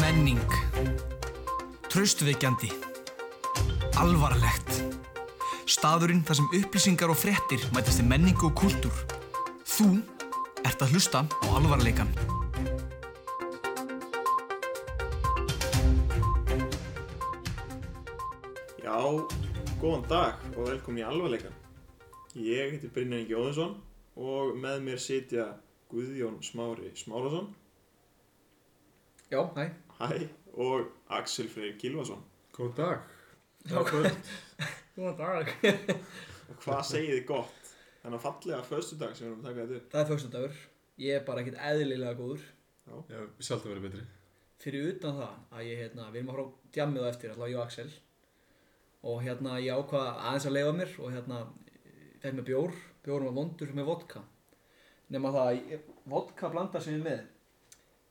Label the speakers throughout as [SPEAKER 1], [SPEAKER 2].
[SPEAKER 1] Menning Traustvekjandi Alvarlegt Staðurinn þar sem upplýsingar og fréttir mætast í menningu og kúltúr Þú ert að hlusta á alvarleikan
[SPEAKER 2] Já, góðan dag og velkomin í alvarleikan. Ég heiti Brynjar Ingi Óðinsson og með mér sitja Guðjón Smári Smárasson,
[SPEAKER 3] Já, hæ.
[SPEAKER 2] hæ, og Axel Freyr Gilvason.
[SPEAKER 4] Góð dag.
[SPEAKER 3] Já, góð. Góðan dag.
[SPEAKER 2] Og hvað segið þið gott? Þannig að fallega föstudag sem við erum að taka þetta upp.
[SPEAKER 3] Það er fögstundagur. Ég er bara ekkert eðlilega góður.
[SPEAKER 4] Já, sjálf að vera betri.
[SPEAKER 3] Fyrir utan það að ég, hérna, við erum að fara á djammið á eftir, allavega ég og Axel. Og hérna, ég ákvað aðeins að leifa mér og hérna, fekk mér bjór. Bjórn var vondur með vodka. Nefna það að ég- vodka blandar sem ég er með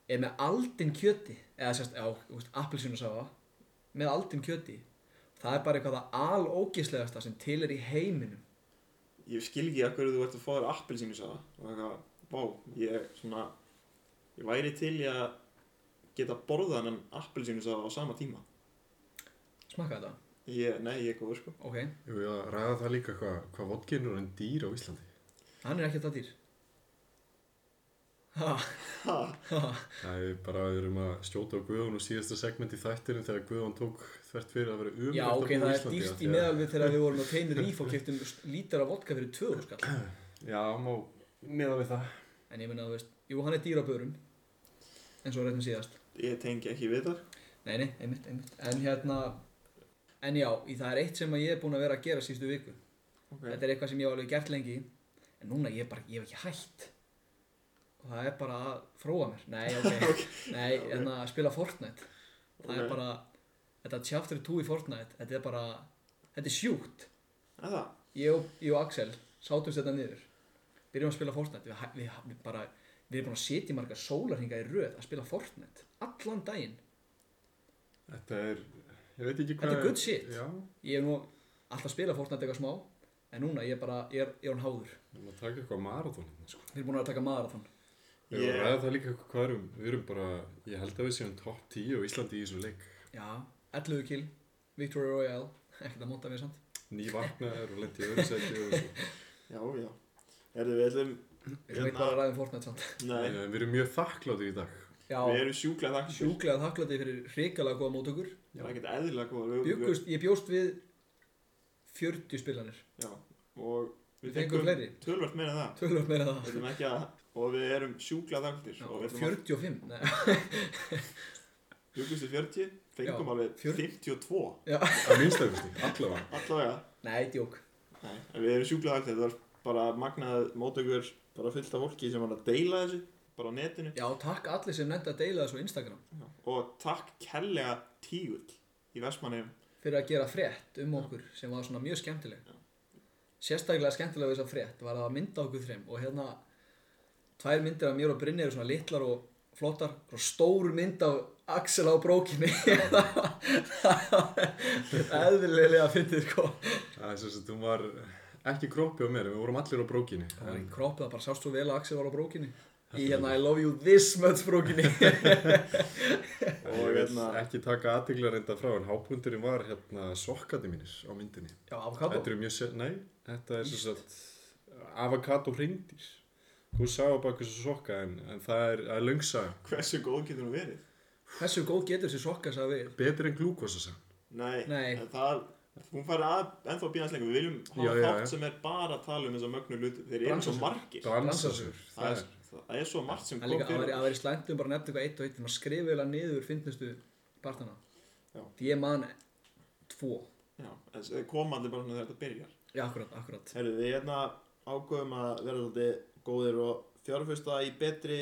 [SPEAKER 3] er með aldin kjöti. Eða sérst, já, appelsinu sá það. Með aldin kjöti. Það er bara eitthvað það alógislegasta sem til er í heiminum.
[SPEAKER 2] Ég skil ekki að hverju þú ert að fá þér appelsínu sáða og eitthvað, vá, ég svona, ég væri til í að geta borðað hennan appelsínu sáða á sama tíma.
[SPEAKER 3] Smakka þetta?
[SPEAKER 2] Ég, nei, ég er góður sko.
[SPEAKER 3] Ok.
[SPEAKER 4] Jú, ég var að ræða það líka hvað hva vodkin er en dýr á Íslandi.
[SPEAKER 3] Hann er ekki það dýr Ha,
[SPEAKER 2] Ha,
[SPEAKER 3] ha.
[SPEAKER 4] Það er bara að við erum að stjóta á Guðun og síðasta segment í þættinu þegar Guðun tók þvert fyrir að vera umrætt
[SPEAKER 3] Já, ok, það er dýrt í meðal við þegar við vorum á teinu ríf og keftum lítar af vodka fyrir 2 skall
[SPEAKER 4] Já, má meðal við það.
[SPEAKER 3] En ég meina, þú veist, jú, hann er dýr á börum eins og réttum síðast
[SPEAKER 2] ég tengi ekki við þar.
[SPEAKER 3] Nei, nei, einmitt, einmitt En hérna, en já, í það er eitt sem að ég er búinn að vera að gera síðustu viku
[SPEAKER 2] Okay.
[SPEAKER 3] Þetta er eitthvað sem ég hef alveg gert lengi En núna ég er bara, ég hef ekki hætt Og það er bara að fróa mér Nei, ok, nei,
[SPEAKER 2] ok.
[SPEAKER 3] en að spila Fortnite Það
[SPEAKER 2] Ok.
[SPEAKER 3] er bara, þetta chapter 2 í Fortnite Þetta er bara, þetta er sjúkt
[SPEAKER 2] Er það?
[SPEAKER 3] Ég og, ég og Axel sátumst þetta niður Byrjum að spila Fortnite Við, hæ- við, hæ- við bara, við erum búin að setja marga sólarhinga í röð Að spila Fortnite, allan daginn
[SPEAKER 4] Þetta er, ég veit ekki hvað...
[SPEAKER 3] Þetta er good shit.
[SPEAKER 4] Já,
[SPEAKER 3] Ég er nú alltaf að spila Fortnite eitthvað smá En núna ég er bara, ég er, ég er hann háður
[SPEAKER 4] við erum að taka eitthvað marathónin, sko.
[SPEAKER 3] Við erum búin að taka marathon
[SPEAKER 4] Við erum
[SPEAKER 2] Ég-
[SPEAKER 4] að ræða það líka hvað erum, við erum bara, ég held að við séum topp 10 á Íslandi í þessu leik.
[SPEAKER 3] Já, 11 kill, Victory Royale Ekkert að móta mér samt
[SPEAKER 4] Ný vaknaður og lendi öðru sæti og svo.
[SPEAKER 2] Já, já. Erðu við ætlum...
[SPEAKER 3] Við erum
[SPEAKER 2] Hérna-
[SPEAKER 3] ekki bara að ræða um Fortnite samt
[SPEAKER 2] Nei,
[SPEAKER 4] Eh, Við erum mjög þakklátir í dag.
[SPEAKER 3] Já,
[SPEAKER 2] við erum sjúklega þakkláttir.
[SPEAKER 3] sjúklega þakklati fyrir hrikalega góða mótökur
[SPEAKER 2] Það er ekkert eðlilega góður. Við- við-
[SPEAKER 3] Bjögust, Ég bjóst við 40 spilanir
[SPEAKER 2] Já, og við
[SPEAKER 3] Við fengum fleiri.
[SPEAKER 2] tölvert meira en það.
[SPEAKER 3] Tölvöld meira en
[SPEAKER 2] Við
[SPEAKER 3] það
[SPEAKER 2] ætlum ekki að... Og við erum sjúklega þakkláttir.
[SPEAKER 3] Já,
[SPEAKER 2] Og við ætlum
[SPEAKER 3] 45
[SPEAKER 2] að...
[SPEAKER 3] Nei,
[SPEAKER 2] Bjögustu 40, fengum
[SPEAKER 3] Já,
[SPEAKER 2] alveg
[SPEAKER 3] 40.
[SPEAKER 2] 52.
[SPEAKER 3] já.
[SPEAKER 4] Að minnstæðusti, allavega.
[SPEAKER 2] Allavega.
[SPEAKER 3] Nei, djók
[SPEAKER 2] Nei, en við erum sjúklega þakkláttir. Það var bara magnað mótökur, bara fullt af fólki sem var að deila þessu, bara á netinu.
[SPEAKER 3] Já, takk allir sem nefndi að deila þessu á Instagram
[SPEAKER 2] Já. Og takk kellega tígull í Vestmannheim.
[SPEAKER 3] fyrir að gera frétt um okkur sem var svona mjög skemmtileg sérstaklega skemmtilega við þessa frétt var að mynda okkur þreim og hérna tvær myndir af mér og Brynni eru svona litlar og flottar og stór mynd af Axel á brókinni eðlilega fyndið sko
[SPEAKER 4] Það er sem sagt, hún var ekki kroppi á mér, við vorum allir á brókinni.
[SPEAKER 3] það var í
[SPEAKER 4] En
[SPEAKER 3] kropp það bara sást svo vel að Axel var á brókinni í hérna I love you this much brókinni
[SPEAKER 4] og hérna- ég vil
[SPEAKER 2] hérna,
[SPEAKER 4] ekki taka aðtegla reynda frá, en hápundurinn var hérna sokkandi mínir á myndinni.
[SPEAKER 3] já, avokado
[SPEAKER 4] Þetta eru mjög sér, nei, þetta er sem sagt avokado hrindir. Hún sá bara hversu sokka, en, en það er að löngsa
[SPEAKER 2] Hversu góð getur hún verið?
[SPEAKER 3] hversu góð getur þessi sokka sagði við
[SPEAKER 4] betur en glúkosa sann.
[SPEAKER 2] Nei,
[SPEAKER 3] Nei.
[SPEAKER 2] en það hún fær að, ennþá býðast lengur, við viljum hafa
[SPEAKER 4] Já, já,
[SPEAKER 2] þátt
[SPEAKER 4] já.
[SPEAKER 2] sem er bara að tala um þessa mögnu hluti, þeir eru svo
[SPEAKER 3] Bransasur.
[SPEAKER 2] margir
[SPEAKER 4] Bransasur,
[SPEAKER 2] það
[SPEAKER 4] það
[SPEAKER 2] er,
[SPEAKER 4] er.
[SPEAKER 2] það er svo margt sem
[SPEAKER 3] það er
[SPEAKER 2] kom
[SPEAKER 3] líka að
[SPEAKER 2] fyrir
[SPEAKER 3] vera- að vera í slæntum bara nefnt eitthvað eitt og eitt maður skrifa eiginlega niður fyndnustu partana
[SPEAKER 2] Já.
[SPEAKER 3] því ég man tvo
[SPEAKER 2] já, en þeir koma allir bara svona þegar þetta byrjar
[SPEAKER 3] já, akkurat, akkurat
[SPEAKER 2] Herru, við hérna ágöfum að vera svolítið góðir og fjárfyrsta í betri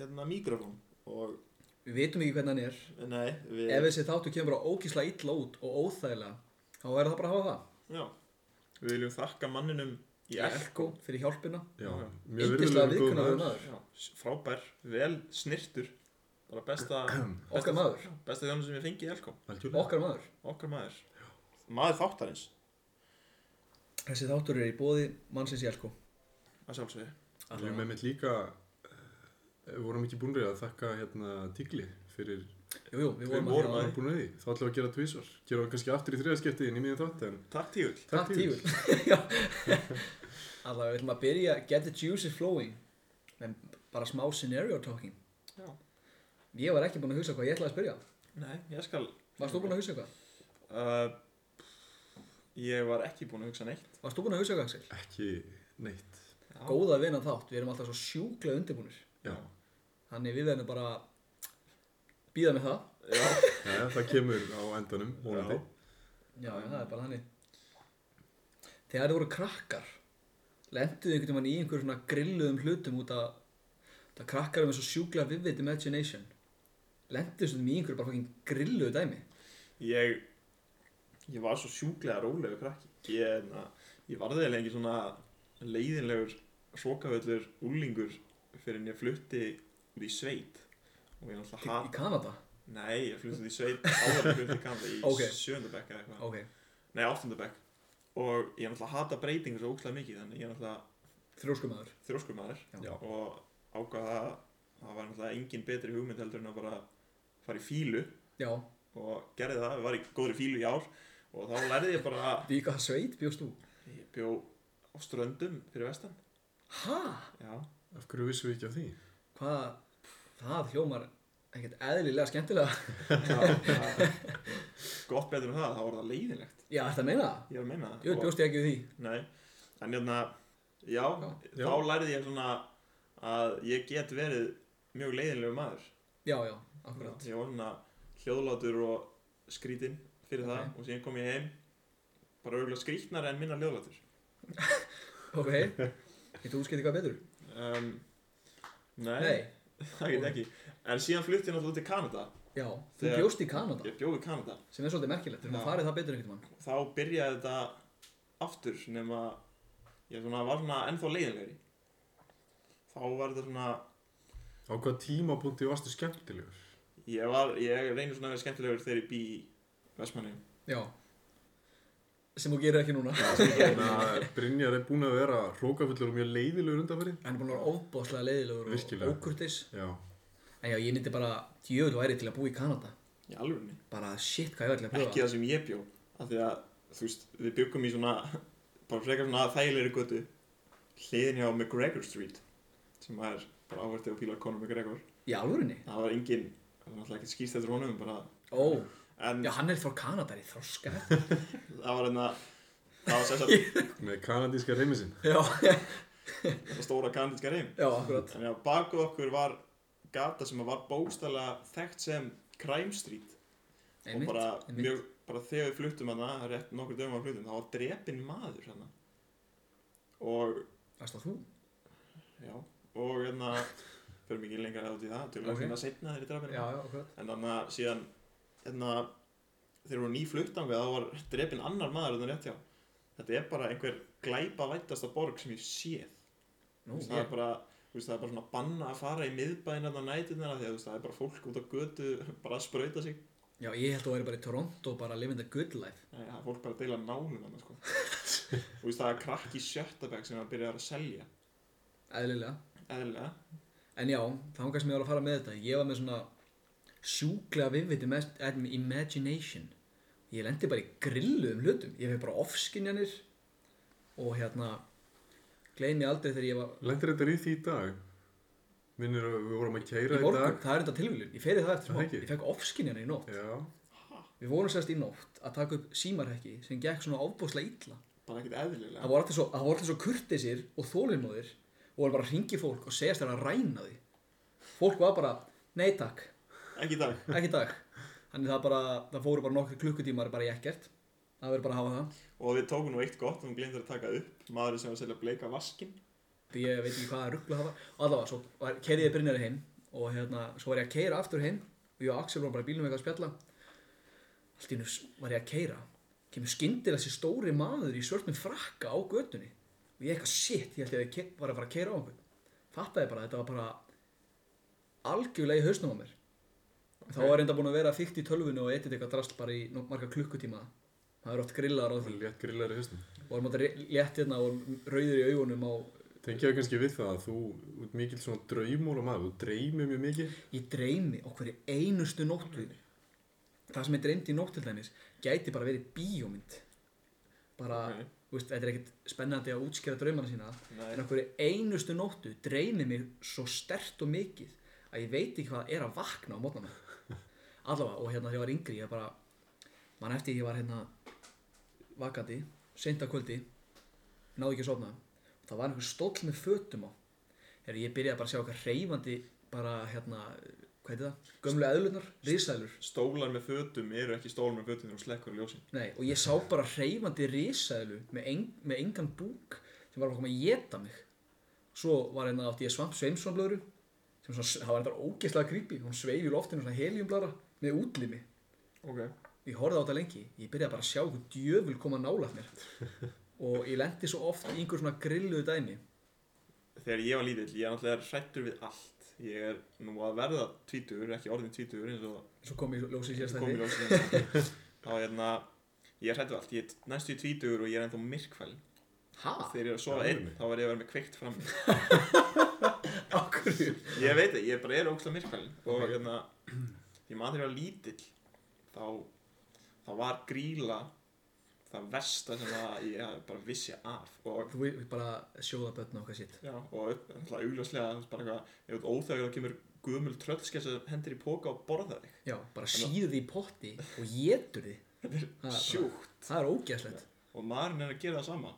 [SPEAKER 2] hérna mikrofón og,
[SPEAKER 3] við vitum ekki hvernig hann er
[SPEAKER 2] nei, við,
[SPEAKER 3] ef þessi þáttu kemur bara ógísla illa út og óþægilega þá verður það bara að hafa það
[SPEAKER 2] já, við viljum þakka manninum í
[SPEAKER 3] Elko fyrir hjálpina
[SPEAKER 4] Já, mjög
[SPEAKER 3] yndislega
[SPEAKER 4] virðulegur góður
[SPEAKER 3] viðkunnaður
[SPEAKER 4] maður.
[SPEAKER 3] maður
[SPEAKER 2] já, frábær, vel snirtur bara besta,
[SPEAKER 3] okkar maður,
[SPEAKER 2] besta þjónu sem ég fengi í Elko
[SPEAKER 4] Algjörlega.
[SPEAKER 3] okkar maður
[SPEAKER 2] okkar maður, maður þáttarins
[SPEAKER 3] þessi þáttur er í bóði mannsins í Elko
[SPEAKER 2] að sjálfsögðu
[SPEAKER 4] Við erum einmitt líka, eh, við vorum ekki búinrið að þakka hérna Digli fyrir
[SPEAKER 3] Jú, jú, við
[SPEAKER 4] Við
[SPEAKER 3] vorum að
[SPEAKER 4] vorum
[SPEAKER 3] hjá-
[SPEAKER 4] aðeins búin að því, þá ætlum við að gera tvísvar. Gerum við kannski aftur í þriðaskiptið inn í miðjum þátt, en
[SPEAKER 2] Takk tígull
[SPEAKER 3] Takk tígull Já. Allavega, við ætlum að byrja Get the juices flowing En bara smá scenario talking
[SPEAKER 2] Já.
[SPEAKER 3] Ég var ekki búinn að hugsa hvað ég ætlaði að spyrja
[SPEAKER 2] Nei, ég skal
[SPEAKER 3] Varst þú búinn að hugsa eitthvað?
[SPEAKER 2] Uh, ég var ekki búinn að hugsa neitt
[SPEAKER 3] Varst þú búinn að hugsa eitthvað, Axel?
[SPEAKER 4] Ekki neitt.
[SPEAKER 2] Já.
[SPEAKER 3] Góða vinna þátt, við erum alltaf svo sjúklega undirbúnir
[SPEAKER 4] Já,
[SPEAKER 3] Þannig við verðum bara býða með það
[SPEAKER 2] Já,
[SPEAKER 4] ja, það kemur á endanum, vonandi.
[SPEAKER 2] Já.
[SPEAKER 3] Já, já, það er bara þannig Þegar þið voru krakkar Lenduðu einhvern veginn í einhverjum svona grilluðum hlutum út að Það krakkar er með svo sjúklega vivid imagination Lenduðu svona í einhverju bara fokkin grilluðu dæmi
[SPEAKER 2] ég ég var svo sjúklega rólegur krakki ég, na, ég varði eiginlega ekki svona leiðinlegur svokaföllur úlingur fyrir en ég flutti út í sveit og
[SPEAKER 3] Til-
[SPEAKER 2] ég náttúrulega
[SPEAKER 3] Í
[SPEAKER 2] hatt
[SPEAKER 3] Kanada
[SPEAKER 2] Nei, ég flutti út í sveit áður en flutti í Kanada í
[SPEAKER 3] Ok.
[SPEAKER 2] okay. sjöndabekk eða eitthvað
[SPEAKER 3] Ok,
[SPEAKER 2] Nei, áttundabekk og ég náttúrulega hata breytingur svo ókslega mikið þannig ég náttúrulega
[SPEAKER 3] þrjóskumæður
[SPEAKER 2] þrjóskur maður
[SPEAKER 4] Já.
[SPEAKER 2] og ákvaða að það var náttúrulega engin betri hugmynd heldur en að bara fara í fílu
[SPEAKER 3] Já,
[SPEAKER 2] og gerði það, við varum í góðri fílu í ár og þá lærði ég bara
[SPEAKER 3] því hvað sveit bjóst þú?
[SPEAKER 2] ég bjó á ströndum fyrir vestan
[SPEAKER 3] Ha?
[SPEAKER 2] já,
[SPEAKER 4] Af hverju vissum við ekki af því?
[SPEAKER 3] Hvað? Það hljómar ekkert eðlilega skemmtilega
[SPEAKER 2] það, það, gott betur en það, þá var það leiðinlegt
[SPEAKER 3] Já, þetta meina það?
[SPEAKER 2] ég er að meina
[SPEAKER 3] Jú,
[SPEAKER 2] Og-
[SPEAKER 3] bjóst ég ekki við því
[SPEAKER 2] nei, en jörna, já,
[SPEAKER 3] Já.
[SPEAKER 2] þá lærði ég svona að ég get verið mjög leiðinlegu maður
[SPEAKER 3] Já, já, akkurat
[SPEAKER 2] ég var svona hljóðlátur og skrítinn fyrir
[SPEAKER 3] Ok.
[SPEAKER 2] það og síðan kom ég heim bara auðvitað skrítnar en minna hljóðlátur
[SPEAKER 3] Ok, getur útskiptið hvað betur?
[SPEAKER 2] um, nei,
[SPEAKER 3] Nei,
[SPEAKER 2] það get ég ekki en síðan flutti ég náttúrulega út í Kanada
[SPEAKER 3] já, þú
[SPEAKER 2] Þegar-
[SPEAKER 3] bjóst í Kanada
[SPEAKER 2] ég bjóð í Kanada
[SPEAKER 3] sem er svolítið merkilegt, við erum að
[SPEAKER 2] Já.
[SPEAKER 3] farið það betur einhvern mann
[SPEAKER 2] þá byrjaði þetta aftur nema ég svona var svona ennþá leiðinlegri þá var þetta svona
[SPEAKER 4] Á hvaða tímapunkti varstu skemmtilegur?
[SPEAKER 2] ég var, ég reynir svona að vera skemmtilegur þegar ég bý í Vestmannum
[SPEAKER 3] Já sem þú gerir ekki núna
[SPEAKER 4] Þannig Brynjar er búin að vera hrókafullur og mjög leiðilegur undanferði.
[SPEAKER 3] hann er búin að vera ofbáslega leiðilegur
[SPEAKER 4] Virkilega.
[SPEAKER 3] og ókurtis
[SPEAKER 4] Já,
[SPEAKER 3] en já, ég nýtti bara djöðu væri til að búa í Kanada
[SPEAKER 2] í alvörunni,
[SPEAKER 3] bara shit hvað ég væri til að pröfa
[SPEAKER 2] ekki það sem ég bjó af því að, þú veist, við byggum í svona bara frekar svona þægilegri götu hliðin hjá McGregor Street sem er bara ávertið á pílar Conor McGregor
[SPEAKER 3] í alvörinni?
[SPEAKER 2] það var engin, það var náttúrulega ekki skýrst eftir honum bara,
[SPEAKER 3] Ó,
[SPEAKER 2] en
[SPEAKER 3] já hann er frá Kanada, er í þroska
[SPEAKER 2] það var enna það var sem sagt
[SPEAKER 4] með kanadíska reymisinn.
[SPEAKER 3] já,
[SPEAKER 2] þetta stóra kandinska reym
[SPEAKER 3] já, akkurat
[SPEAKER 2] Þannig að baku okkur var gata sem var bókstælega þekkt sem Crime Street og
[SPEAKER 3] einmitt,
[SPEAKER 2] bara,
[SPEAKER 3] einmitt.
[SPEAKER 2] mjög, bara þegar við fluttum hana, rétt nokkur dögum að fluttum, þá var drepinn maður hana. og
[SPEAKER 3] varst það þú?
[SPEAKER 2] já, og hérna fyrir mikið lengra átt í það, til
[SPEAKER 3] Ok.
[SPEAKER 2] að finna setna þeirri
[SPEAKER 3] já,
[SPEAKER 2] drapinu
[SPEAKER 3] já, akkurat
[SPEAKER 2] hérna. en þannig að síðan hérna, þegar við nýfluttum við þá var drepinn annar maður þannig rétt hjá þetta er bara einhver glæpa vættasta borg sem ég séð
[SPEAKER 3] Nú,
[SPEAKER 2] Þú veist, það er
[SPEAKER 3] ég,
[SPEAKER 2] bara þú veist, það er bara svona banna að fara í miðbæinn þarna nætunar því að þú veist, það er bara fólk út á götu bara að sprauta sig
[SPEAKER 3] já, ég held að þú væri bara í Toronto bara living the good life
[SPEAKER 2] Nei, það er fólk bara að deila nálum þarna sko. þú veist, það er krakk í sjöttabæk sem að byrja að selja
[SPEAKER 3] eðlilega
[SPEAKER 2] eðlilega
[SPEAKER 3] En já, þá kannski mér var að fara með þetta. Ég var með svona sjúklega vivid ima- em- imagination. Ég lendi bara í grilluðum hlutum. Ég fekk bara ofskinjanir og hérna, gleymi aldrei þegar ég var
[SPEAKER 4] Lendir þetta í því í dag? Minnir að við vorum að
[SPEAKER 3] í
[SPEAKER 4] keira í
[SPEAKER 3] morgun.
[SPEAKER 4] dag.
[SPEAKER 3] Það er enda tilvílun. Ég feri það eftir
[SPEAKER 4] Það
[SPEAKER 3] smá.
[SPEAKER 4] ekki.
[SPEAKER 3] Ég fekk ofskinjanir í nótt.
[SPEAKER 4] Já,
[SPEAKER 3] Við vorum sérst í nótt að taka upp símarhekki sem gekk svona ofbúslega illa.
[SPEAKER 2] bara ekkert eðlilega
[SPEAKER 3] Það voru alltaf svo, það voru alltaf svo kurtisir og þólinmóðir og voru bara að ringi fólk og segjast þeirra að ræna því. Fólk var bara, nei takk,
[SPEAKER 2] ekki í dag
[SPEAKER 3] ekki í dag þannig það bara, það fóru bara nokkri klukkutímar bara í ekkert, það verður bara að hafa það
[SPEAKER 2] og við tókum nú eitt gott og við glemdur að taka upp maðurinn sem var að selja bleika vaskin
[SPEAKER 3] því ég veit ekki hvaða rugglu það var og allavega, svo keiri ég Brynjari heim og hérna, svo var ég að keira aftur heim og ég og Axel vorum bara í bílnum eitthvað að spjalla allt í nú var ég að keira kemur skyndilega þessi stóri maður í svörtum frakka á götunni og ég eitthvað shit, ég held ég að ég ke- var að fara að keira á einhvern fattaði bara, að þetta var bara algjörlega í hausnum á mér þá var reynda búin að vera fyrkt í tölvunni og edit eitthvað drast bara í nok- marga klukkutíma það er oft grillaðar á því
[SPEAKER 4] létt grillar í höstum.
[SPEAKER 3] og hann mátti létt hérna og rauður í augunum á
[SPEAKER 4] Tengja það kannski við það að þú ert mikill svona draumur og maður, þú dreymir mjög mikið.
[SPEAKER 3] Ég dreymi okkur einustu nóttu Það sem ég dreymdi í nótt til dæmis Gæti bara verið bíómynd Bara,
[SPEAKER 2] Ok.
[SPEAKER 3] þú veist, þetta er ekkert spennandi að útskýra draumana sína
[SPEAKER 2] Nei.
[SPEAKER 3] En okkur einustu nóttu dreymi mig svo stert og mikið Að ég veit ekki hvað er að vakna á mótnana Allavega, og hérna þegar ég var yngri Ég bara, mann eftir ég var hérna Vakandi, seint að kvöldi Náði ekki að sofna Það var einhver stóll með fötum á Þegar ég byrjaði bara að sjá eitthvað reyfandi bara hérna, hvað heitir það? Gömlu eðlunar, risaðlur.
[SPEAKER 2] Stólar með fötum eru ekki stólar með fötum þegar þú slekkur á ljósin
[SPEAKER 3] Nei, og ég sá bara reyfandi risaðlu með, eng, með engan búk sem var að koma að geta mig. Svo var hérna átti ég svamp sveimsvamblöðru sem svona, það var þetta ógeðslega creepy. Hún sveifi í loftinu svona heliumblara með útlimi.
[SPEAKER 2] Ok
[SPEAKER 3] Ég horfði á þetta lengi. Ég byrjaði bara að sjá hvað djöful koma nálað mér. Og ég lendi svo oft í einhver svona grilluðu dæmi.
[SPEAKER 2] Þegar ég var lítill, ég er náttúrulega hrættur við allt Ég er nú að verða tvítugur, ekki orðin tvítugur eins og
[SPEAKER 3] Svo kom ég ljósið
[SPEAKER 2] eins
[SPEAKER 3] síðast
[SPEAKER 2] og kom í
[SPEAKER 3] þetta.
[SPEAKER 2] ljósin Þá hérna, ég er hrættur við allt Ég er næstu í tvítugur og ég er ennþá myrkvæl
[SPEAKER 3] Hæ?
[SPEAKER 2] Þegar ég er að sofa
[SPEAKER 4] Já,
[SPEAKER 2] einn,
[SPEAKER 4] alveg.
[SPEAKER 2] þá er ég að vera með kveikt fram
[SPEAKER 3] Akkur?
[SPEAKER 2] Ég veit það, ég bara er ógslag myrkvæl Og
[SPEAKER 3] Ok.
[SPEAKER 2] hérna, ég maður þegar ég var lítill Þá, þá var gríla það versta sem að ég hafði bara vissi af og
[SPEAKER 3] Þú veit bara sjóða börn og hvað sitt.
[SPEAKER 2] Já, og alltaf augljóslega, þú veist bara eitthvað, ef þú ert óþægur þá kemur gömul tröllskess að hendir í póka og borða þig.
[SPEAKER 3] Já, bara síðu því í potti og getur því. Þetta er
[SPEAKER 2] Sjúkt.
[SPEAKER 3] Það er ógæslegt.
[SPEAKER 2] Og maðurinn er að gera það sama.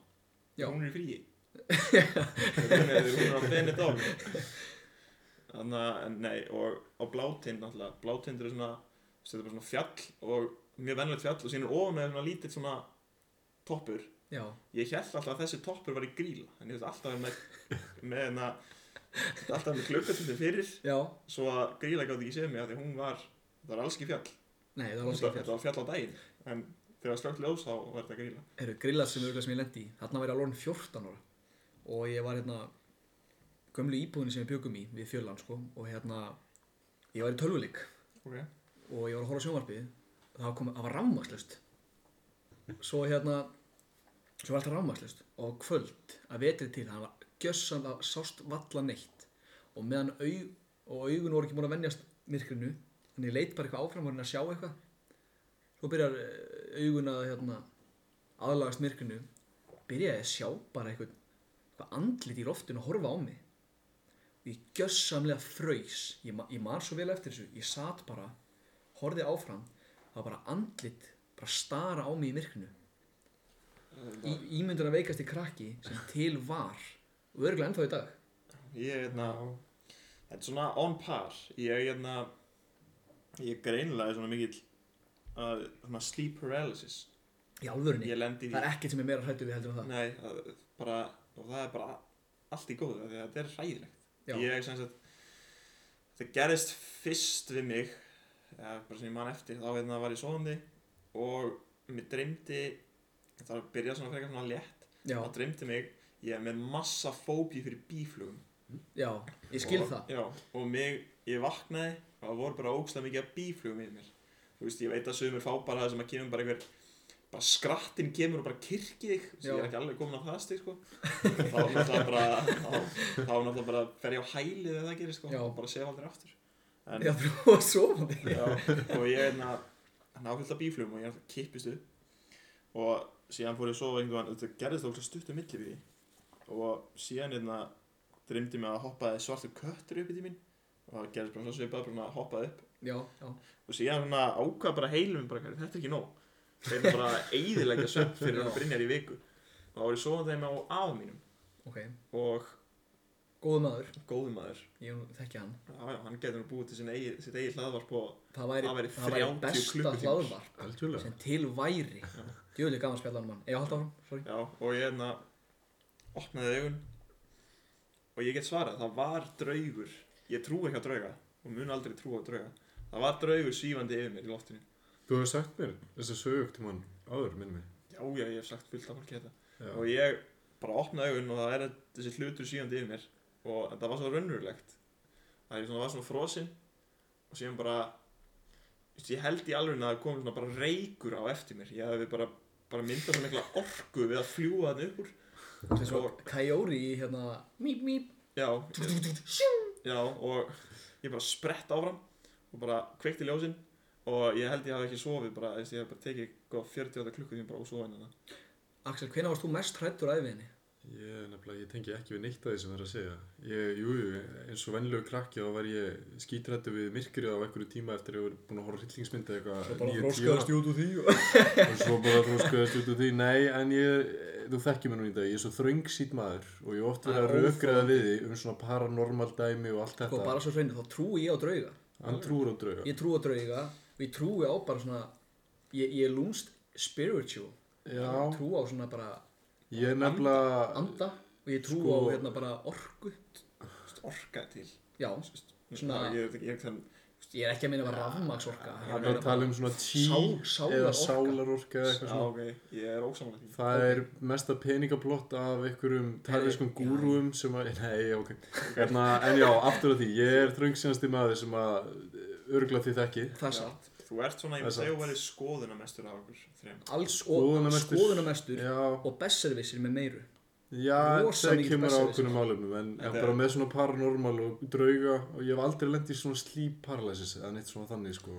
[SPEAKER 3] Já.
[SPEAKER 2] Hún er í fríi. hún er hún er á benið dál. Þannig að, en nei, og á blátind náttúrulega, blátind er svona, þetta er bara svona fjall og mjög vennilegt fjall og síðan er ofan með svona lítill svona toppur.
[SPEAKER 3] Já,
[SPEAKER 2] Ég held alltaf að þessi toppur var í gríla, en ég veist alltaf að vera með, með hérna, alltaf með klukkutundi fyrir
[SPEAKER 3] já.
[SPEAKER 2] svo að Gríla gátt ekki séð mig að því hún var það var alls ekki fjall
[SPEAKER 3] Nei, það var alls ekki
[SPEAKER 2] þetta
[SPEAKER 3] fjall.
[SPEAKER 2] var fjall á daginn en þegar slögt ljós þá var þetta Gríla
[SPEAKER 3] Eru grillar sem örgulega sem ég lendi í. Þarna var ég alveg 14 ára. Og ég var hérna, gömlu íbúðinni sem ég byggum í við fjölan, sko. Og hérna, ég var í tölvuleik
[SPEAKER 2] okay.
[SPEAKER 3] og ég var að horfa á sjónvarpið. Það kom, það var rámaslust. Svo hérna, svo var alltaf rámaslust. Og á kvöld, að vetrið til, það var gjössanlega sást valla neitt. og meðan au, og augun voru ekki búin að venjast myrkrinu þannig ég leit bara eitthvað áfram og reyna að sjá eitthvað svo byrjar eh, augun að hérna, aðlagast myrkrinu byrjaði ég að sjá bara eitthvað, eitthvað andlit í loftinu að horfa á mig og ég gjössamlega fraus ég, ma- ég man svo vel eftir þessu ég sat bara, horfið áfram það var bara andlit bara stara á mig í myrkrinu í, ímyndun að veikast í krakki sem til var og örgulega ennþá í dag
[SPEAKER 2] ég er hérna þetta er svona on par ég er hérna ég er greinilega svona mikill uh, svona sleep paralysis
[SPEAKER 3] í alvörunni
[SPEAKER 2] ég lendi í
[SPEAKER 3] Það er ekkert sem er meira hrættu við heldur en það.
[SPEAKER 2] nei, það, er bara, og það er bara allt í góðu af því að þetta er hræðilegt
[SPEAKER 3] Já,
[SPEAKER 2] ég er sem sagt þetta gerðist fyrst við mig eða bara sem ég man eftir þá hérna var ég svoðandi og mér dreymdi það var að byrja svona frekar svona létt
[SPEAKER 3] já,
[SPEAKER 2] þá dreymdi mig ég er með massa fóbi fyrir bíflugum
[SPEAKER 3] já, ég skil
[SPEAKER 2] og,
[SPEAKER 3] það.
[SPEAKER 2] já, og mig, ég vaknaði og það voru bara ógstlega mikið af bíflugum yfir mér þú veist, ég veit að sögumir fá bara það sem að kemur bara einhver bara skrattinn kemur og bara kirkið þig sem ég
[SPEAKER 3] Já.
[SPEAKER 2] er ekki alveg komin á það stig sko. þá er náttúrulega bara þá, þá er náttúrulega bara fer ég á hælið þegar það gerir sko,
[SPEAKER 3] Já.
[SPEAKER 2] og bara sef aldrei aftur en,
[SPEAKER 3] Já, þú var svovandi.
[SPEAKER 2] já, og ég er náfyllt af bíflugum og ég er náttúrulega kippist upp og síðan fór ég að sofa einhvern veginn þetta gerðist okkur stuttum milli við og síðan einna dreymdi mig að hoppaði svartur köttur upp í tíminn og það gerðist bara svona svipað bara svona hoppaði upp
[SPEAKER 3] Já, já,
[SPEAKER 2] og síðan svona ákvað bara heilum bara, "Heyrðu, þetta er ekki nóg þeir eru bara eiðilegja svefn fyrir hann
[SPEAKER 3] Já.
[SPEAKER 2] að brinjar í viku og þá var ég svoðan þeim á afa mínum
[SPEAKER 3] ok.
[SPEAKER 2] og
[SPEAKER 3] Góðu maður,
[SPEAKER 2] góðum maður
[SPEAKER 3] ég nú þekki hann.
[SPEAKER 2] já, já, hann getur nú búið til sinna eigi, sitt eigið hlaðvarp og
[SPEAKER 3] Það væri,
[SPEAKER 2] Það væri 30
[SPEAKER 3] besta
[SPEAKER 2] klukkutímar.
[SPEAKER 3] hlaðvarp
[SPEAKER 4] Algjörlega.
[SPEAKER 3] sem til væri. Djúli gaman að spjalla um hann mann. Ég haldi áfram, sorry.
[SPEAKER 2] Já, og ég hérna opnaði augun og ég get svarað, það var draugur ég trú ekki á drauga og mun aldrei trú á drauga það var draugur svífandi yfir mér í loftinu
[SPEAKER 4] Þú hefur sagt mér þess að sögugt mann áður, minnum mig.
[SPEAKER 2] já, já, ég hef sagt fullt af fólki þetta
[SPEAKER 4] Já.
[SPEAKER 2] og ég bara opnaði augun og það er þessi hlutur svífandi yfir mér og það var svo raunverulegt að ég svona var svona frosinn og síðan bara þú veist, ég held í alveg að það kom svona bara reykur á eftir mér ég hefði bara, bara myndað svo mikla orku við að fljúa þannig upp úr
[SPEAKER 3] Þetta er svo Kajóri í hérna Mýp, mýp
[SPEAKER 2] Já, já og ég bara sprett áfram og bara kveikti ljósin og ég held ég hafi ekki sofið bara, þú veist, ég hef bara tekið góð 48 klukkutíma bara og sofið hérna.
[SPEAKER 3] Axel, hvenær varst þú mest hrættur æfiðinni?
[SPEAKER 4] Ég, nefnilega, ég tengi ekki við neitt að því sem það er að segja. Ég, jú, jú, eins og vennilegu krakki þá var ég skítrættu við myrkrið á einhverju tíma eftir að ég var búin að horfa hryllingsmyndi eitthvað tíu
[SPEAKER 3] út úr því og...
[SPEAKER 4] ára. og svo bara þróskaðast út úr því. Nei, en ég, þú þekkir mér nú í dag, ég er svo þröngsýt maður og ég hef oft verið
[SPEAKER 3] Það
[SPEAKER 4] að
[SPEAKER 3] er
[SPEAKER 4] rökriða
[SPEAKER 3] óþolandi.
[SPEAKER 4] við því um svona paranormal dæmi og allt
[SPEAKER 3] Sko,
[SPEAKER 4] þetta.
[SPEAKER 3] bara svo hreinu, þá trúi ég á drauga
[SPEAKER 4] Hann trúur á drauga.
[SPEAKER 3] Ég trúi á drauga og ég trúi á bara svona Ég, ég er lúmst spiritual Ég
[SPEAKER 4] Já,
[SPEAKER 3] trúi á svona bara
[SPEAKER 4] ég er nefnilega,
[SPEAKER 3] anda og ég trúi
[SPEAKER 4] Sko-
[SPEAKER 3] á hérna bara orku
[SPEAKER 2] Þú veist, orka til.
[SPEAKER 3] Já,
[SPEAKER 2] Þú veist,
[SPEAKER 3] Svona-
[SPEAKER 2] það er ekki- ég veit ekki- ég er ekki þann-
[SPEAKER 3] ég er ekki að meina bara rafmagsorka Ég er
[SPEAKER 4] hann
[SPEAKER 3] að
[SPEAKER 4] er
[SPEAKER 3] meina
[SPEAKER 4] að
[SPEAKER 3] bara-
[SPEAKER 4] tala um svona tí
[SPEAKER 3] Sál- sálarorka.
[SPEAKER 4] eða sálarorka eða eitthvað
[SPEAKER 2] Já,
[SPEAKER 4] svona.
[SPEAKER 2] ok, ég er ósamanlega því.
[SPEAKER 4] Það er mesta peningablott af einhverjum tæliskum
[SPEAKER 3] Nei,
[SPEAKER 4] gúrúum sem að, nei, ok, hérna, en já, aftur á því, ég er þröngsýnasti maður sem að örgla því þekki.
[SPEAKER 3] Það er
[SPEAKER 2] Já.
[SPEAKER 3] satt
[SPEAKER 2] Þú ert svona, ég
[SPEAKER 4] Það er
[SPEAKER 2] myndi segja,
[SPEAKER 4] satt.
[SPEAKER 2] þú verið skoðunamestur af okkur þrejum.
[SPEAKER 3] Alls og
[SPEAKER 4] Skoðunarmestur.
[SPEAKER 3] skoðunamestur
[SPEAKER 4] Já,
[SPEAKER 3] og besservissir með meiru
[SPEAKER 4] já,
[SPEAKER 3] Rosa
[SPEAKER 4] það
[SPEAKER 3] mikill
[SPEAKER 4] kemur á
[SPEAKER 3] besserwisser.
[SPEAKER 4] okkunnum álefnum, en, en
[SPEAKER 2] Þetta er-
[SPEAKER 4] bara með svona paranormal og drauga og ég hef aldrei lendið í svona sleep paralysis eða neitt svona þannig, sko.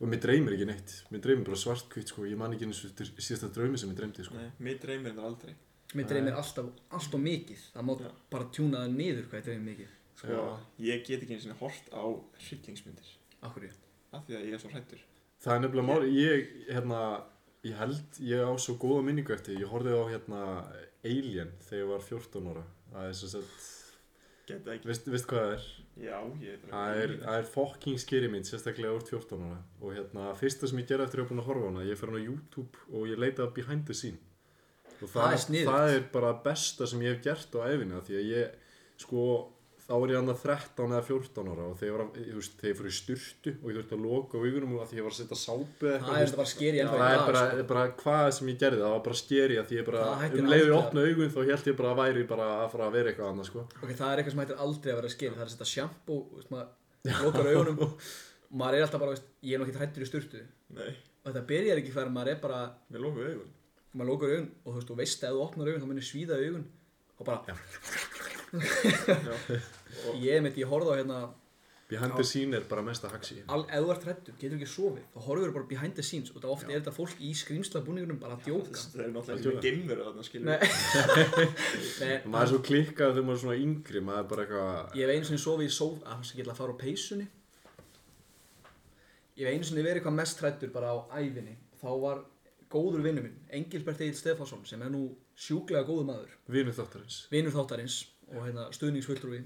[SPEAKER 4] Og mér dreymir ekki neitt, mér dreymir bara svartkvitt, sko, ég man ekki eins og síðasta draumi sem ég dreymdi, sko.
[SPEAKER 2] Nei, mér dreymir þetta aldrei.
[SPEAKER 3] Mér
[SPEAKER 4] Nei.
[SPEAKER 3] dreymir alltaf, alltaf mikið Það má
[SPEAKER 2] Já.
[SPEAKER 3] bara tjúna það niður hvað ég dreymir mikið
[SPEAKER 2] Sko, ég get ekki einu sinni hort á hryllingsmyndir.
[SPEAKER 3] Akkur ég
[SPEAKER 2] Af því að ég er svo hrættur.
[SPEAKER 4] Það er nefnilega máli, ég, hérna, ég held, ég á svo góða minningu eftir, ég horfði á, hérna, Alien þegar ég var 14 ára. Það er svo sett,
[SPEAKER 2] Get það ekki.
[SPEAKER 4] veist, veist hvað það er?
[SPEAKER 2] Já, ég veit
[SPEAKER 4] Það er, það er fucking skeri mynd, sérstaklega úr 14 ára. Og hérna, fyrsta sem ég gerði eftir að ég var búin að horfa á hana, ég fer hann á YouTube og ég leita að behind the scene. Og það,
[SPEAKER 3] Það er sniðugt.
[SPEAKER 4] það er bara besta sem ég hef gert á æfina, því að ég, sko, þá var ég annað 13 eða 14 ára og þegar ég var, að- þú veist, þegar ég fyrir styrtu og ég þurfti að loka augunum og að því ég var að setja sápu eða
[SPEAKER 3] Það er þetta bara skeri
[SPEAKER 4] Já,
[SPEAKER 3] ennþá
[SPEAKER 4] það
[SPEAKER 3] í
[SPEAKER 4] er
[SPEAKER 3] dag,
[SPEAKER 4] bara,
[SPEAKER 3] sko.
[SPEAKER 4] bara hvað sem ég gerði, það var bara skeri að því ég bara,
[SPEAKER 3] Það hættir
[SPEAKER 4] um leiðu ég
[SPEAKER 3] aldrei.
[SPEAKER 4] opna augun þá held ég bara að væri bara að fara að vera eitthvað annað sko.
[SPEAKER 3] Ok, það er eitthvað sem hættir aldrei að vera skeri Það er að setja sjampo, veist maður Lokar augunum Maður er alltaf bara, veist, ég er nokkið hrættur í sturtu
[SPEAKER 2] Nei,
[SPEAKER 3] Og þetta byrjar ekki fyrir maður er bara
[SPEAKER 2] við lofum auðvun.
[SPEAKER 3] Maður lokar augun og þú veist, þú veist að ef þú opnar augun Þá munir svíða í augun Og bara, ég mitt, ég horfði á hérna
[SPEAKER 4] Behind the scene er bara mesta haxi.
[SPEAKER 3] al, Ef þú ert hrættur, getur ekki sofið Þá horfður bara behind the scenes Og það ofta er þetta fólk í skrýmsla bara að djóka
[SPEAKER 2] Það er náttúrulega ekki með gemveru þarna, skilur.
[SPEAKER 3] Nei, Nei
[SPEAKER 4] Maður er svo klikkað þegar maður er svona yngri, maður er bara eitthvað,
[SPEAKER 3] Ég hef einu sinni sofið í sóf Ah, að þess að geta að fara á peysunni Ég hef einu sinni verið hvað mest hrættur bara á ævinni þá var góður vinnu minn Engilbert Egil Stefánsson sem er nú sjúklega góður maður
[SPEAKER 4] vinur þáttarins.
[SPEAKER 3] vinur þáttarins og hérna stuðningsfulltrúi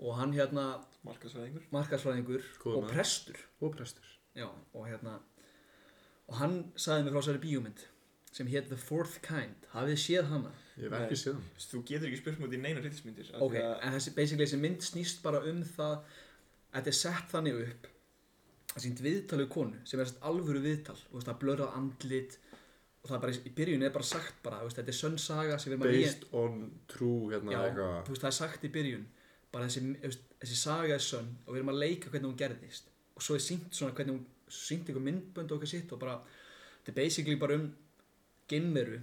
[SPEAKER 3] og hann hérna
[SPEAKER 2] Markasvæðingur.
[SPEAKER 3] markarsfræðingur
[SPEAKER 4] Góður
[SPEAKER 3] og
[SPEAKER 4] maður.
[SPEAKER 3] prestur
[SPEAKER 4] Og prestur.
[SPEAKER 3] Já, og hérna og hann sagði mér frá sér bíómynd sem hétt The Fourth Kind hafið þið séð hana
[SPEAKER 4] Ég hef ekki
[SPEAKER 2] Nei.
[SPEAKER 4] séð hann.
[SPEAKER 2] Þú veist, Þú getur ekki spurt mútið í neina hryllingsmyndir. af
[SPEAKER 3] Ok,
[SPEAKER 2] því að-
[SPEAKER 3] en þessi, basically þessi mynd snýst bara um það Þetta er sett þannig upp Það sýnt viðtal við konu sem er sett alvöru viðtal og veist, það er blörrað andlit og það er bara, í byrjun er bara sagt bara þú veist, þetta er sönn saga sem við maður
[SPEAKER 4] Based on true, hérna,
[SPEAKER 3] Já,
[SPEAKER 4] eitthvað.
[SPEAKER 3] þú veist, það er sagt í byrjun bara þessi, þú veist, þessi saga er sönn og við erum að leika hvernig hún gerðist og svo er sýnt svona hvernig hún sýnt einhver myndbönd og eitthvað sitt og bara þetta er basically bara um geimveru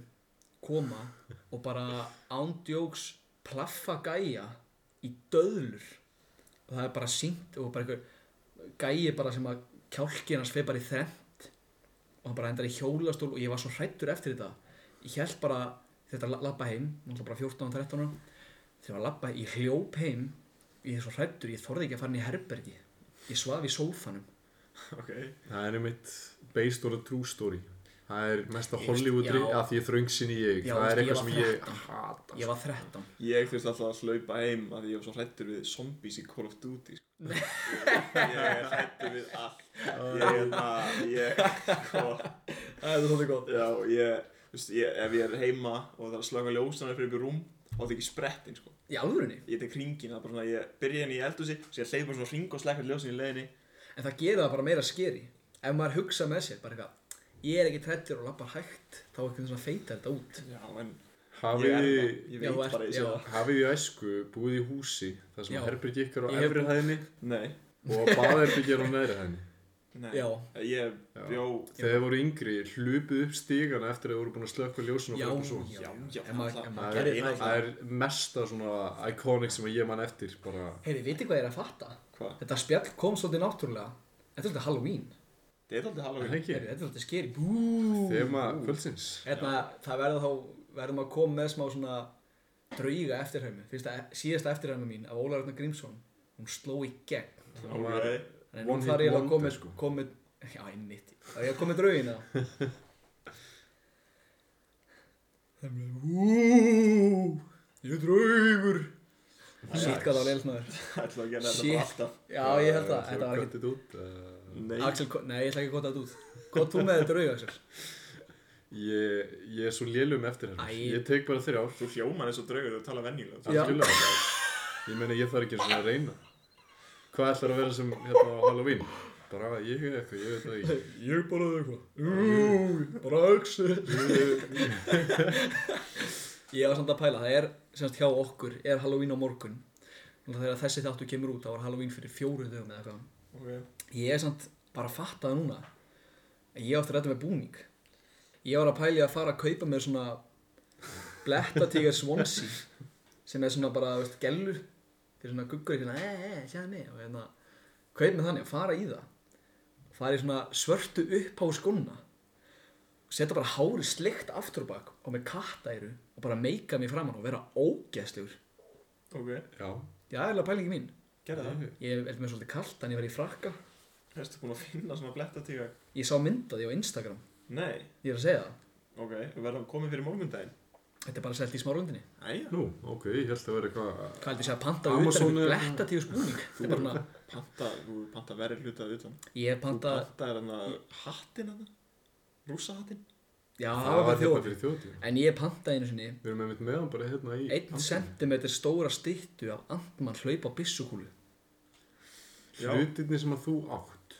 [SPEAKER 3] koma og bara ándjóks plaffa gæja í döðlur og það er bara sýnt og bara einhver gæi bara sem að kjálkin hans feð bara í þrent og hann bara endar í hjólastól og ég var svo hrættur eftir þetta ég held bara þetta la- labba heim náttúrulega bara 14 og 13 ára þegar ég var að labba í hljóp heim ég er svo hrættur, ég þorði ekki að fara inn í herbergi ég svaf í sófanum
[SPEAKER 2] Ok.
[SPEAKER 4] Það er einmitt based on a true story. Það er mesta
[SPEAKER 3] Ég-
[SPEAKER 4] Hollywood rík
[SPEAKER 3] já.
[SPEAKER 4] að því ég þröngsin í ég.
[SPEAKER 3] Já,
[SPEAKER 4] það er
[SPEAKER 3] ég var
[SPEAKER 4] eitthvað sem ég
[SPEAKER 3] 13.
[SPEAKER 4] hata.
[SPEAKER 3] ég var 13
[SPEAKER 2] Ég þurfti alltaf að hlaupa heim að því ég var svo hrættur við zombies í Call of Duty sko. Ég ég er hrættur við allt Ég er það Ég og,
[SPEAKER 3] það er þóttið gott
[SPEAKER 2] Já, ég, þú veist, ég Ef ég er heima og það er að slöka ljósana fyrir upp í rúm þá það ekki sprettin sko.
[SPEAKER 3] í alvörunni,
[SPEAKER 2] Ég tek ringin, það er bara svona Ég byrja henni í eldhúsi Svo ég hleyp bara svona ring og slekka ljósin í leiðinni
[SPEAKER 3] en það gerir það bara meira skeri ef maður hugsa með sér, bara eitthvað ég er ekki trættur og labbar hægt þá er eitthvað svona feitar þetta út
[SPEAKER 2] Já, en ég
[SPEAKER 4] Hafið
[SPEAKER 2] er
[SPEAKER 4] þið...
[SPEAKER 2] það
[SPEAKER 3] Já,
[SPEAKER 2] Ég veit
[SPEAKER 3] þú ert-
[SPEAKER 2] bara ég sé
[SPEAKER 3] já.
[SPEAKER 2] það
[SPEAKER 4] Hafið í æsku búið í húsi þar sem
[SPEAKER 3] Já.
[SPEAKER 4] herbyrgi ykkar á
[SPEAKER 3] Ég hef
[SPEAKER 4] efri
[SPEAKER 3] búið-
[SPEAKER 4] hæðinni
[SPEAKER 2] Nei,
[SPEAKER 4] og baðherbyggir á neðri hæðinni
[SPEAKER 2] Nei,
[SPEAKER 3] Já.
[SPEAKER 2] ég bjó
[SPEAKER 4] Þegar þeir voru yngri, hlupuð upp stígana eftir að þeir voru búin að slökka ljósinu
[SPEAKER 3] Já,
[SPEAKER 4] og fyrir svona.
[SPEAKER 3] já,
[SPEAKER 2] Já, já,
[SPEAKER 3] En maður-
[SPEAKER 2] það-
[SPEAKER 3] en
[SPEAKER 4] Það
[SPEAKER 3] maður
[SPEAKER 4] er,
[SPEAKER 3] gerir það
[SPEAKER 4] það er mesta svona iconic sem ég man eftir, bara,
[SPEAKER 3] Heyri, viti hvað ég er að fatta?
[SPEAKER 2] Hvað?
[SPEAKER 3] Þetta spjall kom svolítið náttúrulega. Þetta er svolítið Halloween.
[SPEAKER 2] Þetta er aldrei
[SPEAKER 4] en
[SPEAKER 2] Halloween
[SPEAKER 4] ekki,
[SPEAKER 3] Heyri, þetta er svolítið skeri. Bú!
[SPEAKER 4] þema kvöldsins.
[SPEAKER 3] Hérna, það verður þá, verðum að koma með smá svona drauga eftirhæmi. Fyrsta, síðasta eftirhæmi mín af Ólaður Arnar Grímsson. Hún sló í gegn.
[SPEAKER 4] Það var
[SPEAKER 2] Alright.
[SPEAKER 3] Þannig að
[SPEAKER 4] One
[SPEAKER 3] nú þarf ég
[SPEAKER 4] hit
[SPEAKER 3] að koma,
[SPEAKER 4] wonder, sko.
[SPEAKER 3] koma, já, einmitt. Það er ég að koma með draugina. Það er bara, úúúú, ég er draugur. Sitt hvað það var leilsnaður.
[SPEAKER 2] Það ætla að gera þetta
[SPEAKER 3] Shit.
[SPEAKER 2] bara alltaf
[SPEAKER 3] Já, ég held að, þetta var ekki
[SPEAKER 4] Þetta út. Uh,
[SPEAKER 2] Nei,
[SPEAKER 3] Axel, ko- nei, ég ætla ekki að kota þetta út. Kota þú með þetta draug, Axel.
[SPEAKER 4] ég, ég er svo lélum eftir hérna.
[SPEAKER 3] Æ.
[SPEAKER 4] Ég tek bara þrjár.
[SPEAKER 2] þú hljómar eins og draugur þegar þú tala venjulega
[SPEAKER 3] Já.
[SPEAKER 4] Algjörlega. Ég meina ég þarf ekki einu sinni að reyna. Hvað ætlar að vera sem hérna á Halloween? Bara ég er eitthvað, ég veit það ekki.
[SPEAKER 3] Ég bara eitthvað. Ú, bara Axel. Ég var samt að pæla, það er, semst hjá okkur, er Halloween á morgun. Þannig að þegar þessi þáttu kemur út, þá var Halloween fyrir fjóru dögum eða eitthvað.
[SPEAKER 2] okay.
[SPEAKER 3] Ég er samt bara að fatta það núna. að Ég átti að ræta með búning. Ég var að pæla í að fara að kaupa mér svona blettatígar Swansea sem er svona bara, veist, gellur fyrir svona guggur hérna, eitthvað, eða, eða, sjáðu mig og hérna, kaup með þannig, fara í það fara í svona svörtu upp á skóna og setja bara hári slikt aftur á bak og með kattæru og bara meika mig framann og vera ógeðslegur
[SPEAKER 2] ok,
[SPEAKER 4] Já,
[SPEAKER 3] Já, það er alveg pælingi mín
[SPEAKER 2] gerða það
[SPEAKER 3] Ég er með svolítið kalt, en ég var í frakka
[SPEAKER 2] Erstu búin að finna svona blettatíga?
[SPEAKER 3] Ég sá mynda því á Instagram
[SPEAKER 2] Nei,
[SPEAKER 3] Ég er að segja það
[SPEAKER 2] ok, verða hann komið fyrir morgundaginn
[SPEAKER 3] Þetta er bara selt í smárlundinni
[SPEAKER 2] Æja,
[SPEAKER 4] nú, ok, ég held að vera eitthvað.
[SPEAKER 3] Hvað heldur ég sé að panta
[SPEAKER 4] Amazon
[SPEAKER 3] utan
[SPEAKER 4] er-
[SPEAKER 3] fyrir blettatíu skúning? Þetta er bara svona,
[SPEAKER 2] panta, þú panta verri hlutað utan
[SPEAKER 3] ég hef
[SPEAKER 2] Þú
[SPEAKER 3] pantað,
[SPEAKER 2] panta er hann að hattin hann Rúsahattin
[SPEAKER 3] já,
[SPEAKER 4] Það var
[SPEAKER 3] þjóð
[SPEAKER 4] eitthvað fyrir þjóðtíð.
[SPEAKER 3] En ég pantaði einu sinni
[SPEAKER 4] Við erum einmitt með hann bara hérna í...
[SPEAKER 3] einn sentimetr stóra styttu af Antmann hlaupa á byssukúlu
[SPEAKER 2] Já.
[SPEAKER 4] Hlutirni sem að þú átt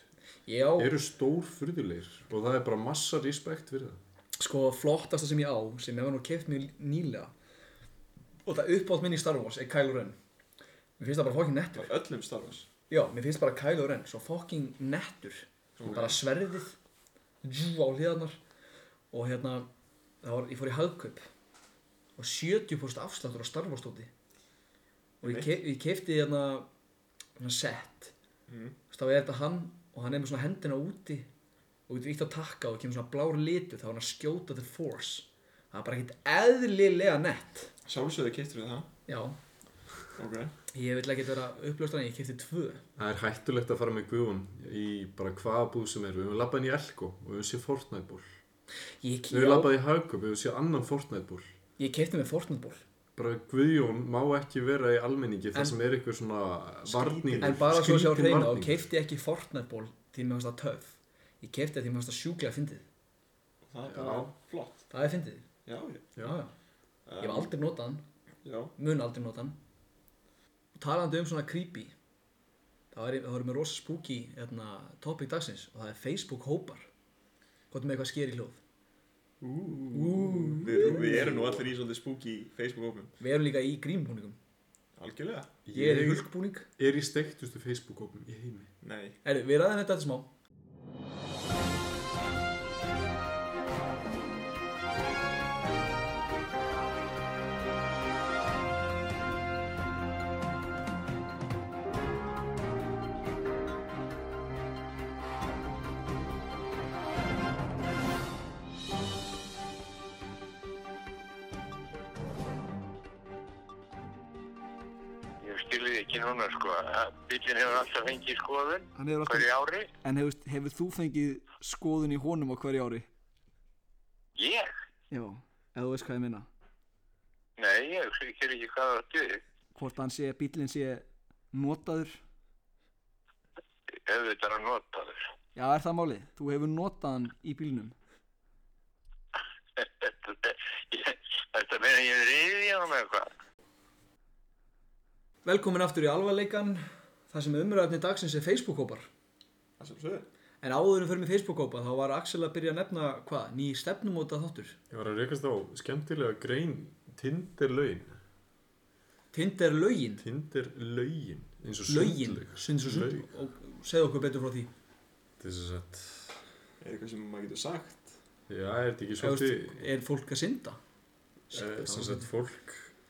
[SPEAKER 3] ég á
[SPEAKER 4] eru stór fyrðulegir og það er bara massa respekt fyrir það.
[SPEAKER 3] sko flottasta sem ég á sem ég var nú keft mjög nýlega og það uppátt minn í Star Wars er Kylo Ren mér finnst það bara fokkin nettur
[SPEAKER 2] Af öllum Star Wars
[SPEAKER 3] já, mér finnst bara Kylo Ren svo fokkin nettur svo bara sverðið jú, á hliðarnar og hérna það var, ég fór í hagkaup og 70% afsláttur á Star Wars stóti og ég, kef, ég kefti hérna hérna set
[SPEAKER 2] Mm.
[SPEAKER 3] Þú veist, þá er þetta hann og hann er með svona hendina úti og getur ítt að takka og kemur svona blár litu þá er hann að skjóta the force það er bara ekkert eðlilega nett
[SPEAKER 2] Sjálfsögðu keittur við það
[SPEAKER 3] já,
[SPEAKER 2] Ok,
[SPEAKER 3] ég vil ekkert vera uppljóstan ég kefti tvö
[SPEAKER 4] Það er hættulegt að fara með guðun í bara hvaða búð sem er. Við höfum labbað inn í Elko og við höfum séð Fortnite ból.
[SPEAKER 3] ég,
[SPEAKER 4] Við höfum
[SPEAKER 3] já,
[SPEAKER 4] labbað í Hagkaup, við höfum séð annan Fortnite ból.
[SPEAKER 3] ég kefti með Fortnite ból
[SPEAKER 4] Bara Guðjón má ekki vera í almenningi þar
[SPEAKER 3] En-
[SPEAKER 4] sem er einhver svona varningur,
[SPEAKER 3] en bara svo að sjá
[SPEAKER 4] skrítin
[SPEAKER 3] reyna og
[SPEAKER 4] varningur.
[SPEAKER 3] kefti ekki Fortnite ból því mér fannst það töf ég kefti því mér fannst það sjúklega fyndið
[SPEAKER 2] það er
[SPEAKER 4] Já.
[SPEAKER 2] bara flott
[SPEAKER 3] það er fyndið
[SPEAKER 2] Já, ég
[SPEAKER 4] Já.
[SPEAKER 3] já, já. ég hef aldrei notað hann
[SPEAKER 2] Já,
[SPEAKER 3] mun aldrei nota hann og talandi um svona creepy þá er, þá erum við rosa spooky hérna, topic dagsins og það er Facebook hópar gott með eitthvað skeri hljóð
[SPEAKER 2] við, við erum nú allir í svolítið spooky Facebook-hópum
[SPEAKER 3] við erum líka í grímbúningum
[SPEAKER 2] Algjörlega?
[SPEAKER 3] ég er í
[SPEAKER 4] Ég
[SPEAKER 3] hulkbúning
[SPEAKER 4] er í steiktustu Facebook-gópum í heimi.
[SPEAKER 2] Nei
[SPEAKER 3] Heru, við ræðum þetta eftir smá
[SPEAKER 5] Ég skilði ekki núna sko, bílinn hefur alltaf fengið skoðun
[SPEAKER 1] Hann hefur
[SPEAKER 5] hverju ári.
[SPEAKER 1] En hefur, hefur þú fengið skoðun í honum á hverju ári?
[SPEAKER 5] Ég?
[SPEAKER 1] Já, ef þú veist hvað ég minna
[SPEAKER 5] Nei, ég skilði ekki hvað það stuði.
[SPEAKER 1] Hvort hann sé, bílinn sé notaður
[SPEAKER 5] Ef þetta er að nota þér.
[SPEAKER 1] Já, er það málið? Þú hefur notað hann í bílnum
[SPEAKER 5] Þetta meina ég reyði í honum eitthvað.
[SPEAKER 3] velkomin aftur í alvarleikan það sem umræðafni dagsins er Facebook hópar
[SPEAKER 2] Það sjálfsögðu
[SPEAKER 3] en áður en fyrir mig Facebook hópa þá var Axel að byrja að nefna hvað, ný stefnumóta þáttur
[SPEAKER 4] Ég var að rekast á skemmtilega grein Tinderlaugin.
[SPEAKER 3] Tinder lögin,
[SPEAKER 4] Tinderlaugin. Eins og
[SPEAKER 3] lögin
[SPEAKER 4] sundlaug.
[SPEAKER 3] sunds og sund
[SPEAKER 4] Laug.
[SPEAKER 3] og segðu okkur betur frá því
[SPEAKER 4] Þetta er sem sagt,
[SPEAKER 2] Er eitthvað sem maður getur sagt?
[SPEAKER 4] já, er þetta ekki
[SPEAKER 3] Eða, þú
[SPEAKER 4] svolítið,
[SPEAKER 3] veist, er fólk að synda?
[SPEAKER 4] eh, sem sagt, fólk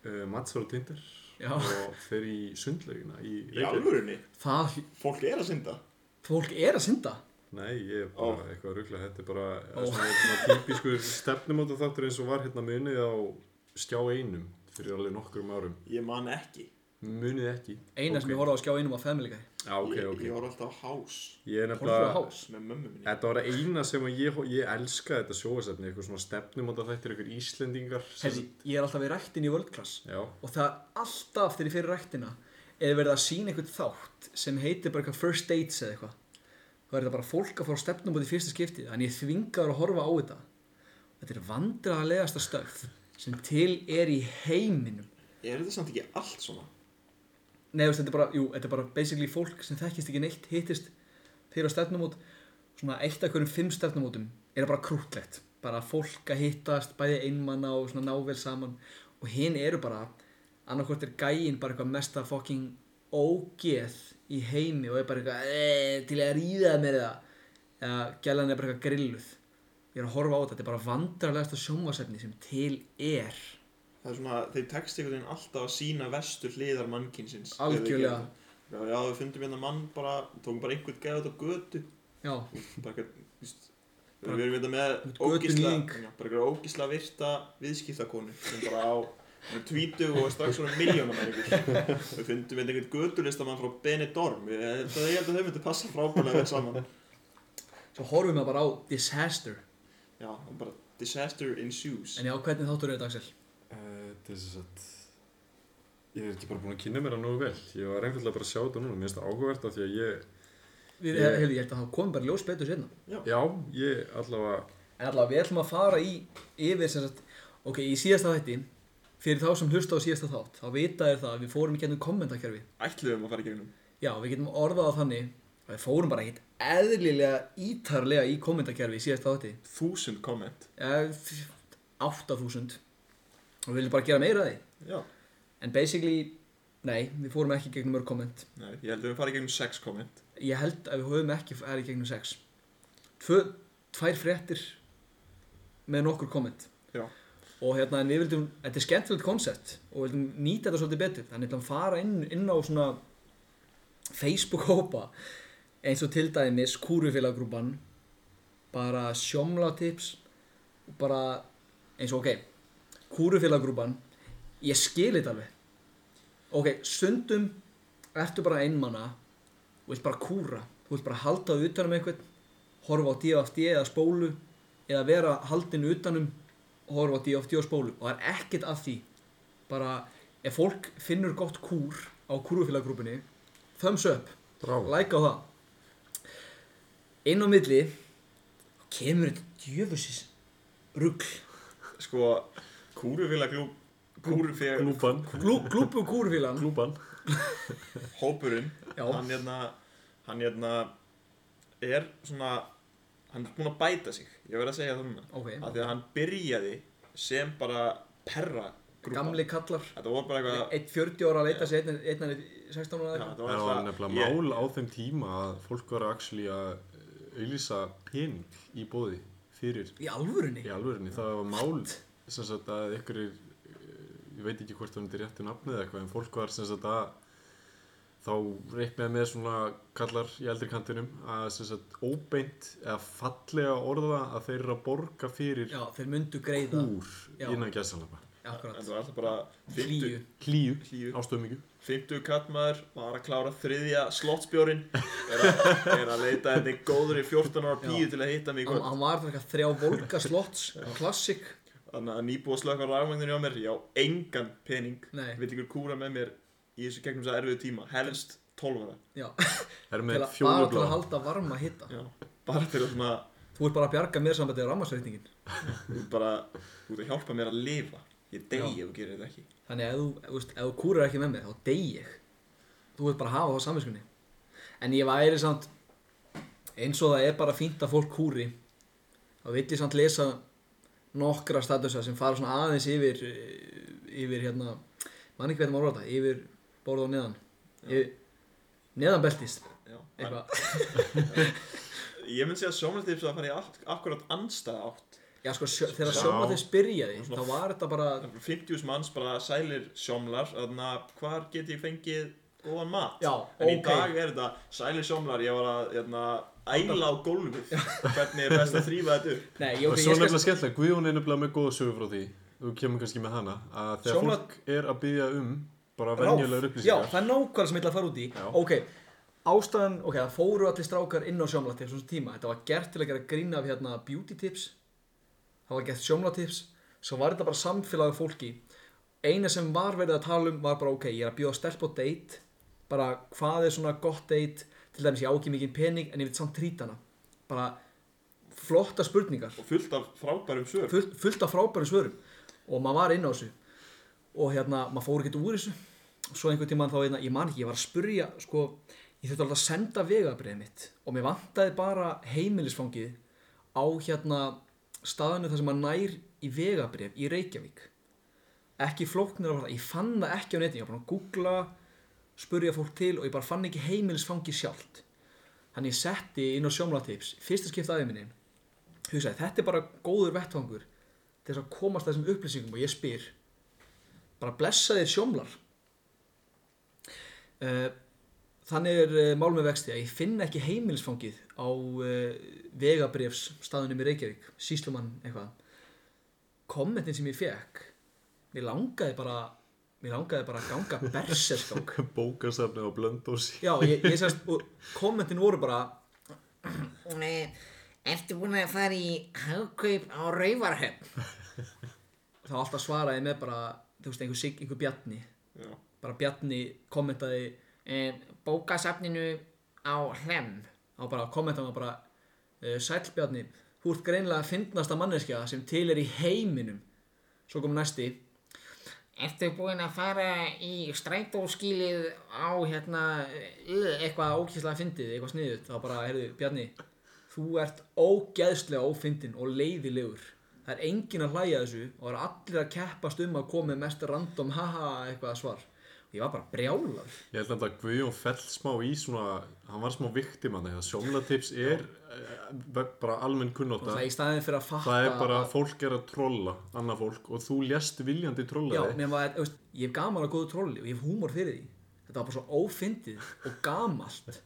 [SPEAKER 4] uh, mattsar á Tinder
[SPEAKER 3] Já,
[SPEAKER 4] og fer í sundlaugina í
[SPEAKER 2] Í alvörunni?
[SPEAKER 3] það,
[SPEAKER 2] Fólk er að synda?
[SPEAKER 3] fólk er að synda
[SPEAKER 4] Nei, ég er bara eitthvað að ruggla, þetta er bara
[SPEAKER 3] Ó.
[SPEAKER 4] oh. svona, svona típiskur stefnumóta þáttur eins og var hérna munið á skjá einum fyrir alveg nokkrum árum.
[SPEAKER 2] Ég man ekki.
[SPEAKER 4] Munið ekki.
[SPEAKER 3] Eina sem ég horfði á að skjá einum að family guy
[SPEAKER 4] Já, ok,
[SPEAKER 2] ég,
[SPEAKER 4] ok.
[SPEAKER 2] Ég var alltaf á hás
[SPEAKER 4] Ég er
[SPEAKER 3] Horfðu á
[SPEAKER 4] nefnilega,
[SPEAKER 3] hás
[SPEAKER 2] með mömmu minni.
[SPEAKER 4] þetta var eina sem að ég, ég elska þetta sjóasefni, eitthvað svona stefnumóta þættir, eitthvað Íslendingar. sem-
[SPEAKER 3] Hefði, ég er alltaf í rættin í world class
[SPEAKER 4] Já,
[SPEAKER 3] og það er alltaf þegar ég fyrir rættina eða verið að sína einhvern þátt sem heitir bara eitthvað first dates eða eitthvað þá er þetta bara fólk að fara á stefnum út í fyrsta skiptið en ég er þvingaður að horfa á þetta þetta er vandralegasta stöf sem til er í heiminum
[SPEAKER 2] Er þetta samt ekki allt svona?
[SPEAKER 3] Nei, þú veist, þetta er bara, jú, þetta er bara basically fólk sem þekkist ekki neitt, hittist fyrir á stefnumót, svona eitt af hverjum fimm stefnumótum er það bara krútlegt bara fólk að hittast, bæði einmanna og svona nável saman og hinn eru bara, annarkvort er gæinn bara eitthvað mesta fucking ógeð í heimi og er bara eitthvað "Eh, til að ríða mér það eða gælan er bara eitthvað grilluð ég er að horfa á þetta, þetta er bara vandrarlegasta sjónvasefni sem til er
[SPEAKER 2] Það er svona, þeir tekst einhvern veginn alltaf að sína verstu hliðar mannkynsins.
[SPEAKER 3] Algjörlega.
[SPEAKER 2] Þeir gera það. Já, já, við fundum hérna mann bara, tókum bara einhvern gæða út á götu.
[SPEAKER 3] já,
[SPEAKER 2] Bara eitthvað, þú veist, við erum hérna með
[SPEAKER 3] Götu
[SPEAKER 2] ógisla,
[SPEAKER 3] nýðing.
[SPEAKER 2] já, bara eitthvað ógisla virta viðskiptakonu sem bara á, hún er tvítu og er strax svona miljónamæringur. Við fundum hérna einhvern götulistamann frá Benidorm. Ég, það, ég held að þau myndi passa frábælega vel saman.
[SPEAKER 3] svo horfum við bara á disaster
[SPEAKER 2] Já, og bara disaster ensues.
[SPEAKER 3] en já, hvernig þáttur er þetta, Axel?
[SPEAKER 4] Eh, Þetta er svo að ég er ekki bara búin að kynna mér það nógu vel ég var einfallega bara að sjá þetta núna, mér finnst það áhugavert af því að ég,
[SPEAKER 3] Við,
[SPEAKER 4] Ég-
[SPEAKER 3] yeah. hefði, ég held að það komi bara ljós betur sérna.
[SPEAKER 4] já, ég allavega
[SPEAKER 3] En allavega, við ætlum að fara í yfir sem sagt, ok, í síðasta þætti, fyrir þá sem hlusta á síðasta þátt, þá vita þér það að við fórum í gennum kommentarkerfi.
[SPEAKER 2] Ætluðum að fara í gegnum.
[SPEAKER 3] Já, við getum orðað það þannig að við fórum bara ekkert eðlilega ítarlega í kommentarkerfi í síðasta þátti.
[SPEAKER 2] Þúsund komment.
[SPEAKER 3] Eh, f- 8000. Og við viljum bara gera meira af því.
[SPEAKER 2] Já.
[SPEAKER 3] En basically, nei, við fórum ekki í gegnum mörg komment.
[SPEAKER 2] Nei, ég held að við fara í gegnum sex komment.
[SPEAKER 3] Ég held að við höfum ekki farið í gegnum sex. Tvö, tvær fréttir með nokkur komment.
[SPEAKER 2] Já.
[SPEAKER 3] Og hérna, en við vildum, þetta er skemmtilegt koncept og við vildum nýta þetta svolítið betur. Þannig að fara inn, inn á svona Facebook-hópa eins og til dæmis kúrufélaggrúpan, bara sjómla tips og bara eins og ok, kúrufélaggrúpan, ég skil þetta alveg. Ok, stundum ertu bara einmana þú vilt bara kúra, þú vilt bara halda það utanum einhvern, horfa á DFD eða spólu eða vera haldin utanum og horfa á DFD og spólu og það er ekkert að því bara ef fólk finnur gott kúr á kúrufélaggrúpunni thumbs up,
[SPEAKER 4] Bravo.
[SPEAKER 3] like á það inn á milli kemur þetta djöfusis rugl
[SPEAKER 2] Sko, kúrufélag glú... Kúrufélag...
[SPEAKER 4] glúpan,
[SPEAKER 3] Glú, glúpu kúrufélan
[SPEAKER 4] glúpan
[SPEAKER 2] Hópurinn.
[SPEAKER 3] Já.
[SPEAKER 2] Hann hérna... Hann hérna... Er svona... Hann er búinn að bæta sig. Ég verð að segja það núna.
[SPEAKER 3] ok,
[SPEAKER 2] Af því að hann byrjaði sem bara perra grúpa.
[SPEAKER 3] gamli kallar
[SPEAKER 2] Þetta voru bara eitthvað...
[SPEAKER 3] 1.40 ára að leita sér einn- einn hann er 16 ára
[SPEAKER 2] Já,
[SPEAKER 3] eða eitthvað.
[SPEAKER 2] þetta
[SPEAKER 4] það
[SPEAKER 2] var
[SPEAKER 4] var
[SPEAKER 2] alltaf-
[SPEAKER 4] nefnilega
[SPEAKER 2] ég-
[SPEAKER 4] mál á þeim tíma að fólk var actually að auðlýsa pening í bóði fyrir
[SPEAKER 3] í alvörunni
[SPEAKER 4] í alvörinni, það var mál sem sagt að ykkur ég veit ekki hvort það myndi réttu nafni eða eitthvað en fólk var sem sagt að þá reiknaði með svona kallar í eldri kantinum að sem sagt óbeint eða fallega orða að þeir eru að borga fyrir
[SPEAKER 3] Já, þeir myndu greiða
[SPEAKER 4] húr
[SPEAKER 3] Já.
[SPEAKER 4] innan gæsalafa
[SPEAKER 3] Akkurat
[SPEAKER 2] Þetta var alltaf bara... 50
[SPEAKER 3] Hlýju
[SPEAKER 4] hlýju,
[SPEAKER 2] Hlýju.
[SPEAKER 4] ástöðmyggju
[SPEAKER 2] 50 kattmaður var að klára þriðja slottsbjórin er, að- er að leita henni góður í 14 ára píu til að hitta mig í
[SPEAKER 3] Hann
[SPEAKER 2] kvöld
[SPEAKER 3] hann var þarna þrjá volga slotts Klassik
[SPEAKER 2] þannig að nýbúið að slökka rafmagninu hjá mér ég á engan pening
[SPEAKER 3] Nei.
[SPEAKER 2] vill ykkur kúra með mér í þessu gegnum þess að erfiðu tíma helst 12 ára
[SPEAKER 3] Já
[SPEAKER 4] er
[SPEAKER 3] Til að-
[SPEAKER 4] með
[SPEAKER 3] Bara til að
[SPEAKER 4] fjólubláðan
[SPEAKER 3] halda varma hitta
[SPEAKER 2] Já. bara til að svona,
[SPEAKER 3] Þú ert bara að bjarga mér saman til rammarsreitningin
[SPEAKER 2] þú ert bara þú ert að hjálpa mér að lifa ég degi ef þú gerir þetta ekki
[SPEAKER 3] Þannig að ef þú, ef þú veist, ef þú kúrar ekki með mig þá dey ég Þú ert bara að hafa það á samviskunni En ég væri samt eins og það er bara fínt að fólk kúri þá vil ég samt lesa nokkra statusa sem fara svona aðeins yfir eh, yfir hérna mann ekki veitum að orða þetta, yfir borða og neðan yfir, neðan beltist
[SPEAKER 2] Já.
[SPEAKER 3] eitthvað
[SPEAKER 2] Ég myndi segja að sjómanstips að fara í all, akkurat anstað átt
[SPEAKER 3] Já, sko, sjö, þegar
[SPEAKER 4] Já.
[SPEAKER 3] sjóma þess byrjaði,
[SPEAKER 2] Svona
[SPEAKER 3] þá var þetta bara,
[SPEAKER 2] Það er bara 50 manns bara sælir sjómlar Þannig að hvar get ég fengið góðan mat
[SPEAKER 3] Já,
[SPEAKER 2] En í
[SPEAKER 3] ókei.
[SPEAKER 2] dag er þetta sælir sjómlar Ég var að hérna, æla á gólfið Hvernig er best að þrýfa þetta upp
[SPEAKER 3] nei, ég,
[SPEAKER 4] Og svo
[SPEAKER 3] ég, ég
[SPEAKER 4] nefnilega
[SPEAKER 3] skal,
[SPEAKER 4] skemmtilega, Guðjón er nefnilega með góða sögur frá því Þú kemur kannski með hana Að þegar
[SPEAKER 3] Sjónvarp-
[SPEAKER 4] fólk er að byggja um bara venjulegar
[SPEAKER 3] ráf, já,
[SPEAKER 4] upplýsingar
[SPEAKER 3] það er nákvæmlega sem ég ætla að fara út í,
[SPEAKER 4] Já.
[SPEAKER 3] ok, ástæðan, ok, það fóru allir strákar inn á sjómla til svona tíma, þetta var gert til að gera grín af hérna beauty tips, það var gert sjómla tips, svo var þetta bara samfélag af fólki, eina sem var verið að tala um var bara, ok, ég er að bjóða stelp á date, bara hvað er svona gott date, til dæmis ég á ekki mikinn pening, en ég vil samt trýta hana, bara flotta spurningar,
[SPEAKER 2] Og fullt af frábærum sögur
[SPEAKER 3] fullt, fullt af frábærum svörum og maður var inn á þessu og hérna, maður fór ekkert úr þessu og svo einhvern tímann þá, hérna, ég man ekki, ég var að spurja sko, ég þurfti alveg að senda vegabriðið mitt og mér vantaði bara heimilisfangið á hérna staðinu þar sem maður nær í vegabrið í Reykjavík ekki flóknir að fara, ég fann það ekki á netinu, ég var bara að googla spurja fólk til og ég bara fann ekki heimilisfangið sjálft þannig ég setti inn á sjómlatips fyrsta skipta aðeins minni hugsaði, þetta er bara góður vettvangur til þess að komast að þessum upplýsingum og ég spyr bara blessa þér sjómlar Eh, þannig er eh, mál með vexti að ég finn ekki heimilisfangið á uh, vegabrefs staðunum í Reykjavík, síslumann eitthvað kommentin sem ég fekk mér langaði bara mér langaði bara að ganga berserskang
[SPEAKER 4] Bókasafni á blöndósi
[SPEAKER 3] já, ég, ég sérst, og kommentin voru bara
[SPEAKER 6] Nei, ertu búin að fara í hagkaup á Rauvarhöfn?
[SPEAKER 3] þá alltaf svaraði með bara þú veist, einhver, sig, einhver bjarni
[SPEAKER 2] Já.
[SPEAKER 3] bara Bjarni kommentaði
[SPEAKER 6] Eh, Bókasafninu á Hlemm.
[SPEAKER 3] á bara kommentaði hann bara eh, Sæll Bjarni, þú ert greinlega að fyndnasta manneskja sem til er í heiminum svo kom næsti
[SPEAKER 6] Ertu búin að fara í strætóskýlið á hérna,
[SPEAKER 3] eh, eitthvað ókýrslega fyndið, eitthvað sniðut þá bara, heyrðu, Bjarni þú ert ógeðslega ófyndin og leiðilegur það er engin að hlæja að þessu og það er allir að keppast um að koma með mest random haha eitthvað svar og ég var bara brjálar
[SPEAKER 4] Ég held að Guðjón fell smá í svona Hann var smá viktim hann Þegar sjómlatips er eh, bara almenn
[SPEAKER 3] og
[SPEAKER 4] kunnóta
[SPEAKER 3] það í staðin fyrir að fatta
[SPEAKER 4] Það er bara
[SPEAKER 3] að-
[SPEAKER 4] að fólk er að trolla annað fólk og þú lést viljandi trolla
[SPEAKER 3] Já,
[SPEAKER 4] þig
[SPEAKER 3] nema að, þú veist, ég hef gaman að góðu trolli og ég hef húmor fyrir því Þetta var bara svo ófyndið og gamalt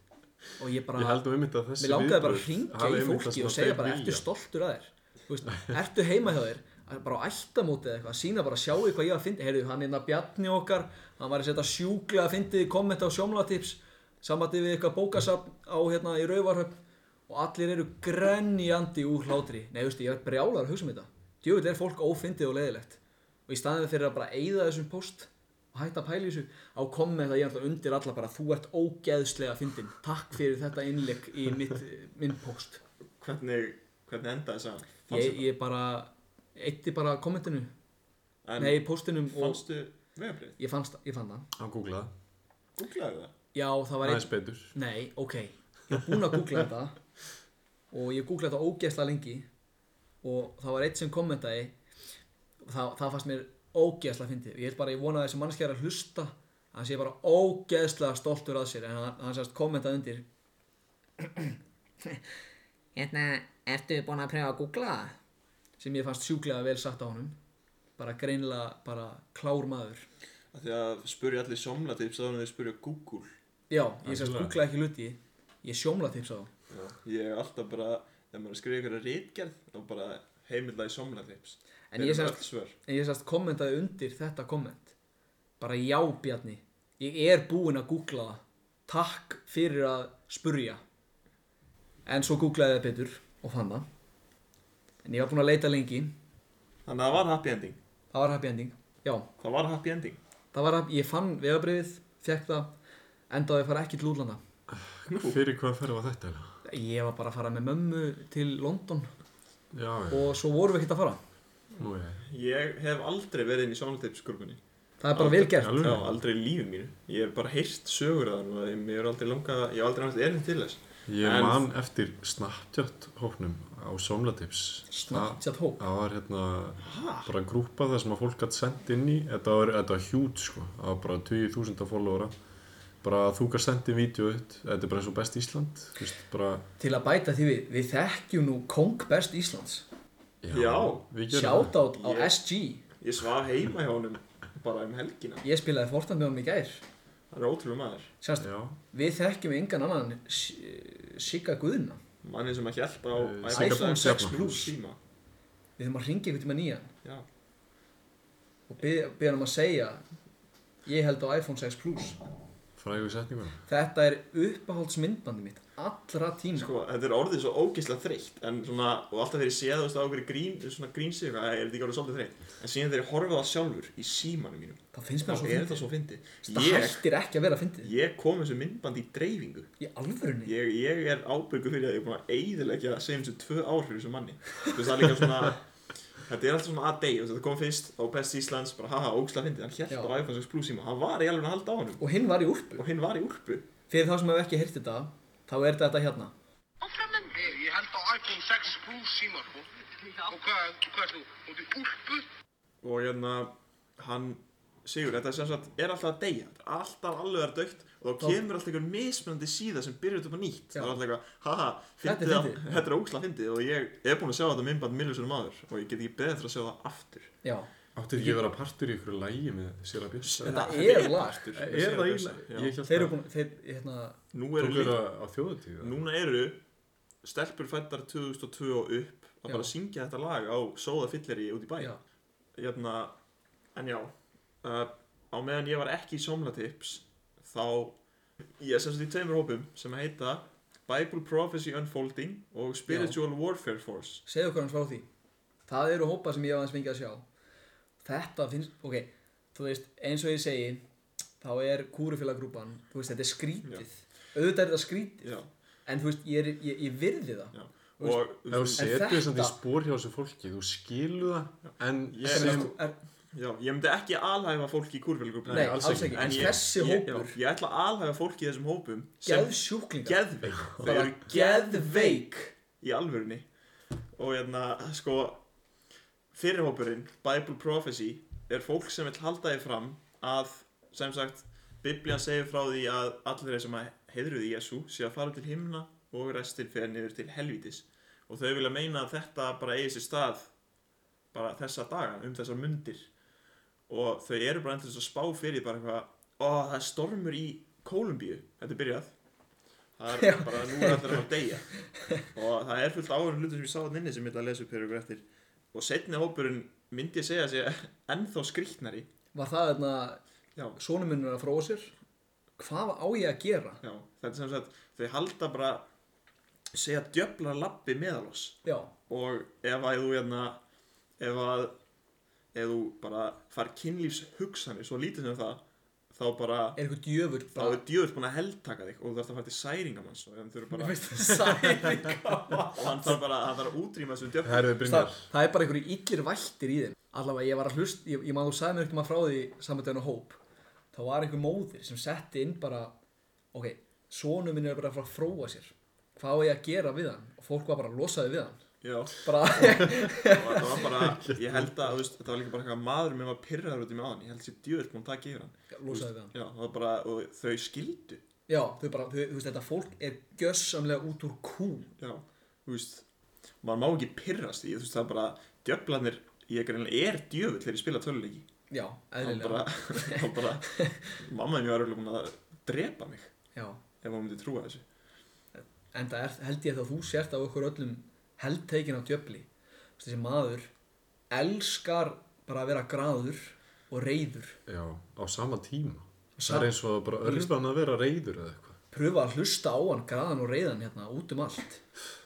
[SPEAKER 3] Og ég bara,
[SPEAKER 4] Ég held um einmitt að þessi
[SPEAKER 3] mér langaði bara að
[SPEAKER 4] viðbrögð
[SPEAKER 3] hringja
[SPEAKER 4] hafi
[SPEAKER 3] í
[SPEAKER 4] einmitt það
[SPEAKER 3] fólki
[SPEAKER 4] sem
[SPEAKER 3] og
[SPEAKER 4] að
[SPEAKER 3] segja
[SPEAKER 4] þeir
[SPEAKER 3] bara,
[SPEAKER 4] vilja.
[SPEAKER 3] ertu stoltur að þér Þú veist, Ertu heima hjá þér Að bara á ættamóti eða eitthvað, sína bara sjáu hvað ég var að fyndi heyrðu, hann er hérna bjarni okkar hann var að setja sjúklega að fyndið kommenta á sjómlatips samandi við eitthvað bókasafn á hérna í rauvarhöfn og allir eru grenjandi úr hlátri nei, þú veist, ég er brjálar að hugsa um þetta djöfull er fólk ófyndið og leiðilegt og í staðið fyrir að bara eyða þessum post og hætta að pæla í þessu á kommenta ég er alltaf undir alla bara þú ert ógeðslega fyndin takk fyrir þetta innlegg í mitt, minn post
[SPEAKER 2] Hvernig, hvernig enda þess að
[SPEAKER 3] ég, ég bara eitti bara kommentinu
[SPEAKER 2] En
[SPEAKER 3] nei, postinum og
[SPEAKER 2] fannstu vegabrið?
[SPEAKER 3] ég, fannst, ég fann það
[SPEAKER 4] Hann googlaði,
[SPEAKER 2] Googlaðu það
[SPEAKER 3] já, það var
[SPEAKER 4] aðeins
[SPEAKER 3] einn
[SPEAKER 4] betur
[SPEAKER 3] nei, ok, ég var búinn að googla þetta og ég googlaði þetta ógeðslega lengi og það var eitt sem kommentaði það, það fannst mér ógeðslega fyndið og ég held bara, ég vonaði þessi mannskja er að hlusta að hann sé bara ógeðslega stoltur að sér en hann, hann sérst kommentaði undir
[SPEAKER 6] hérna, ertu búin að pröfa að googla það?
[SPEAKER 3] sem ég fannst sjúklega vel satt á honum bara greinilega bara klár maður
[SPEAKER 2] Af Því að spurja allir sjómlatips þá erum þeir spurja Google
[SPEAKER 3] já, ég sérst
[SPEAKER 4] Algjörlega.
[SPEAKER 3] googlaði ekki hluti ég sjómla tips á það
[SPEAKER 2] Ég hef alltaf bara, þegar maður skrifir eitthvað rítgerð þá bara heimilda í somnatips
[SPEAKER 3] En ég sagði-
[SPEAKER 2] svör
[SPEAKER 3] En ég sérst kommentaði undir þetta komment Bara já Bjarni Ég er búinn að googla það Takk fyrir að spurja En svo googlaði það betur Og fann það En ég var búinn að leita lengi
[SPEAKER 2] Þannig að það var happy ending
[SPEAKER 3] Það var happy ending Já,
[SPEAKER 2] Það var happy ending
[SPEAKER 3] það var happy Ég fann vegabriðið, fekk það Endaði að fara ekki til útlanda
[SPEAKER 4] Fyrir hvað ferð var þetta? eiginlega?
[SPEAKER 3] Ég var bara að fara með mömmu til London
[SPEAKER 4] Já, já,
[SPEAKER 3] Og svo vorum við ekkert að fara
[SPEAKER 4] nú er
[SPEAKER 2] Ég hef aldrei verið inn í somnatips grúpunni
[SPEAKER 3] Það er bara vel gert
[SPEAKER 4] Alveg?
[SPEAKER 2] Já, aldrei í lífi mínu Ég hef bara heyrt sögur að hann og ég hef aldrei langað Ég hef aldrei haft erinn til þess
[SPEAKER 4] Ég
[SPEAKER 2] En-
[SPEAKER 4] man eftir Snapchat hóknum á Somlatips
[SPEAKER 3] Snapchat hóp.
[SPEAKER 4] Það var hérna bara grúpa það sem að fólk gætt sendt inn í Þetta var, þetta var hjút sko Það var bara 20.000 followera bara að þú kannast sendið vídeo ut þetta er bara eins og best Ísland þú veist, bara,
[SPEAKER 3] Til að bæta því við, við þekkjum nú Kong Best Íslands.
[SPEAKER 2] Já.
[SPEAKER 4] við gerum það.
[SPEAKER 3] Shoutout á
[SPEAKER 2] Ég-
[SPEAKER 3] SG.
[SPEAKER 2] Ég svaf heima hjá honum bara um helgina.
[SPEAKER 3] Ég spilaði Fortnite með honum í gær.
[SPEAKER 2] Það er ótrúlega maður.
[SPEAKER 3] Sérst,
[SPEAKER 4] Já,
[SPEAKER 3] við þekkjum engan annan en S- Sigga Guðna.
[SPEAKER 2] Manni sem að hjælpa á
[SPEAKER 4] Eh, Sigga-
[SPEAKER 2] iPhone 6
[SPEAKER 4] Sigga-
[SPEAKER 2] Plus síma.
[SPEAKER 3] Við þurfum að ringa einhvern tíma nýjan
[SPEAKER 2] Já.
[SPEAKER 3] og byggja hann um að segja ég held á iPhone 6 Plus.
[SPEAKER 4] frægu setningur
[SPEAKER 3] Þetta er uppáhaldsmyndbandi mitt allra tíma.
[SPEAKER 2] Sko, þetta er orðið svo ógeðslega þreytt en svona, og alltaf þegar ég sé það þú veist, á okkur grín, svona grínsi eitthvað, er þetta ekki orðið svolítið þreytt en síðan þegar ég horfið það sjálfur í símanum mínum
[SPEAKER 3] það finnst
[SPEAKER 2] þá
[SPEAKER 3] mér
[SPEAKER 2] er
[SPEAKER 3] það svo
[SPEAKER 2] þetta
[SPEAKER 3] fyndið.
[SPEAKER 2] svo fyndi
[SPEAKER 3] Það
[SPEAKER 2] ég,
[SPEAKER 3] hættir ekki að vera fyndið.
[SPEAKER 2] ég kom þessu myndband í dreifingu
[SPEAKER 3] Í alvörunni.
[SPEAKER 2] ég, ég er ábyrgur fyrir að ég er búin að eigðilegja segjum sem tvö ár fyrir þessu manni þú veist, það er líka svona þetta er alltaf svona að deg, þetta kom fyrst á Best Íslands bara haha, ógeðslega fyndið, hann
[SPEAKER 3] Já.
[SPEAKER 2] hjælt á iPhone 6 Plus síma hann var í alveg að halda á honum
[SPEAKER 3] Og hinn var í úlpu.
[SPEAKER 2] og hinn var í úlpu
[SPEAKER 3] Fyrir þá sem hefur ekki heyrt þetta, þá er þetta hérna.
[SPEAKER 7] Áfram með mig. Ég held á iPhone 6 Plus síma, sko. Og hvað, hvað er þú? Og þú úlpu?
[SPEAKER 2] og hérna hann Sigur, þetta er sem sagt, er alltaf að deyja þetta er alltaf alveg að dögt og þá
[SPEAKER 3] Já.
[SPEAKER 2] kemur alltaf einhver mismunandi síða sem byrjar þetta upp á nýtt
[SPEAKER 3] Já.
[SPEAKER 2] það er alltaf eitthvað, haha,
[SPEAKER 3] Þetta er
[SPEAKER 2] fyndið að-
[SPEAKER 3] fyndið.
[SPEAKER 2] þetta er ógslag fyndið og ég er búin að sjá þetta myndband miljósunum aður og ég get ekki beðið eftir að sjá það aftur
[SPEAKER 3] Já.
[SPEAKER 4] Áttu ekki að vera partur í ykkur lægi með Sera Björns?
[SPEAKER 3] Þetta
[SPEAKER 2] Þetta
[SPEAKER 3] er
[SPEAKER 2] er
[SPEAKER 3] lag.
[SPEAKER 2] aftur.
[SPEAKER 4] Er það í
[SPEAKER 2] Já.
[SPEAKER 4] lægi?
[SPEAKER 3] Þeir eru búin, þeir, hérna,
[SPEAKER 2] nú
[SPEAKER 4] Þú
[SPEAKER 2] eru,
[SPEAKER 4] eru
[SPEAKER 2] líka,
[SPEAKER 4] á þjóðutíð?
[SPEAKER 2] núna eru stelpur fættar 2002 og upp að
[SPEAKER 3] Já.
[SPEAKER 2] bara syngja þetta lag á sóða fylleri út í bæ
[SPEAKER 3] já.
[SPEAKER 2] hérna, en já uh, á meðan ég var ekki í somlatips þá ég er sem sagt í tveimur hópum sem heita Bible Prophecy Unfolding og Spiritual Warfare Force
[SPEAKER 3] Segðu okkur hans frá því. Það eru hópa sem ég hef aðeins fengið að sjá. Þetta finnst, ok, þú veist, eins og ég segi, þá er kúrufélagrúpan, þú veist, þetta er skrítið. Auðvitað er þetta skrítið,
[SPEAKER 2] já,
[SPEAKER 3] en þú veist, ég, er, ég, ég virði það.
[SPEAKER 2] já. og
[SPEAKER 4] Ef þú
[SPEAKER 3] En
[SPEAKER 4] setur þess að því
[SPEAKER 3] þetta-
[SPEAKER 4] spór hjá þessu fólki, þú skilu það, en
[SPEAKER 2] Ég-
[SPEAKER 4] sem,
[SPEAKER 3] Þú- sko, Er,
[SPEAKER 2] já, ég myndi ekki alhæfa fólk í kurfélaggrúpinu
[SPEAKER 3] nei, alls ekki. En
[SPEAKER 2] ég,
[SPEAKER 3] þessi
[SPEAKER 2] ég, já,
[SPEAKER 3] hópur,
[SPEAKER 2] ég ætla að alhæfa fólk í þessum hópum sem
[SPEAKER 3] geðsjúklingar.
[SPEAKER 2] geðveik þau
[SPEAKER 3] Bara
[SPEAKER 2] eru
[SPEAKER 3] geðveik.
[SPEAKER 2] í alvörunni og hérna sko fyrirhópurinn, Bible Prophecy er fólk sem vil halda því fram að sem sagt Biblian segir frá því að allir þeir sem að heiðruði Jésu sé að fara til himna og restin fer niður til helvítis og þau vilja meina að þetta bara eigi sér stað bara þessa daga, um þessar mundir og þau eru bara endur að spá fyrir bara eitthvað, ó það er stormur í Kólumbíu, þetta er byrjað það
[SPEAKER 3] Já.
[SPEAKER 2] er bara nú er allir að fara að deyja og það er fullt áhverjum hlutum sem ég sá þannig inni sem ég ætla að lesa upp hér og eftir og setni hópurinn myndi ég segja að sé ennþá skrýtnari
[SPEAKER 3] Var það þarna,
[SPEAKER 2] já,
[SPEAKER 3] sonum minn er að fróa sér, hvað á ég að gera?
[SPEAKER 2] já, þetta er sem sagt þau halda bara segja djöfla lappi meðal oss
[SPEAKER 3] Já,
[SPEAKER 2] og ef að þú hérna ef að ef þú bara far kynlífs hugsanir svo lítið sem það þá bara
[SPEAKER 3] er eitthvað djöfur
[SPEAKER 2] þá er djöður búin að heldtaka þig og þú þarfst að fara til særingamanns og hann þurfa
[SPEAKER 3] Mér
[SPEAKER 2] bara
[SPEAKER 3] finnst það særinga
[SPEAKER 2] og hann þarf bara hann þarf að útrýma þessum djöfnum
[SPEAKER 4] herðu
[SPEAKER 3] það,
[SPEAKER 4] bringar,
[SPEAKER 3] það er bara einhverju illir vættir í þeim Allavega ég var að hlust Ég, ég maður þú sagði mér ekkert maður frá því samvættu á hóp Þá var einhver móðir sem setti inn bara Ok, sonu minn er bara að fara að fróa sér Hvað á ég að gera við hann? Og fólk var bara að losa þig við hann
[SPEAKER 2] já,
[SPEAKER 3] Bara,
[SPEAKER 2] og það var bara ég held að, þú veist, þetta var líka bara eitthvað að maður minn var pyrraður út í mig á hann, ég held þessi djöður búin að taka yfir hann
[SPEAKER 3] losa þig við hann
[SPEAKER 2] já, það var bara, og þau skildu
[SPEAKER 3] Já, þau bara, þau, þú veist þetta fólk er gjössamlega út úr kú
[SPEAKER 2] já, þú veist maður má ekki pyrrast í, þú veist, það er bara djöflanir, ég greinilega er djöfull þegar ég spila töluleiki
[SPEAKER 3] Já,
[SPEAKER 2] hann bara,
[SPEAKER 3] eðlilega
[SPEAKER 2] hann bara mamma mér var örugglega búin að drepa mig
[SPEAKER 3] Já,
[SPEAKER 2] ef hún myndi trúa þessu
[SPEAKER 3] en það er, held ég þá þú sért af okkur öllum heldteikin á djöfli þessi maður elskar bara að vera graður og reyður
[SPEAKER 4] já, á sama tíma, það
[SPEAKER 3] Sam-
[SPEAKER 4] er eins og að bara örfan að vera reyður eða eitthvað.
[SPEAKER 3] pröfa að hlusta á hann graðan og reyðan hérna út um allt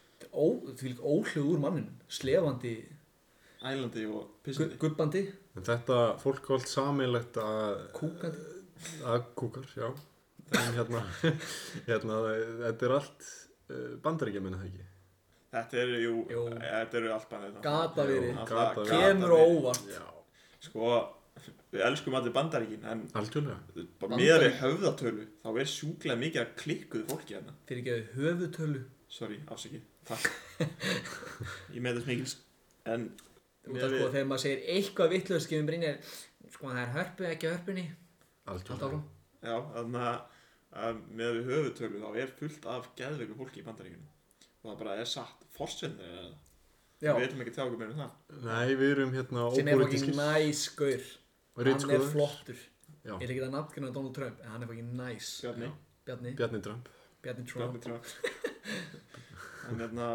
[SPEAKER 3] Þetta er Ó, því lík óhlug úr mannin slefandi,
[SPEAKER 2] ælandi og
[SPEAKER 3] gu,
[SPEAKER 2] pissandi
[SPEAKER 3] gubbandi
[SPEAKER 4] En þetta fólk var allt sameinlegt að,
[SPEAKER 3] kúkandi
[SPEAKER 4] að kúkar, já, en hérna, hérna, þetta er allt bandaríkja minna það ekki.
[SPEAKER 2] þetta eru, jú,
[SPEAKER 3] Jú.
[SPEAKER 2] þetta eru allt bannið
[SPEAKER 3] Gata verið.
[SPEAKER 2] Alltaf
[SPEAKER 4] Gata verið.
[SPEAKER 3] kemur á
[SPEAKER 2] verið.
[SPEAKER 3] óvart
[SPEAKER 2] sko, við elskum allir bandaríkin en
[SPEAKER 4] Algjörlega.
[SPEAKER 2] bara miðað við höfðatölu þá er sjúklega mikið að klikkuðu fólki hérna
[SPEAKER 3] fyrir ekki að höfutölu
[SPEAKER 2] sorry, afsakið, takk ég með þess mikils en
[SPEAKER 3] og það sko þegar maður segir eitthvað vitlega skifum brínir
[SPEAKER 6] Sko það er hörpu, ekki hörpunni
[SPEAKER 4] Algjörlega.
[SPEAKER 3] allt áfram
[SPEAKER 2] já, þannig að um, með að við höfutölu þá er fullt af geðveiku fólki í bandaríkunum og það bara er satt forsendur eða það.
[SPEAKER 3] Já,
[SPEAKER 2] við veitum ekki tjá okkur meira um það
[SPEAKER 4] Nei, við erum hérna
[SPEAKER 3] sem er fokkin
[SPEAKER 4] ópolítiskir
[SPEAKER 3] næs gaur Hann er
[SPEAKER 4] Ritskoðaður.
[SPEAKER 3] flottur
[SPEAKER 4] Já.
[SPEAKER 3] Ég er ekki að nafngjöna Donald Trump en hann er fokkin næs
[SPEAKER 2] Bjarni,
[SPEAKER 3] Bjarni,
[SPEAKER 4] Bjarni Trump
[SPEAKER 3] Bjarni Trump
[SPEAKER 2] Bjarni Trump en hérna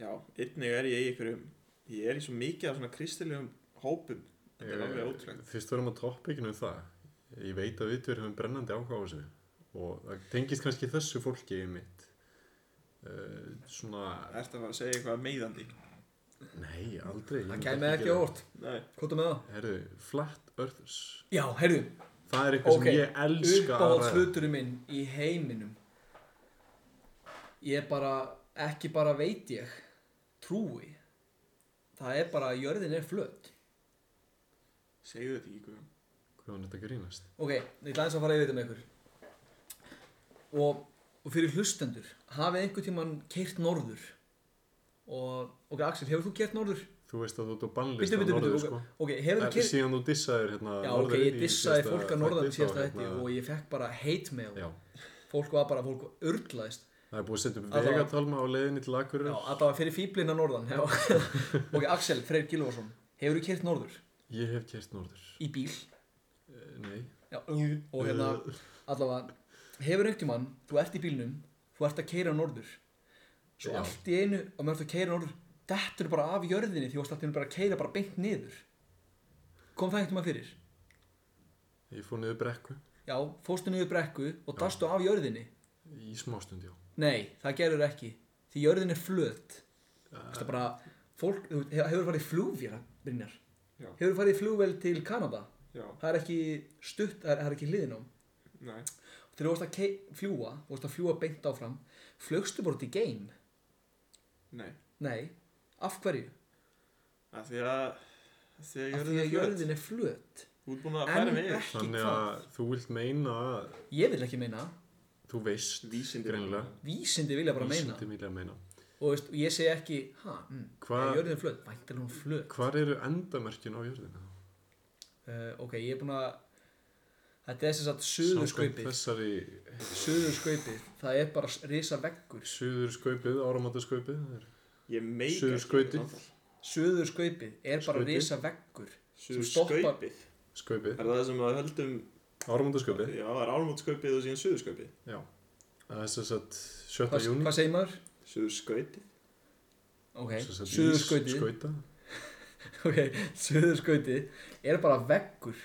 [SPEAKER 2] já, einnig er ég í einhverjum ég er í svo mikið af svona kristilegum hópum þetta
[SPEAKER 3] Eh.
[SPEAKER 2] er alveg ótrúlegt
[SPEAKER 4] Fyrst vorum á toppikinu um það Ég veit að við tveir höfum brennandi áhuga á þessu Og það tengist kannski þessu fólki í mitt uh, Svona
[SPEAKER 2] Ertu að fara að segja eitthvað meiðandi?
[SPEAKER 4] Nei, aldrei
[SPEAKER 3] Það kæmi ekki á óvart
[SPEAKER 2] Nei,
[SPEAKER 3] Hvað er með það?
[SPEAKER 4] Herðu, Flat Earthers
[SPEAKER 3] Já, heyrðu,
[SPEAKER 4] Það er eitthvað
[SPEAKER 3] Ok,
[SPEAKER 4] sem ég elska að
[SPEAKER 3] uppáhalds
[SPEAKER 4] ræða.
[SPEAKER 3] hluturinn minn í heiminum Ég bara, ekki bara veit ég Trúi Það er bara, jörðin er flöt
[SPEAKER 2] segðu þetta ekki Guðjón.
[SPEAKER 4] Hvað var þetta að grínast?
[SPEAKER 3] Ok, ég ætla aðeins að fara yfir þetta með ykkur og, og fyrir hlustendur hafið einhvern tímann keirt norður og, ok Axel, hefur þú keirt norður?
[SPEAKER 4] Þú veist að þú ert á bannlist
[SPEAKER 3] Býttu, býttu, býttu, ok,
[SPEAKER 4] sko.
[SPEAKER 3] ok, hefur þú
[SPEAKER 4] Ekki
[SPEAKER 3] keirt
[SPEAKER 4] síðan þú dissaðir hérna
[SPEAKER 3] Já, ok,
[SPEAKER 4] norður
[SPEAKER 3] ég
[SPEAKER 4] í
[SPEAKER 3] dissaði
[SPEAKER 4] síðasta
[SPEAKER 3] fólk að
[SPEAKER 4] þætti,
[SPEAKER 3] norðan
[SPEAKER 4] þá
[SPEAKER 3] síðasta
[SPEAKER 4] hérna-
[SPEAKER 3] þetta og ég fekk bara hate mail
[SPEAKER 4] Já,
[SPEAKER 3] fólk var bara, fólk urlaðist
[SPEAKER 4] það er búið að setja upp
[SPEAKER 3] Alla-
[SPEAKER 4] vegatalma á leiðinni til Akureyrar
[SPEAKER 3] Já, allavega fyrir fíblina norðan já. Ok, Axel, Freyr Gilvarsson hefur þú keirt norður
[SPEAKER 4] Ég hef kert norður
[SPEAKER 3] í bíl
[SPEAKER 4] Eh, Nei,
[SPEAKER 3] já, og hérna, allavega hefur einhvern tímann, þú ert í bílnum þú ert að keira norður svo
[SPEAKER 4] Já.
[SPEAKER 3] allt í einu, og maður ert að keira norður dettur bara af jörðinni því þú varst allt í einu bara að keira bara beint niður kom það einhvern tímann fyrir
[SPEAKER 4] ég fór niður brekku
[SPEAKER 3] já, fóstu niður brekku og dastu af jörðinni
[SPEAKER 4] Í smástund, já
[SPEAKER 3] nei, það gerur ekki því jörðin er flöt það bara, fólk, þú veit, hefur farið flugvél Brynjar,
[SPEAKER 2] Já.
[SPEAKER 3] hefur farið flugvél til Kanada
[SPEAKER 2] Já,
[SPEAKER 3] það er ekki stutt, það er, það er ekki hliðinám
[SPEAKER 2] nei,
[SPEAKER 3] þegar þú varst að kei- fljúa þú varst að fljúa beint áfram flugstu bara út í geim
[SPEAKER 2] nei.
[SPEAKER 3] nei, af hverju?
[SPEAKER 2] Af því að, af því að
[SPEAKER 3] af því
[SPEAKER 2] jörðin er
[SPEAKER 3] að
[SPEAKER 2] flöt.
[SPEAKER 3] jörðin er flöt
[SPEAKER 2] Þú ert búin að færa
[SPEAKER 3] en
[SPEAKER 2] mig yfir.
[SPEAKER 3] ekki
[SPEAKER 4] Þannig
[SPEAKER 3] hvað
[SPEAKER 4] að þú vilt meina að
[SPEAKER 3] ég vil ekki meina,
[SPEAKER 4] þú veist
[SPEAKER 2] Vísindi.
[SPEAKER 4] greinilega
[SPEAKER 3] vísindi vilja bara meina
[SPEAKER 4] Vísindi vilja meina
[SPEAKER 3] og, veist, og ég segi ekki ha, mm,
[SPEAKER 4] Hva-
[SPEAKER 3] er jörðin er flöt, væntalega hún er flöt
[SPEAKER 4] Hvar eru endamerkin á jörðina?
[SPEAKER 3] uh, ok, ég er búin að þetta er sem sagt
[SPEAKER 4] Samkvæmt
[SPEAKER 3] söðurskaupið
[SPEAKER 4] Þessari
[SPEAKER 3] söðurskaupið, það er bara s- risa veggur
[SPEAKER 4] suður skaupið, áramöndu skaupið
[SPEAKER 2] Ég meika
[SPEAKER 4] Suður skautið.
[SPEAKER 3] söðurskaupið er bara
[SPEAKER 4] Skaupið.
[SPEAKER 3] risa veggur
[SPEAKER 2] Suður
[SPEAKER 3] stoppar-
[SPEAKER 2] skaupið.
[SPEAKER 4] Skaupið,
[SPEAKER 2] Er það sem að höldum,
[SPEAKER 4] áramöndu skaupið
[SPEAKER 2] já, það er álmótt skaupið og síðan suður skaupið.
[SPEAKER 4] Já Það er þess að 7.
[SPEAKER 3] hvað,
[SPEAKER 4] júni
[SPEAKER 3] hvað segir maður?
[SPEAKER 2] Suður skautið.
[SPEAKER 3] ok, söðurskaupið
[SPEAKER 4] Skauta
[SPEAKER 3] ok, söðurskautið er bara veggur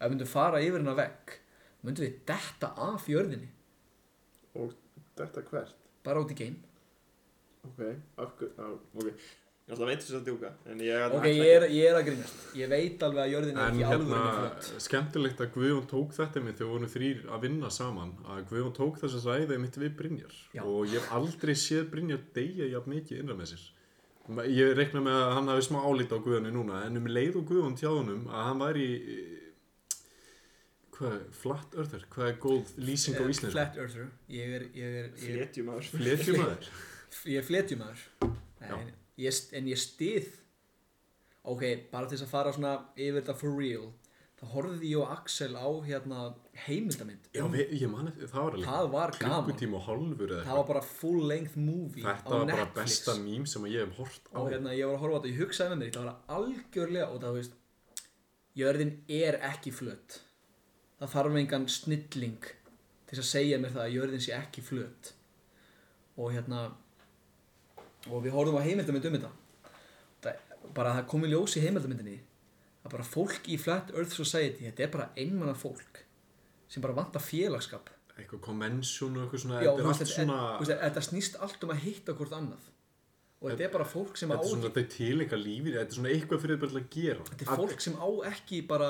[SPEAKER 3] ef við myndum fara yfir hennar vegg myndum við detta af jörðinni
[SPEAKER 2] Þetta hvert?
[SPEAKER 3] bara út í geim
[SPEAKER 2] Ok, af hverju, ok. Ég ætla að veit þess að djúka, en ég
[SPEAKER 3] ok, ég er, ég er að grínast ég veit alveg að jörðin er
[SPEAKER 4] En
[SPEAKER 3] ekki
[SPEAKER 4] hérna,
[SPEAKER 3] alveg flott
[SPEAKER 4] skemmtilegt að Guðjón tók þetta mitt þegar við vorum þrýr að vinna saman að Guðjón tók þess að ræða mitt við Brynjar
[SPEAKER 3] Já.
[SPEAKER 4] og ég hef aldrei séð Brynjar deyja jafn mikið innra með sér Ég reikna með að hann hafi smá álít á Guðjónu núna en um leið og Guðjón tjáðunum að hann væri eh, hvað, flat earther, hvað er góð lýsing á
[SPEAKER 3] Eh,
[SPEAKER 4] íslensku?
[SPEAKER 3] flat earther ég er, ég er, ég er,
[SPEAKER 2] Flétjum aður.
[SPEAKER 4] Fletjumæður
[SPEAKER 3] ég er fletjumæður
[SPEAKER 4] Já.
[SPEAKER 3] en ég, st- en ég stið ok, bara til þess að fara svona yfir þetta for real þá horfði ég og Axel á hérna heimildamind
[SPEAKER 4] Já, við, ég mani, það var alveg
[SPEAKER 3] Mm. það var gaman
[SPEAKER 4] klukkutíma og hálfur eða
[SPEAKER 3] það var bara full length movie á
[SPEAKER 4] Þetta var bara
[SPEAKER 3] Netflix.
[SPEAKER 4] besta mím sem að ég hef hort á
[SPEAKER 3] og hérna ég var að horfa á þetta, ég hugsaði með mér það var algjörlega og það þú veist jörðin er ekki flöt það þarf engan snilling til þess að segja mér það að jörðin sé ekki flöt og hérna og við horfum á heimildamönd um þetta það, bara það kom í ljós í heimildamöndinni að bara fólk í Flat Earth Society þetta er bara einmanna fólk sem bara vantar félagskap
[SPEAKER 4] eitthvað konvensjón og eitthvað svona
[SPEAKER 3] Já, þú
[SPEAKER 4] þetta
[SPEAKER 3] veist,
[SPEAKER 4] er allt
[SPEAKER 3] þetta,
[SPEAKER 4] svona
[SPEAKER 3] þú veist, þetta snýst allt um að hitta hvort annað og þetta er bara fólk sem á
[SPEAKER 4] þetta er
[SPEAKER 3] ekki
[SPEAKER 4] svona þetta er til eitthvað lífið þetta er svona eitthvað fyrir þau bara til að gera
[SPEAKER 3] Þetta er fólk sem á ekki bara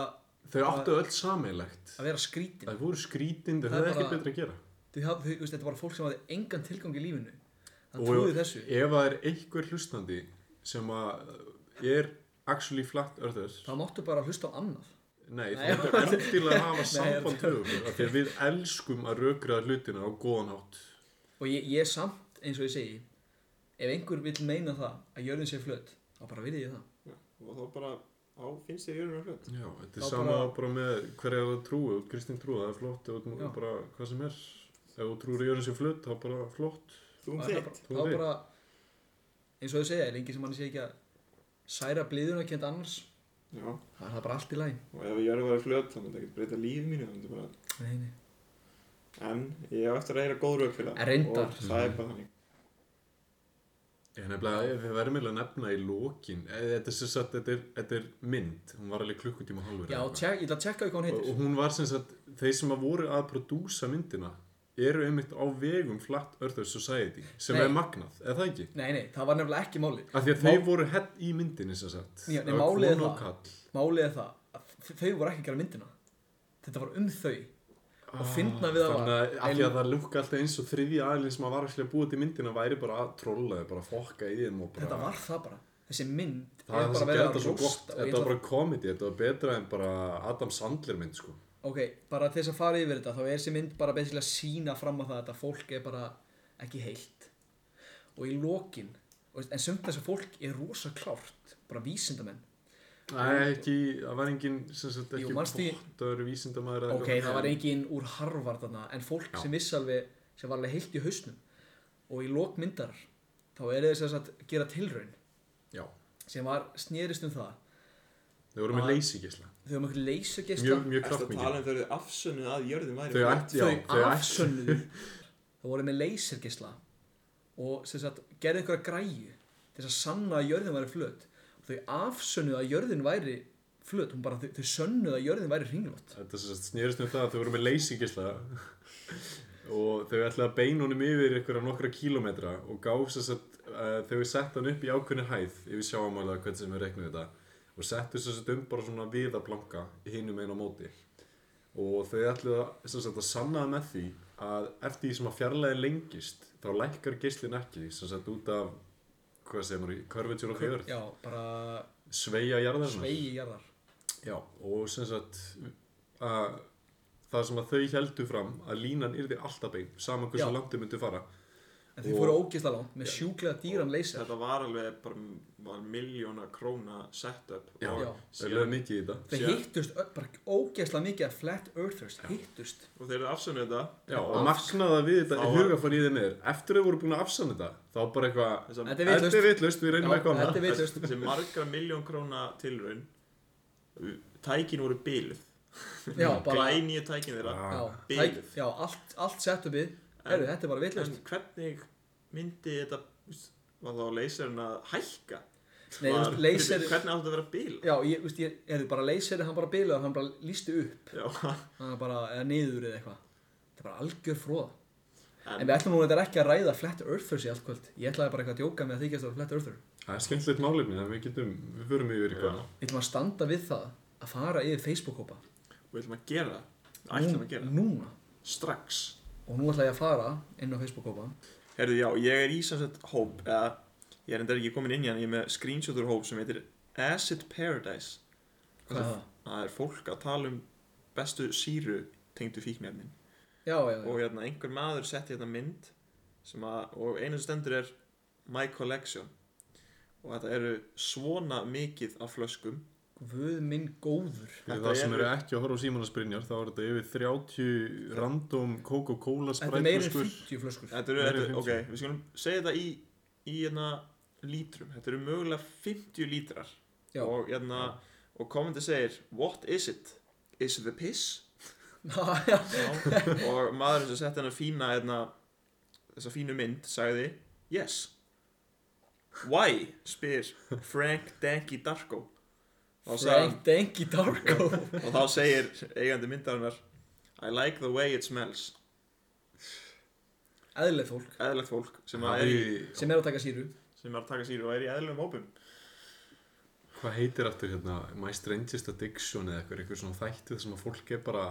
[SPEAKER 4] Að- þau áttu öll sameiglegt
[SPEAKER 3] að vera skrítin
[SPEAKER 4] það voru skrítind þau
[SPEAKER 3] Það er
[SPEAKER 4] höfðu ekki
[SPEAKER 3] bara-
[SPEAKER 4] betra að gera
[SPEAKER 3] Þau haf- þau- þú veist, Þetta er bara fólk sem hafði engan tilgang í lífinu Það trúði
[SPEAKER 4] og
[SPEAKER 3] þessu
[SPEAKER 4] ef það er einhver hlustandi sem að er actually flat earthers
[SPEAKER 3] Það máttu bara hlusta á annað
[SPEAKER 4] nei
[SPEAKER 3] Nei.
[SPEAKER 4] það er endilega að hafa
[SPEAKER 3] Nei,
[SPEAKER 4] samband við okkur af því að við elskum að rökraða hlutina á góðan hátt
[SPEAKER 3] Og ég, ég samt, eins og ég segi Ef einhver vill meina það að jörðin sé flöt þá bara virði ég það
[SPEAKER 2] Og þá bara á finnst þér jörðunar flöt
[SPEAKER 4] Já, þetta er
[SPEAKER 3] Þá
[SPEAKER 4] sama bara,
[SPEAKER 3] bara-
[SPEAKER 4] með hverja þú trúi, út kristin trú, það er flott og
[SPEAKER 3] Já.
[SPEAKER 4] bara hvað sem er. Ef þú trúir í jörðin sem flutt, þá bara flott.
[SPEAKER 2] Þú um
[SPEAKER 3] Það er
[SPEAKER 2] þitt
[SPEAKER 3] bara-
[SPEAKER 4] Þú
[SPEAKER 3] það
[SPEAKER 4] veit.
[SPEAKER 3] er bara eins og þau segja, lengi sem hann sé ekki að særa blíðuna kent annars
[SPEAKER 2] Já,
[SPEAKER 3] það er það bara allt í læn
[SPEAKER 2] og ef jörðu var flöt þá myndi ekki breyta lífi mínu þá myndi bara En ég á eftir að heyra góð rauk fyrir það.
[SPEAKER 3] En reyndar.
[SPEAKER 2] Og það er bara þannig.
[SPEAKER 4] Ég nefnilega, ef við verðum eiginlega að nefna í lokin, eh, þetta er sem sagt, þetta er, þetta er mynd, hún var alveg klukkutíma og hálfur.
[SPEAKER 3] Já,
[SPEAKER 4] eða eitthvað.
[SPEAKER 3] tjek, ég ætla að tjekka hvað hún
[SPEAKER 4] og,
[SPEAKER 3] heitir
[SPEAKER 4] og hún var sem sagt, þeir sem að voru að prodúsa myndina eru einmitt á vegum Flat Earthers Society, sem
[SPEAKER 3] Nei.
[SPEAKER 4] er magnað, eða það ekki?
[SPEAKER 3] Nei, nei, það var nefnilega ekki máli
[SPEAKER 4] Af því að
[SPEAKER 3] Má-
[SPEAKER 4] þau voru hett í myndinni sem sagt.
[SPEAKER 3] Já, nei,
[SPEAKER 4] Það var
[SPEAKER 3] málið er
[SPEAKER 4] kona og
[SPEAKER 3] það.
[SPEAKER 4] kall.
[SPEAKER 3] Málið er það að þ- þau voru ekki að gera myndina Þetta var um þau og fyndna við það
[SPEAKER 4] Ah, Þannig
[SPEAKER 3] var
[SPEAKER 4] að af því að það lukka alltaf eins og þriðji aðlinn sem að var alltaf búið til myndina væri bara að trolla þau, bara að fokka í þeim og bara...
[SPEAKER 3] Þetta var það bara Þessi mynd
[SPEAKER 4] Það er það sem
[SPEAKER 3] verið
[SPEAKER 4] gerði þetta svo gott.
[SPEAKER 3] rústa og ég
[SPEAKER 4] Þetta var
[SPEAKER 3] ætla-
[SPEAKER 4] bara komedi, þetta var betra en bara Adam Sandler mynd, sko.
[SPEAKER 3] Ok, bara til þess að fara yfir þetta þá er þessi mynd bara beinsilega sína fram á það að þetta fólk er bara ekki heilt og í lokin og veist, en sumt þess að fólk er rosa klárt bara vísindamenn
[SPEAKER 4] Nei, ekki, það var engin, sem sagt,
[SPEAKER 3] Jú,
[SPEAKER 4] ekki
[SPEAKER 3] manstu í-
[SPEAKER 4] vottur, vísindamæður eða
[SPEAKER 3] ok, það var engin úr Harvard þarna en fólk sem vissi alveg sem var alveg heilt í hausnum og í lok myndar þá er þess að gera tilraun
[SPEAKER 4] Já,
[SPEAKER 3] sem var snerist um það
[SPEAKER 4] þau voru með
[SPEAKER 3] Að-
[SPEAKER 4] leysigisla.
[SPEAKER 3] þau um einhver leysugesla
[SPEAKER 4] Mjög,
[SPEAKER 2] Erstu
[SPEAKER 4] mjög
[SPEAKER 2] að
[SPEAKER 4] kraftmikið.
[SPEAKER 2] tala um þau eru afsönnuð að jörðin væri
[SPEAKER 4] Þau
[SPEAKER 2] flöt?
[SPEAKER 4] ætti, já,
[SPEAKER 3] þau
[SPEAKER 4] þau ætti.
[SPEAKER 3] afsönnuðu þau voru með lasergeisla og sem sagt, gerði einhverja græju til þess að sanna að jörðin væri flöt og þau afsönnuðu að jörðin væri flöt, hún bara, þau, þau sönnuðu að jörðin væri hringlót
[SPEAKER 4] Þetta sem sagt snýrist um það að þau voru með leysingisla og þau ætlaði að beina honum yfir ykkur á nokkra kílómetra og gáf sem sagt, uh, þau sett hann upp í ákveðni hæð yfir sjáamála hvernig sem við reiknum þetta og settu sem sagt um bara svona viðablanka hinum einu á móti og þau ætlaði að, sem sagt, að sanna það með því að eftir því sem að fjarlæðin lengist þá lækkar geislin ekki sem sagt út af hvað segir maður, körfitjur og fjörð
[SPEAKER 3] já, bara
[SPEAKER 4] sveigja jarðarinnar
[SPEAKER 3] sveigi jarðar
[SPEAKER 4] Já, og sem sagt að það sem að þau heldu fram að línan yrði alltaf bein, saman hversu
[SPEAKER 3] Já.
[SPEAKER 4] langt þau myndu fara
[SPEAKER 3] en þau
[SPEAKER 4] Og-
[SPEAKER 3] fóru ógisla langt með sjúklega dýran laser
[SPEAKER 2] Þetta var alveg bara var miljóna króna setup
[SPEAKER 4] Já,
[SPEAKER 2] og,
[SPEAKER 3] Já.
[SPEAKER 4] þau lögðu mikið í þetta
[SPEAKER 3] þau hittust, ö- bara ógisla mikið að flat earthers hittust
[SPEAKER 2] og þeir eru afsönnuð þetta.
[SPEAKER 4] Já, og magnaða við þetta
[SPEAKER 2] Þá
[SPEAKER 4] í
[SPEAKER 2] var-
[SPEAKER 4] hugafan í þeim er eftir þau voru búin að afsanna þetta, þá bara eitthvað
[SPEAKER 2] Þessa-
[SPEAKER 3] Þetta er vitlaust.
[SPEAKER 4] Þetta er vitlaust, við reynum
[SPEAKER 3] Já, þetta
[SPEAKER 4] eitthvað
[SPEAKER 3] er
[SPEAKER 4] annað
[SPEAKER 3] vitlaust.
[SPEAKER 2] þessi, þessi margra miljón króna tilraun tækin voru bíluð
[SPEAKER 3] já, bara,
[SPEAKER 2] glænýju tækin þeirra
[SPEAKER 3] já,
[SPEAKER 2] biluð.
[SPEAKER 3] tæk- já allt, allt setupið Heru, þetta er bara
[SPEAKER 2] en
[SPEAKER 3] vitlaust
[SPEAKER 2] hvernig myndi þetta var þá leyserinn að hækka
[SPEAKER 3] Nei, þú
[SPEAKER 2] var,
[SPEAKER 3] veist, laserinn-
[SPEAKER 2] hvernig átti þetta að vera bíl
[SPEAKER 3] Já, ég, veist, ég, er þið bara leysir hann bara bilaður, hann bara lísti upp
[SPEAKER 2] já,
[SPEAKER 3] hann er bara, eða niður eða eitthvað þetta er bara algjör fróða en,
[SPEAKER 2] En-
[SPEAKER 3] við ætlum nú þetta ekki að ræða flat earthers í allt kvöld ég ætlaði bara eitthvað að djóka með að þykjast að vera flat earther
[SPEAKER 4] Það er skemmtilegt málefni, þannig að við getum, við förum yfir eitthvað annað
[SPEAKER 3] við ætlum að standa við það að fara yfir Facebook-hópa
[SPEAKER 2] við ætlum að gera það ætlum að gera það.
[SPEAKER 3] núna
[SPEAKER 2] strax
[SPEAKER 3] og nú ætla ég að fara inn á Facebook-hópa
[SPEAKER 2] Herðu, já, ég er í samsett hóp eða, ég er endar ekki komin inn í hann ég er með screenshotur hóp sem heitir Acid Paradise
[SPEAKER 3] hvað er það?
[SPEAKER 2] það er fólk að tala um bestu síru tengdu fíknefnin
[SPEAKER 3] Já, já, já,
[SPEAKER 2] og hérna, einhver maður setti hérna mynd sem að, og einu sem stendur er My Collection og þetta eru svona mikið af flöskum
[SPEAKER 3] guð minn góður
[SPEAKER 4] Fyrir
[SPEAKER 2] Þetta
[SPEAKER 4] það sem
[SPEAKER 2] eru-
[SPEAKER 4] eru ekki að horfa á Símona Brynjar, þá er þetta yfir 30 random Coca-Cola
[SPEAKER 3] þetta er meira en
[SPEAKER 4] sprætflöskur
[SPEAKER 3] 50 flöskur
[SPEAKER 2] þetta eru,
[SPEAKER 4] Meira en
[SPEAKER 2] þetta,
[SPEAKER 4] 50.
[SPEAKER 2] ok, við skulum segja þetta í, í hérna, lítrum, þetta eru mögulega 50 lítrar
[SPEAKER 3] Já.
[SPEAKER 2] og hérna, og komendi segir What is it? Is it the piss?
[SPEAKER 3] Já,
[SPEAKER 2] og maðurinn sem setti hennar fína hérna, þessa fínu mynd sagði yes why spyr Frank Danky Darko og, sagði,
[SPEAKER 3] Frank Dengi Darko
[SPEAKER 2] og þá segir eigandi myndarinnar I like the way it smells
[SPEAKER 3] eðlilegt fólk
[SPEAKER 2] eðlilegt fólk sem, að er,
[SPEAKER 4] Það er
[SPEAKER 2] í,
[SPEAKER 4] í,
[SPEAKER 3] sem er að taka síru
[SPEAKER 2] sem er að taka síru og er í eðlilegum hópum
[SPEAKER 4] Hvað heitir aftur hérna, My Strangest Addiction eða eitthvað, eitthvað svona þættu þar sem að fólk er bara,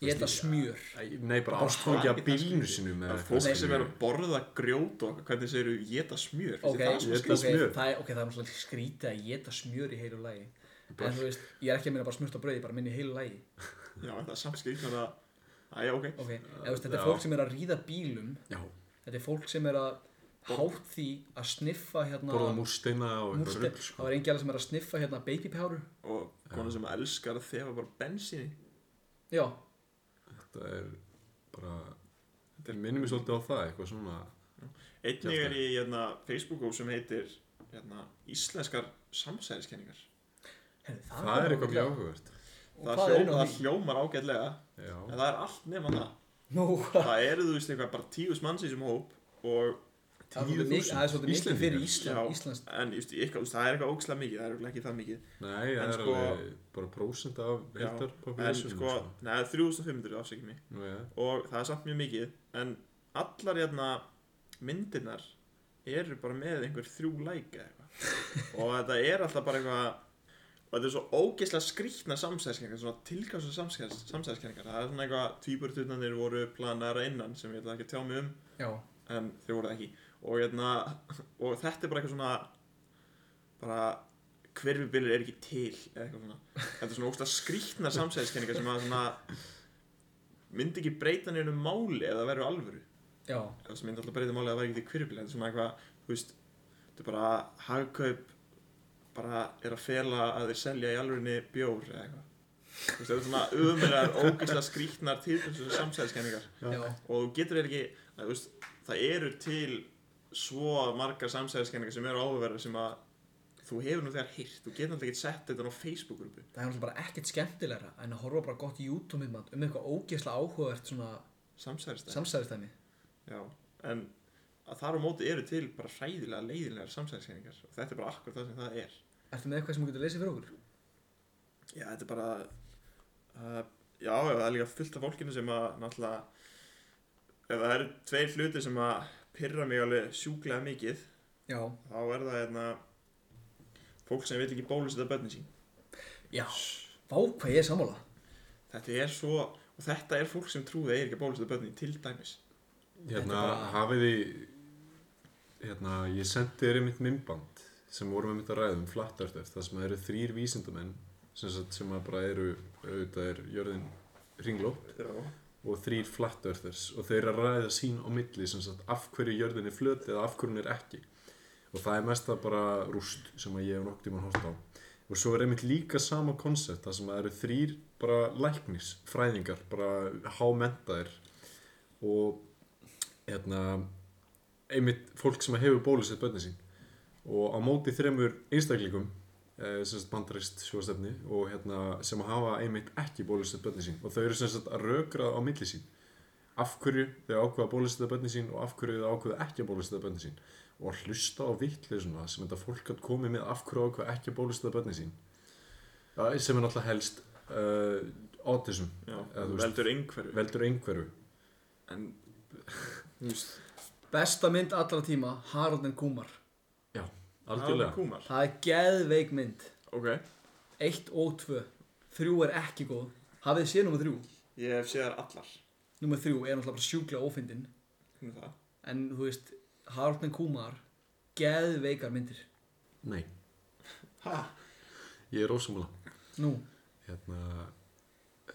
[SPEAKER 3] ég ætla smjör
[SPEAKER 4] nei bara ástfangja bílinu sínum eða
[SPEAKER 2] að fólk
[SPEAKER 4] skilur
[SPEAKER 2] sem er
[SPEAKER 4] við.
[SPEAKER 2] að borða grjót og hvernig segir þú geta smjör
[SPEAKER 3] Ok,
[SPEAKER 2] Finnst þér það
[SPEAKER 4] Éta
[SPEAKER 3] ok,
[SPEAKER 4] smjör.
[SPEAKER 3] það er, ok, það er náttúrulega skrítið að geta smjör í heilu lagi En þú veist, ég er ekki að minna bara smurt á brauði, ég bara minna í heilu lagi
[SPEAKER 2] sem- já, það er samskipt þannig að Æja, ok.
[SPEAKER 3] Ok, eða, þú veist, þetta er fólk sem er að ríða bílum
[SPEAKER 4] Já,
[SPEAKER 3] Þetta er fólk sem er að hátt því að sniffa hérna
[SPEAKER 4] borða múrsteina og eitthvað
[SPEAKER 3] múrstein
[SPEAKER 4] rugl sko.
[SPEAKER 3] það var engi alveg sem er að sniffa hérna babypjáru
[SPEAKER 2] og konu sem elskar að þefa bara bensinni
[SPEAKER 3] já,
[SPEAKER 4] Þetta er bara, þetta er minnum svolítið á það, eitthvað svona,
[SPEAKER 2] einnig
[SPEAKER 4] Hjarta.
[SPEAKER 2] er í hérna, Facebook-góð sem heitir hérna, Íslenskar samsæðiskenningar
[SPEAKER 3] Heyrðu,
[SPEAKER 4] það er eitthvað mjög
[SPEAKER 3] ágætlega.
[SPEAKER 4] áhugavert.
[SPEAKER 3] Og
[SPEAKER 2] það,
[SPEAKER 3] hvað er
[SPEAKER 2] hljó,
[SPEAKER 3] inn á
[SPEAKER 2] það
[SPEAKER 3] því?
[SPEAKER 2] hljómar ágætlega
[SPEAKER 4] Já,
[SPEAKER 2] en það er allt nema það
[SPEAKER 3] Nú, það
[SPEAKER 2] það eru þú veist eitthvað bara tíus manns í þessum hóp og
[SPEAKER 3] er svolítið mikið- það er svolítið mikið fyrir Ísland,
[SPEAKER 2] já,
[SPEAKER 3] Ísland.
[SPEAKER 2] en just, eitthvað, þú veist, það er eitthvað ógslag mikið það er örugglega ekki það mikið
[SPEAKER 4] nei, það
[SPEAKER 2] En
[SPEAKER 4] er
[SPEAKER 2] sko-
[SPEAKER 4] alveg bara prósent af
[SPEAKER 2] Já,
[SPEAKER 4] heldar
[SPEAKER 2] en
[SPEAKER 4] population.
[SPEAKER 2] sko, neða 3500 afsækjum mig
[SPEAKER 4] Nú, já,
[SPEAKER 2] og það er samt mjög mikið en allar hérna myndirnar eru bara með einhver þrjú læka eitthvað og þetta er alltaf bara eitthvað og þetta er svo ógeðslega skrýtna samsæðiskenningar svona tilgása samsæðiskenningar það er svona eitthvað tvíburtutnarnir voru planara innan sem ég ætla ekki að tjá mig um
[SPEAKER 3] já,
[SPEAKER 2] en þau voru það ekki og, hérna, og þetta er bara eitthvað svona bara hverfibilir er ekki til eða eitthvað svona þetta er svona ógsta skrýtna samsæðiskenningar sem að svona myndi ekki breyta neinu máli eða það verður alvöru
[SPEAKER 3] já,
[SPEAKER 2] eða sem myndi alltaf breyta máli eða það verður ekki til hverfibilir þetta er svona eitthvað, þú veist þetta er bara hagkaup bara er að fela að þeir selja í alvörinni bjór eða eitthvað Þú veist, þetta er svona ömulegar, ógeðslega skrýtnar tilbæðslega samsæðiskenningar
[SPEAKER 3] já,
[SPEAKER 2] og þú getur eiginlega ekki að, þú veist, það eru til svo margar samsæðiskenningar sem eru áhugaverðar sem að þú hefur nú þegar hýrt þú getur náttúrulega ekki sett þetta á Facebook-grúpu
[SPEAKER 3] það er náttúrulega bara ekkert skemmtilegra en að horfa bara gott YouTube-myndband um eitthvað ógeðslega áhugavert svona
[SPEAKER 2] samsæðistæð
[SPEAKER 3] samsæðistæmi
[SPEAKER 2] Já, en að þar á móti eru til bara hræðilega leiðilegar samsæðiskenningar og þetta er bara akkur það sem það er
[SPEAKER 3] Ertu með eitthvað sem þú getur lesið fyrir okkur?
[SPEAKER 2] Já, þetta er bara uh, Já, já, það er líka fullt af fólkinu sem að náttúrulega ef það eru tveir hluti sem að pyrra mig alveg sjúklega mikið
[SPEAKER 3] Já,
[SPEAKER 2] þá er það hérna fólk sem vil ekki bólusetta börnin sín
[SPEAKER 3] já, vá hvað ég er sammála
[SPEAKER 2] Þetta er svo, og þetta er fólk sem trúði að Eiríka bólusetta börnin til dæmis.
[SPEAKER 4] hérna,
[SPEAKER 3] bara-
[SPEAKER 4] hafið þið, hérna, ég sendi þér einmitt mymband sem vorum einmitt að ræða um flattart eftir það sem eru þrýr vísindamenn sem, sagt, sem að bara eru, auðvitað er jörðin ringlóp
[SPEAKER 2] Já.
[SPEAKER 4] og þrýr flat earthers og þeir eru að ræða sín á milli sem sagt af hverju jörðin er flöt eða af hverju hún er ekki og það er mesta bara rúst sem að ég hef nokk tíma hórt á og svo er einmitt líka sama konsept það sem að eru þrýr bara læknis fræðingar, bara hámentaðir og hérna einmitt fólk sem hefur bólusett börnin sín og á móti þremur einstaklingum eh, sem sagt bandarist sjóstefni og hérna sem hafa einmitt ekki bólusett börnin sín og þau eru sem sagt að rökra á milli sín af hverju þau ákveða bólusett börnin sín og af hverju þau ákveða ekki að bólusett börnin sín og að hlusta á vittleysuna sem þetta fólk hatt komið með af hverju ákveða ekki að bólusett börnin sín ja, sem er náttúrulega helst uh, autism
[SPEAKER 2] Já,
[SPEAKER 4] Eða, þú veist,
[SPEAKER 2] veldur einhverju.
[SPEAKER 4] veldur einhverju
[SPEAKER 2] En, þú veist,
[SPEAKER 3] Besta mynd allra tíma, Harold and Kumar
[SPEAKER 4] já,
[SPEAKER 2] alveg
[SPEAKER 4] algjörlega
[SPEAKER 2] kúmar.
[SPEAKER 3] Það er geðveik mynd
[SPEAKER 2] Ok.
[SPEAKER 3] Eitt og tvö Þrjú er ekki góð Hafið þið séð nummer þrjú?
[SPEAKER 2] Ég hef séð þar allar.
[SPEAKER 3] Nummer þrjú er náttúrulega bara sjúklega ófindin
[SPEAKER 2] Hún er það.
[SPEAKER 3] En þú veist, Harold and Kumar Geðveikar myndir
[SPEAKER 4] nei,
[SPEAKER 2] Ha?
[SPEAKER 4] ég er ósamlega
[SPEAKER 3] Nú,
[SPEAKER 4] hérna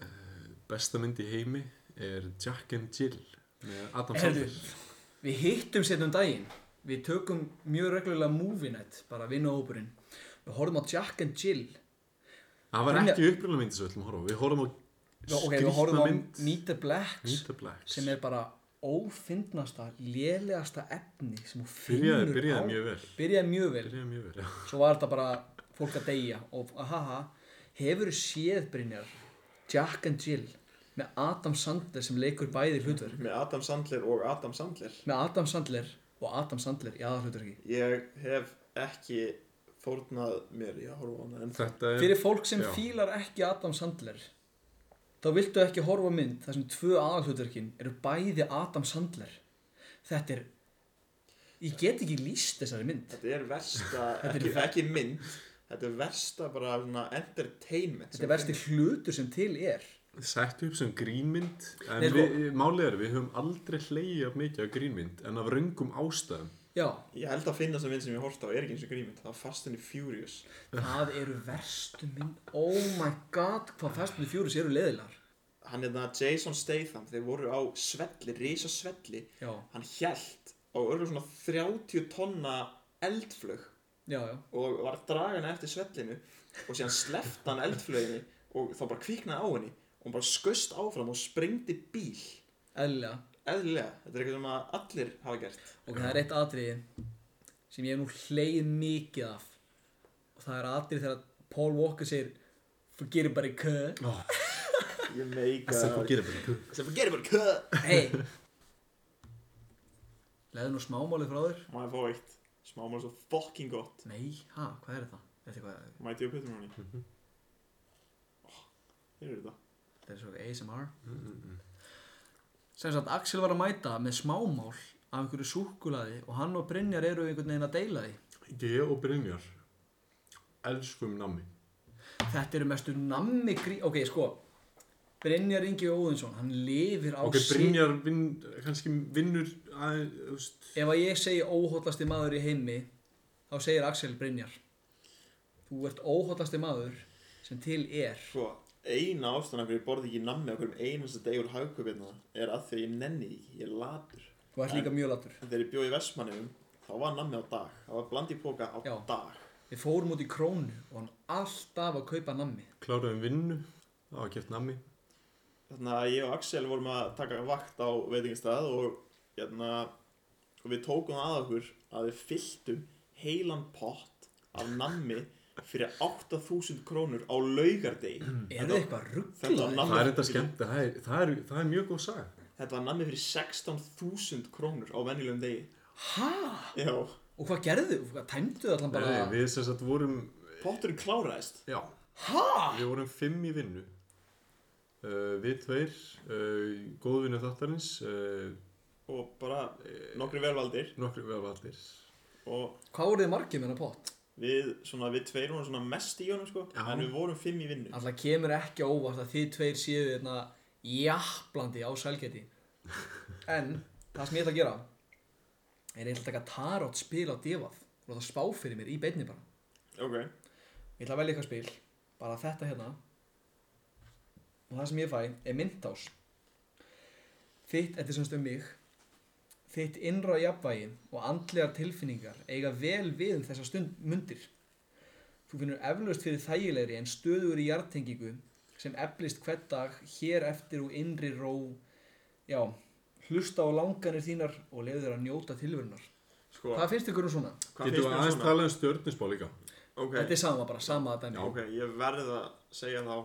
[SPEAKER 4] uh, besta mynd í heimi er Jack and Jill með Adam
[SPEAKER 3] Heyrðu.
[SPEAKER 4] Sandler
[SPEAKER 3] við hittum setjum daginn Við tökum mjög reglulega movie night Bara vinnahópurinn Við horfum á Jack and Jill
[SPEAKER 4] það var
[SPEAKER 3] Brynja-
[SPEAKER 4] ekki upprunna mynd sem við ætlum að horfa á. við horfum á
[SPEAKER 3] Já, Ok, við horfum á
[SPEAKER 4] mynd
[SPEAKER 3] Meet the Blacks
[SPEAKER 4] Meet the Blacks
[SPEAKER 3] sem er bara ófindnasta, lélegasta efni sem þú finnur
[SPEAKER 4] byrjaði,
[SPEAKER 3] á
[SPEAKER 4] byrjaði mjög vel
[SPEAKER 3] byrjaði mjög vel
[SPEAKER 4] byrjaði mjög vel já.
[SPEAKER 3] svo var þetta bara fólk að deyja og haha, hefur séð Brynjar Jack and Jill með Adam Sandler sem leikur bæði hlutverk
[SPEAKER 2] Með Adam Sandler og Adam Sandler.
[SPEAKER 3] með Adam Sandler og Adam Sandler í aðalhlutverki
[SPEAKER 2] Ég hef ekki fórnað mér í að horfa á hana en
[SPEAKER 4] þetta er
[SPEAKER 3] fyrir fólk sem
[SPEAKER 4] Já.
[SPEAKER 3] fílar ekki Adam Sandler þá viltu ekki horfa á mynd þar sem tvö aðalhlutverkin eru bæði Adam Sandler þetta er ég get ekki líst þessari mynd
[SPEAKER 2] þetta er versta,
[SPEAKER 3] er
[SPEAKER 2] ekki,
[SPEAKER 3] ver-
[SPEAKER 2] ekki mynd, þetta er versta bara svona entertainment.
[SPEAKER 3] þetta er versti hlutur sem til er
[SPEAKER 4] sett upp sem grínmynd en
[SPEAKER 3] Nei, sko-
[SPEAKER 4] við, málið er við höfum aldrei hleyið af mikið af grínmynd en af röngum ástæðum
[SPEAKER 3] já,
[SPEAKER 2] Ég held að finna sem mynd sem ég horfði á er ekki eins og grímynd, það var Fast and the Furious.
[SPEAKER 3] það eru verstu mynd oh my god, hvað Fast and the Furious eru leiðilar
[SPEAKER 2] hann hérna Jason Statham þeir voru á svelli, risa svelli
[SPEAKER 3] Já.
[SPEAKER 2] hann hjælt og örgulega svona 30 tonna eldflög
[SPEAKER 3] já, já,
[SPEAKER 2] og var að draga hana eftir svellinu og síðan sleft hann eldflöginni og þá bara kviknaði á henni og hún bara skust áfram og sprengdi bíl
[SPEAKER 3] eðlilega
[SPEAKER 2] eðlilega, þetta er eitthvað sem að allir hafa gert
[SPEAKER 3] Ok, það er eitt atriði sem ég hef nú hleið mikið af og það er atriði þegar Paul Walker segir Forget about it, cuh
[SPEAKER 2] ég meika
[SPEAKER 8] Sem þú gerir bara
[SPEAKER 2] sem að gera bara köð
[SPEAKER 3] Hey Leðu nú smámálið frá þér
[SPEAKER 2] maður fá eitt smámál svo fucking gott
[SPEAKER 3] Nei, ha, hvað er það? Þetta er, hvað,
[SPEAKER 2] mæti ég á pötum hann í hér er þetta
[SPEAKER 3] þetta er svo ASMR Sem sagt, Axel var að mæta með smámál af einhverju súkkulaði og hann og Brynjar eru einhvern veginn að deila því
[SPEAKER 4] Ég og Brynjar elskum nammi.
[SPEAKER 3] Þetta eru mestu nammi grí... Ok, sko Brynjar Ingi Óðinsson, hann lifir á
[SPEAKER 4] Ok,
[SPEAKER 3] sig-
[SPEAKER 4] Brynjar vin, kannski vinnur aðeins, þú veist,
[SPEAKER 3] Ef að ég segi óhóllasti maður í heimi þá segir Axel Brynjar Þú ert óhóllasti maður sem til er
[SPEAKER 2] Sko, eina ástæðan af hverju ég borði ekki nammi á hverjum einasta deg úr hagkaupirna er að því að ég nenni því ekki, ég er latur.
[SPEAKER 3] Þú ert líka mjög latur
[SPEAKER 2] En þegar ég bjóði í Vestmannum, þá var nammi á dag. Það var bland í póka á
[SPEAKER 3] Já.
[SPEAKER 2] dag.
[SPEAKER 3] Við fórum út í krónu og hann alltaf að kaupa nammi
[SPEAKER 4] kláraðum um vinnu, það var kæft nammi.
[SPEAKER 2] Þannig að ég og Axel vorum að taka vakt á veitingastæð og, jæna, og við tókum það að okkur að við fylltum heilan pott af nammi fyrir 8000 krónur á laugardegi.
[SPEAKER 3] Er það eitthvað
[SPEAKER 2] Þetta var
[SPEAKER 3] rugglaði?
[SPEAKER 2] nammi-
[SPEAKER 4] Það er þetta skemmt, það er, það er, það er mjög góð saga.
[SPEAKER 2] Þetta var nammi fyrir 16.000 krónur á venjulegum degi.
[SPEAKER 3] Hæ?
[SPEAKER 2] Já,
[SPEAKER 3] Og hvað gerðu? Hvað tæmdu allan bara?
[SPEAKER 4] Nei, við sem sagt vorum,
[SPEAKER 2] potturinn kláraðist.
[SPEAKER 4] já, við vorum fimm í vinnu. Uh, við tveir, uh, góðvinni þáttarins, uh,
[SPEAKER 2] og bara nokkri velvaldir
[SPEAKER 4] nokkri veðvaldir.
[SPEAKER 2] og
[SPEAKER 3] Hvað voruð þið margir með hennar pott?
[SPEAKER 2] við, svona, við tveir vorum svona mest í honum sko,
[SPEAKER 4] Já.
[SPEAKER 2] en við vorum fimm í vinnu
[SPEAKER 3] Alltaf kemur ekki á óvart að þið tveir séu hérna jafnblandi á sælgæti En það sem ég ætla að gera er ég ætla að taka tarot spil á divað og það spá fyrir mér í beinni bara
[SPEAKER 2] ok,
[SPEAKER 3] Ég ætla að velja eitthvað spil Bara þetta hérna Og það sem ég fæ er myndás Þitt, þetta er semst um mig Þitt innra jafnvægi og andlegar tilfinningar eiga vel við um þessa stund mundir Þú finnur eflaust fyrir þægilegri en stöður í jartengingu sem eflist hvert dag hér eftir og innri ró Já, hlusta á langanir þínar og leiður þér að njóta tilverunar
[SPEAKER 2] sko
[SPEAKER 3] Hvað finnst ykkur um svona?
[SPEAKER 2] hvað
[SPEAKER 4] Getum
[SPEAKER 2] finnst
[SPEAKER 4] við
[SPEAKER 2] mér
[SPEAKER 4] aðeins
[SPEAKER 2] svona?
[SPEAKER 4] talað um stjórninsbá líka?
[SPEAKER 2] ok,
[SPEAKER 3] Þetta er sama bara, sama dæmi
[SPEAKER 2] ok, ég verð að segja þá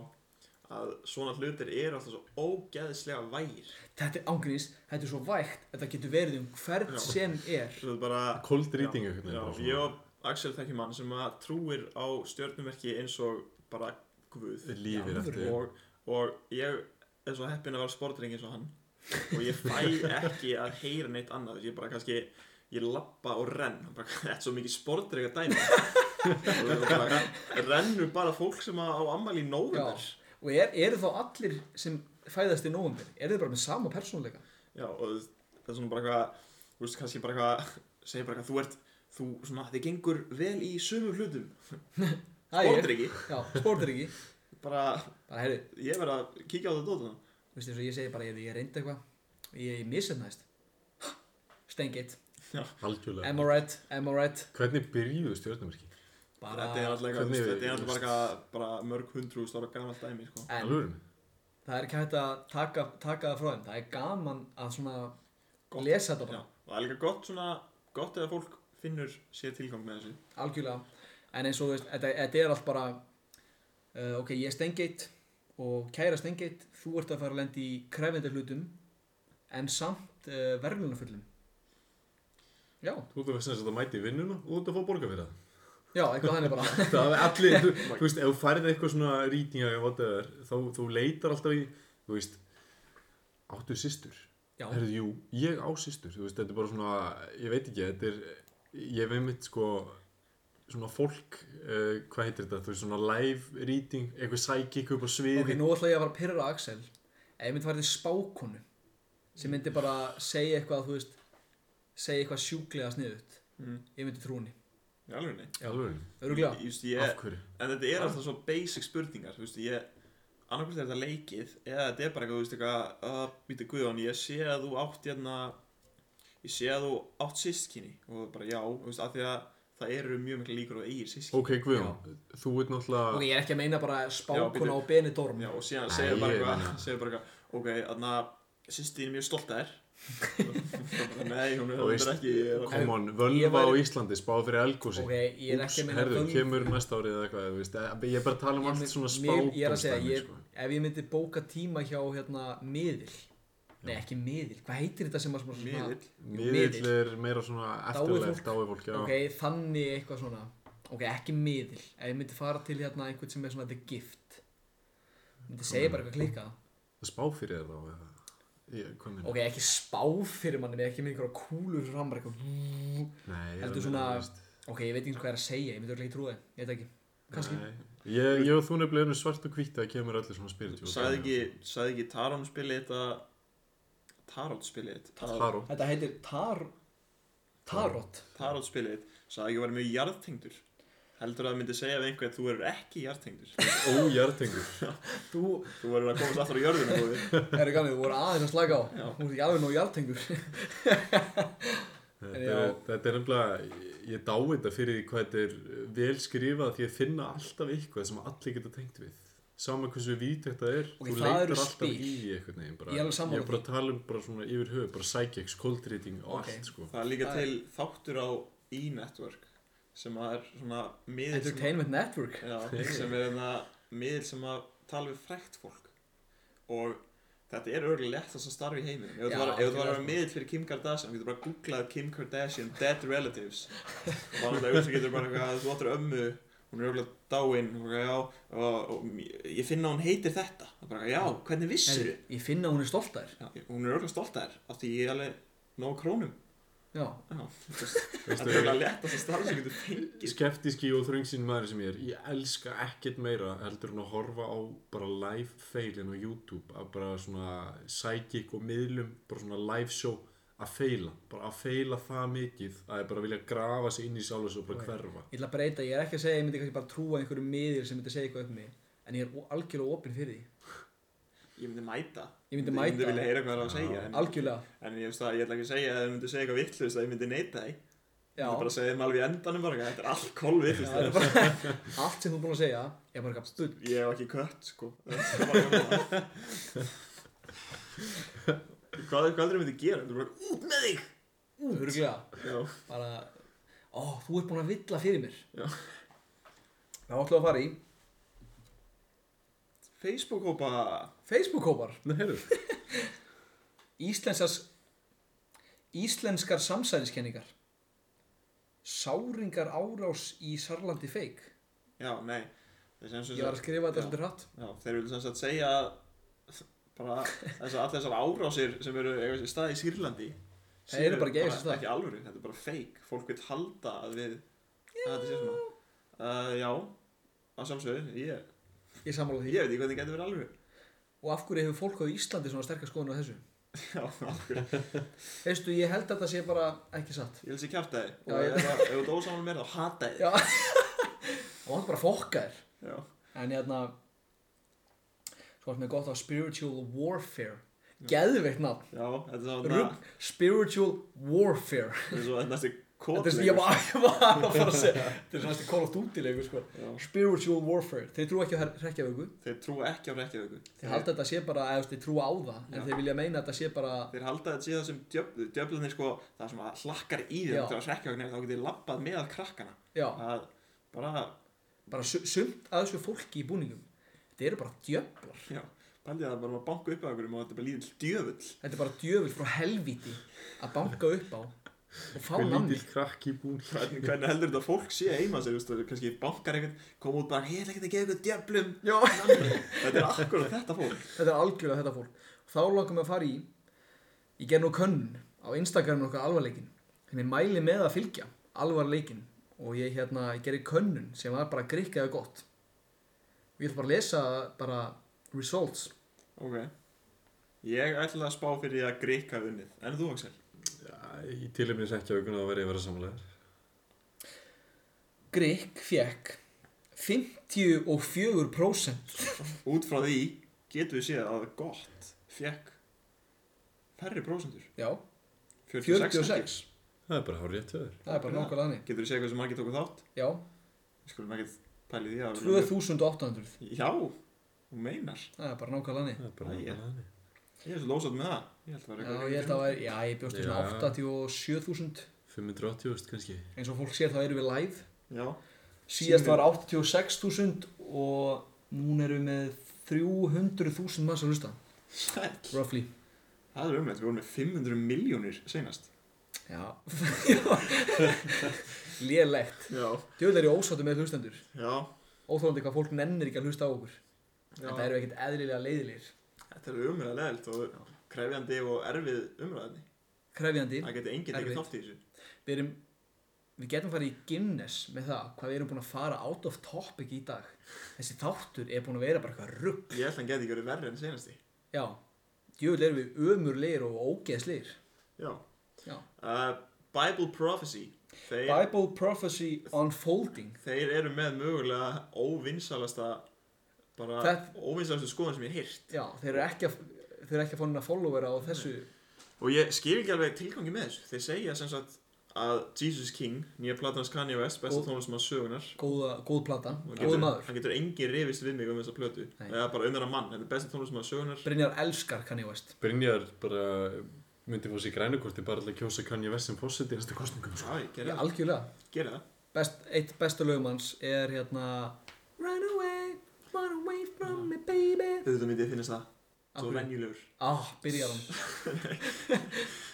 [SPEAKER 2] að svona hlutir eru alltaf svo ógeðislega vægir
[SPEAKER 3] Þetta er ángríns, þetta er svo vægt Þetta getur verið um hvert sem er
[SPEAKER 2] svo þetta bara
[SPEAKER 4] Cold reading
[SPEAKER 2] já,
[SPEAKER 4] einhvern veginn. bara svona.
[SPEAKER 2] ég og Axel þekki mann sem að trúir á stjörnumerki eins og bara guð
[SPEAKER 4] Lífir eftir.
[SPEAKER 2] og, og ég er svo heppin að vera sportring eins og hann og ég fæ ekki að heyra neitt annað ég bara kannski, ég lappa og renn hann bara, þetta er svo mikið sportring að dæma og það bara rennur bara fólk sem á ammali í
[SPEAKER 3] Já.
[SPEAKER 2] nóvember já.
[SPEAKER 3] Og er, eru þá allir sem fæðast í nóvember Eru þið bara með sama persónuleika?
[SPEAKER 2] og það er svona bara eitthvað þú veist, kannski bara eitthvað, segir bara eitthvað þú ert, þú svona, þið gengur vel í sömu hlutum
[SPEAKER 3] Það er ég.
[SPEAKER 2] Sportdrykki.
[SPEAKER 3] Já, sportdrykki
[SPEAKER 2] bara,
[SPEAKER 3] Bara heyrðu,
[SPEAKER 2] ég verð að kíkja á þetta dótuna
[SPEAKER 3] þú veist eins og ég segi bara Ég, ég reyndi eitthvað Ég, ég misefnaðist Stengið
[SPEAKER 4] Algjörlega.
[SPEAKER 3] I'm alright, I'm alright
[SPEAKER 4] Hvernig byrjuðu stjórnumerki?
[SPEAKER 3] Bara
[SPEAKER 2] þetta er alltaf eitthvað,
[SPEAKER 4] Hvernig-
[SPEAKER 2] þetta er alltaf bara, eitthvað- bara mörg hundru stóra gamalt dæmi sko.
[SPEAKER 3] En
[SPEAKER 4] Alvöru?
[SPEAKER 3] það er ekki hægt að taka, taka það frá þeim Það er gaman að svona Lesa þetta bara
[SPEAKER 2] Já, og það er líka gott svona, gott eða fólk finnur sér tilgang með þessu.
[SPEAKER 3] algjörlega en eins og þú veist, þetta, þetta er allt bara uh, ok, ég er stengeit og kæra stengeit, þú ert að fara að lenda í krefjandi hlutum en samt uh, verðlunafullum já,
[SPEAKER 4] Þú ert að sem sagt að mæti í vinnuna og þú ert að fá borga fyrir það.
[SPEAKER 3] já, eitthvað þannig bara
[SPEAKER 4] Það er allir, þú, þú veist, ef þú færið eitthvað svona rýtinga eða whatever, þá þú leitar alltaf í, þú veist, áttu systur?
[SPEAKER 3] Já.
[SPEAKER 4] Herðu, jú, ég á systur, þú veist, þetta er bara svona, ég veit ekki, þetta er, ég veit mitt sko, svona fólk, uh, hvað heitir þetta, þú veist, svona live rýting, eitthvað psychic upp á sviði.
[SPEAKER 3] ok, nú ætla ég að fara að pyrra Axel ef ég myndi fara til spákonu sem myndi bara segja eitthvað þú veist, segja eitthvað sjúklega sniðut
[SPEAKER 2] Mm.
[SPEAKER 3] ég myndi trúni,
[SPEAKER 2] Í alveg nei.
[SPEAKER 4] Alveg,
[SPEAKER 3] öruglega
[SPEAKER 2] Just,
[SPEAKER 4] af
[SPEAKER 2] ég,
[SPEAKER 4] hverju?
[SPEAKER 2] en þetta er alltaf svo basic spurningar, þú veist, ég, annarkvæmst er þetta leikið, eða þetta er bara eitthvað, þú veist, eitthvað, að, býta guðan, ég sé að þú átt hérna, ég ég sé að þú átt sískinni og þú bara já, þú veist, af því að það eru mjög mikla líkur á eigir sískinni
[SPEAKER 4] Ok, Guðjón, þú ert náttúrulega
[SPEAKER 3] Ok, ég er ekki að meina bara
[SPEAKER 2] Já,
[SPEAKER 3] spákuna
[SPEAKER 2] býtu.
[SPEAKER 3] og Benidorm.
[SPEAKER 2] Já,
[SPEAKER 3] Já.
[SPEAKER 2] og síðan
[SPEAKER 4] Æ,
[SPEAKER 2] segir bara
[SPEAKER 4] ég
[SPEAKER 2] eitthvað,
[SPEAKER 4] meina.
[SPEAKER 2] segir bara eitthvað, ok, þarna, sýsti þín er mjög stolt að þér. Nei, hún er
[SPEAKER 4] Þú
[SPEAKER 2] hún
[SPEAKER 4] veist,
[SPEAKER 2] er ekki, ég er
[SPEAKER 4] Come on,
[SPEAKER 3] Ég
[SPEAKER 4] völva á
[SPEAKER 3] væri-
[SPEAKER 4] Íslandi, spáð fyrir elgósi
[SPEAKER 3] Ok, ég er ekki að meina
[SPEAKER 4] herðu,
[SPEAKER 3] völv-
[SPEAKER 4] kemur næsta árið eða eitthvað, þú veist Ég er bara að tala um allt svona spátumstæmi
[SPEAKER 3] Ég er að segja, ég,
[SPEAKER 4] sko.
[SPEAKER 3] ef ég myndi bóka tíma hjá hérna miðil. Nei, ekki miðil. Hvað heitir þetta sem að svona... svona-
[SPEAKER 2] Miðill?
[SPEAKER 3] Jú,
[SPEAKER 4] Miðill er meira svona eftirlegt,
[SPEAKER 3] fólk.
[SPEAKER 4] dái fólk, já
[SPEAKER 3] Ok, þannig eitthvað svona Ok, ekki miðil Ef ég myndi fara til hérna einhvern sem er svona the gift Myndi
[SPEAKER 4] Mm.
[SPEAKER 3] segja bara eitthvað klika
[SPEAKER 4] Spá fyrir þér þá, eða Ég- Hvað minna?
[SPEAKER 3] Ok, ekki spá fyrir manni Ekki með einhverja kúlur fram bara eitthvað
[SPEAKER 4] Nei, ég er
[SPEAKER 3] Heldur
[SPEAKER 4] að
[SPEAKER 3] svona
[SPEAKER 4] meina, þú veist.
[SPEAKER 3] Ok, ég veit ekki hvað er að segja Ég myndi örugglega ekki trúa þeim Ég veit ekki Kanski
[SPEAKER 4] Nei. Ég, ég og þú nefnilega erum svart og hvítt að kemur öllu svona spiritjú
[SPEAKER 2] Sæði ekki, sæði ekki Tarón spilið þetta, Tarón spilið þetta,
[SPEAKER 4] Taró
[SPEAKER 3] Þetta heitir tar... Tarot
[SPEAKER 2] Tarón spilið þetta, sæði ekki að vera mjög jarðtengdur. Heldur að það myndi segja við einhver að þú verður ekki jarðtengdur.
[SPEAKER 4] Ójartengur
[SPEAKER 3] Þú
[SPEAKER 2] Þú verður að komast aftur á jörðina, þú veist.
[SPEAKER 3] eru gamið, þú voru aðeins að slaka á Þú ert ekki alveg nóg jartengur
[SPEAKER 4] þetta, er- þetta er nefnilega Ég dái þetta fyrir því hvað þetta er vel skrifað Því að finna alltaf eitthvað sem allir geta tengt við Sama hversu vítægt það er
[SPEAKER 3] Ok,
[SPEAKER 4] Þú
[SPEAKER 3] það
[SPEAKER 4] leitar
[SPEAKER 3] eru
[SPEAKER 4] alltaf
[SPEAKER 3] spil.
[SPEAKER 4] í eitthvað neginn bara,
[SPEAKER 3] Ég er alveg sammála
[SPEAKER 4] Ég er bara að tala um bara svona yfir höfu Bara psychics, cold reading og
[SPEAKER 3] Ok.
[SPEAKER 4] allt sko
[SPEAKER 2] Það er líka til þáttur á e-network sem að er svona miðill sem-
[SPEAKER 3] Entertainment Network
[SPEAKER 2] Já, sem er hérna miðil sem að tala við frækt fólk og þetta er örgulega lett þess að starfi í heiminum ef
[SPEAKER 3] Já,
[SPEAKER 2] þú var, ef þú var að vera
[SPEAKER 3] algjörlega. sko.
[SPEAKER 2] miðil fyrir Kim Kardashian getur bara googlað Kim Kardashian dead relatives og þannig að þú getur bara eitthvað þú áttur ömmu hún er örgulega dáin og, bara, já, og, og ég finna að hún heitir þetta og bara já, hvernig vissir
[SPEAKER 3] Heyrðu, Ég finna að hún er stolt að þér
[SPEAKER 2] þú hún er örgulega stolt að þér af því ég er alveg nóg krónum
[SPEAKER 3] Já,
[SPEAKER 2] já, þú veist, þetta
[SPEAKER 4] Veistu-
[SPEAKER 2] er örgulega lett þess að starfi sem getur fengið sko.
[SPEAKER 4] skeptíski og þröngsinn maður sem ég er ég elska ekkert meira heldur en að horfa á bara live feilin á YouTube að bara svona psychic og miðlum, bara svona live show að feila, bara að feila það mikið að ég bara vilja grafa sig inn í sjálf og bara hverfa
[SPEAKER 3] ég ætla að breyta, ég er ekki að segja, ég myndi kannski bara trúa einhverju miðir sem myndi segja eitthvað um mig en ég er o- algjörlega opinn fyrir því,
[SPEAKER 2] ég myndi mæta
[SPEAKER 3] Ég myndi
[SPEAKER 2] ég myndi
[SPEAKER 3] mæta.
[SPEAKER 2] vilja heyra hvað það er að segja en-
[SPEAKER 3] algjörlega
[SPEAKER 2] En ég veist að ég ætla ekki að segja að þau myndu segja eitthvað vittlust að ég myndi neita því. Ég myndi bara
[SPEAKER 3] Já,
[SPEAKER 2] að segja þeim alveg í endanum bara eitthvað, þetta er allt kolvittlust
[SPEAKER 3] það er
[SPEAKER 2] þetta.
[SPEAKER 3] bara allt sem þú er búin að segja er bara eitthvað bull
[SPEAKER 2] Ég hef ekki kött, sko. Það er bara eitthvað. Hvað hvað heldur þau myndi gera? Þú bara, út með þig!
[SPEAKER 3] Örgulega,
[SPEAKER 2] Já,
[SPEAKER 3] bara Ó, þú ert búin að villa fyrir mér
[SPEAKER 2] Já.
[SPEAKER 3] Það ætlum við að fara í
[SPEAKER 2] Facebook-hópa.
[SPEAKER 3] Facebook-hópar
[SPEAKER 4] Nei, heyrðu,
[SPEAKER 3] Íslenskars Íslenskar samsæðiskenningar Sáringar árás í Sarlandi feik
[SPEAKER 2] Já, nei. Þeir sem sem
[SPEAKER 3] Ég var að skrifa þetta
[SPEAKER 2] Já.
[SPEAKER 3] svolítið hratt
[SPEAKER 2] Já, þeir vilja sem sagt segja að bara þessar, allar þessar árásir sem eru eiga sér stað í Sýrlandi
[SPEAKER 3] Það eru bara ekki að eiga sér
[SPEAKER 2] ekki,
[SPEAKER 3] stað.
[SPEAKER 2] ekki alvöru, þetta er bara fake fólk vil halda að við að þetta sé svona uh, Já, að sjálfsögðu, ég,
[SPEAKER 3] Ég sammála því
[SPEAKER 2] ég veit ekki hvernig getur verið alvöru
[SPEAKER 3] Og af hverju hefur fólk á Íslandi svona sterkar skoðun á þessu?
[SPEAKER 2] Já, alvöru,
[SPEAKER 3] Veistu, ég held að þetta sé bara ekki satt.
[SPEAKER 2] ég vil sé kjæfta þig
[SPEAKER 3] Já,
[SPEAKER 2] og
[SPEAKER 3] ég-
[SPEAKER 2] ef það- ef þú dósa hann mér þá hata þig
[SPEAKER 3] Já. Það vantur bara að fokka þér.
[SPEAKER 2] Já,
[SPEAKER 3] En hérna, svo erum við gott á Spiritual Warfare. Geðveikt nafn.
[SPEAKER 2] já, þetta er svona
[SPEAKER 3] Rugg, Spiritual Warfare.
[SPEAKER 2] þetta er svo næstu
[SPEAKER 3] Þetta er
[SPEAKER 2] kóðlegur
[SPEAKER 3] svona, ég var, ég var að fara að segja, þetta er svona næstu Call of Duty leikur, sko. Spiritual Warfare. Þeir trú ekki á rekjavögu.
[SPEAKER 2] Þeir trúa ekki á rekkjavíku
[SPEAKER 3] Þeir halda þetta sé bara, eða þú veist, þeir trúa á það. En þeir vilja meina að þetta sé bara,
[SPEAKER 2] Þeir halda þetta síðan sem djöfl, djöflunir sko, það sem að hlakkar í þeim
[SPEAKER 3] Já.
[SPEAKER 2] þegar hrekkjavagn er þá getið labbað með krakkana.
[SPEAKER 3] Já.
[SPEAKER 2] Það bara,
[SPEAKER 3] bara su- sumt að þessu fólki í búningum. Þetta eru bara djöflar.
[SPEAKER 2] já, bældið það bara að banka upp að okkur og þetta er bara lítill djöfull.
[SPEAKER 3] Þetta er bara djöfur frá helvíti að banka upp á og fá
[SPEAKER 4] hver
[SPEAKER 3] namni.
[SPEAKER 4] lítil krakki búin
[SPEAKER 2] Hvernig, hvernig heldur þetta að fólk sé heima sér, þú veist, kannski bankar einhvern, koma út bara, "Hey, ég ætla ekki að gefa ykkur djöflum.
[SPEAKER 3] Já.
[SPEAKER 2] Þetta er akkur þetta fólk.
[SPEAKER 3] Þetta er algjörlega þetta fólk. Þá langar við að fara í, ég ger nú könnun á Instagraminu okkar alvarleikin. Þannig ég mæli með að fylgja alvarleikin og ég hérna, ég gerði könnun sem var bara grikkaði gott. Og ég ætla bara að lesa bara results.
[SPEAKER 2] Ok. Ég ætla að spá fyrir því að Greik hafi unnið, en þú Axel?
[SPEAKER 4] í tilumni sekja aukun að vera ég að vera samanlegar
[SPEAKER 3] Grikk fekk 54%
[SPEAKER 2] Út frá því getum við séð að gott fekk færri prósendur.
[SPEAKER 3] já,
[SPEAKER 2] 46
[SPEAKER 3] 46.
[SPEAKER 2] held ég.
[SPEAKER 4] Það er bara hár rétt höður.
[SPEAKER 3] það er bara nokkuð langi
[SPEAKER 2] Getur þú séð hvað sem margir tóku þátt?
[SPEAKER 3] já,
[SPEAKER 2] Við skulum ekkert pæli því að
[SPEAKER 3] 2800
[SPEAKER 2] Já, þú meinar
[SPEAKER 3] það er bara nokkuð langi
[SPEAKER 4] Það er bara
[SPEAKER 2] Æja.
[SPEAKER 4] nákvæmlega þannig.
[SPEAKER 2] Ég er svo lósað með það Ég held að
[SPEAKER 3] já,
[SPEAKER 2] það var eitthvað
[SPEAKER 3] ég held að væri, já, ég bjóst um
[SPEAKER 4] Já.
[SPEAKER 3] 87.000
[SPEAKER 4] 580 úrst kannski.
[SPEAKER 3] eins og fólk sér þá erum við live
[SPEAKER 2] Já,
[SPEAKER 3] síðast
[SPEAKER 2] Sýnir.
[SPEAKER 3] var 86.000 og núna erum við með 300.000 manns að hlusta
[SPEAKER 2] sæll
[SPEAKER 3] roughly
[SPEAKER 2] Það er umlegt, við vorum með 500 miljónir seinast
[SPEAKER 3] já, lélegt
[SPEAKER 2] Já,
[SPEAKER 3] djöðlega er ég ósáttu með hlustendur
[SPEAKER 2] já
[SPEAKER 3] óþólandi hvað fólk nennir ekki að hlusta á okkur
[SPEAKER 2] Já.
[SPEAKER 3] en það eru ekkert eðlilega leiðilegir
[SPEAKER 2] Þetta er umlega leðilt og krefjandi og erfið umræðinni
[SPEAKER 3] krefjandi
[SPEAKER 2] Það geti enginn
[SPEAKER 3] Erfið.
[SPEAKER 2] tekið þátt í þessu
[SPEAKER 3] við erum við getum farið í Guinness með það hvað við erum búin að fara out of topic í dag þessi þáttur er búin að vera bara eitthvað rugg
[SPEAKER 2] Ég held að hann geti ekki verið verri en seinasti
[SPEAKER 3] já, djöðlega erum við ömurlegir og ógeðslegir
[SPEAKER 2] Já
[SPEAKER 3] Já.
[SPEAKER 2] Uh, Bible Prophecy Þeir,
[SPEAKER 3] Bible Prophecy Unfolding
[SPEAKER 2] þeir eru með mögulega óvinsalasta bara
[SPEAKER 3] Þetta-
[SPEAKER 2] óvinsalastu skoðan sem ég hef heyrt
[SPEAKER 3] já, þeir eru ekki að þeir eru ekki að fóna followera á þessu
[SPEAKER 2] Og ég skil ekki alveg tilgangi með þessu. Þeir segja sem sagt að Jesus King, nýja platanans Kanye West, besta
[SPEAKER 3] Og-
[SPEAKER 2] tónlismann sögunar.
[SPEAKER 3] góða, góð plata,
[SPEAKER 2] Og hann
[SPEAKER 3] góð
[SPEAKER 2] getur-
[SPEAKER 3] maður
[SPEAKER 2] Hann getur engin rifist við mig um þessa plötu.
[SPEAKER 3] Nei.
[SPEAKER 2] Eða bara um þennan mann, þetta er besta tónlismann sögunar.
[SPEAKER 3] Brynjar elskar Kanye West
[SPEAKER 4] Brynjar bara myndi fá sér grænukorti bara alltaf að kjósa Kanye West sem fósitt í næsta kostningum. Sko.
[SPEAKER 2] Já, ég
[SPEAKER 3] Já,
[SPEAKER 2] gerði það.
[SPEAKER 3] algjörlega
[SPEAKER 2] Gerði það.
[SPEAKER 3] Best, eitt bestu lögumanns er hérna Run away, run away from me baby
[SPEAKER 2] Þau myndi ég finnast það. Svo
[SPEAKER 3] Af hverju?
[SPEAKER 2] venjulegur.
[SPEAKER 3] Ah, byrjar hann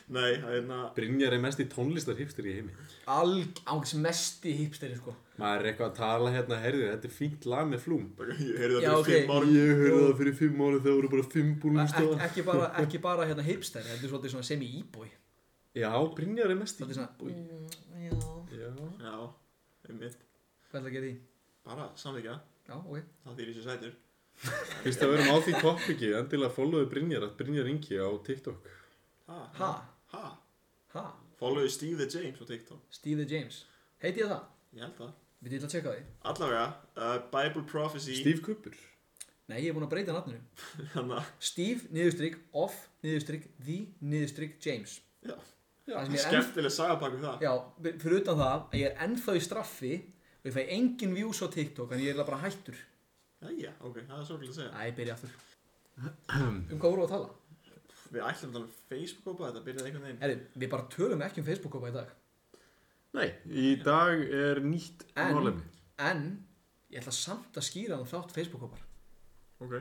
[SPEAKER 2] Nei, það er hérna...
[SPEAKER 4] Brynjar er mest í tónlistar hipster í heimi.
[SPEAKER 3] Alg, ángst mesti hipsteri sko
[SPEAKER 4] Maður er eitthvað að tala hérna, herðu, þetta er fínt lag með flúm.
[SPEAKER 2] Ég heyrði
[SPEAKER 3] Já,
[SPEAKER 2] það
[SPEAKER 3] ok.
[SPEAKER 2] fyrir fimm árum.
[SPEAKER 4] Ég heyrði það fyrir fimm ára þegar voru bara fimm búin
[SPEAKER 3] Ek, ekki, bara, ekki bara hérna hipster, þetta er svolítið svona semi-íbúi
[SPEAKER 4] Já, Brynjar er mest í.
[SPEAKER 3] Svolítið svona,
[SPEAKER 6] Já.
[SPEAKER 4] Já.
[SPEAKER 2] Já, einmitt.
[SPEAKER 3] hvað ætla að gera í?
[SPEAKER 2] Bara samvíkja.
[SPEAKER 3] Já, ok
[SPEAKER 2] Það þýr í sér sætur.
[SPEAKER 4] Fyrst að við erum á því topiki, endilega followðu Brynjar að Brynjar Ingi á TikTok.
[SPEAKER 2] Ha?
[SPEAKER 3] Ha,
[SPEAKER 2] Ha?
[SPEAKER 3] ha,
[SPEAKER 2] Followðu Steve the James á TikTok.
[SPEAKER 3] Steve James Heiti ég það?
[SPEAKER 2] Ég held það.
[SPEAKER 3] Við ætla að tjekka því
[SPEAKER 2] Allavega, uh, Bible Prophecy...
[SPEAKER 4] Steve Cooper.
[SPEAKER 3] Nei, ég er búin að breyta nafninu
[SPEAKER 2] Hanna,
[SPEAKER 3] Steve, niðurstrykk, off, niðurstrykk, the, niðurstrykk, James
[SPEAKER 2] já.
[SPEAKER 3] Það sem ég er enn
[SPEAKER 2] Skemmtileg sagabakum það.
[SPEAKER 3] Já, fyrir utan það að ég er ennþá í straffi og ég fæ engin views á TikTok en ég er eiginlega bara hættur.
[SPEAKER 2] Jæja, ok, það er sorglega að segja.
[SPEAKER 3] Æ, ég byrja aftur. Um hvað vorum við að tala?
[SPEAKER 2] Við ætlum að tala um Facebook-hópa, þetta byrjaði einhvern veginn.
[SPEAKER 3] Herri, við bara tölum ekki um Facebook-kópa í dag.
[SPEAKER 4] Nei, í dag er nýtt
[SPEAKER 3] En-
[SPEAKER 4] málefni.
[SPEAKER 3] En ég ætla samt að skýra um þátt Facebook-kópar.
[SPEAKER 2] Ok.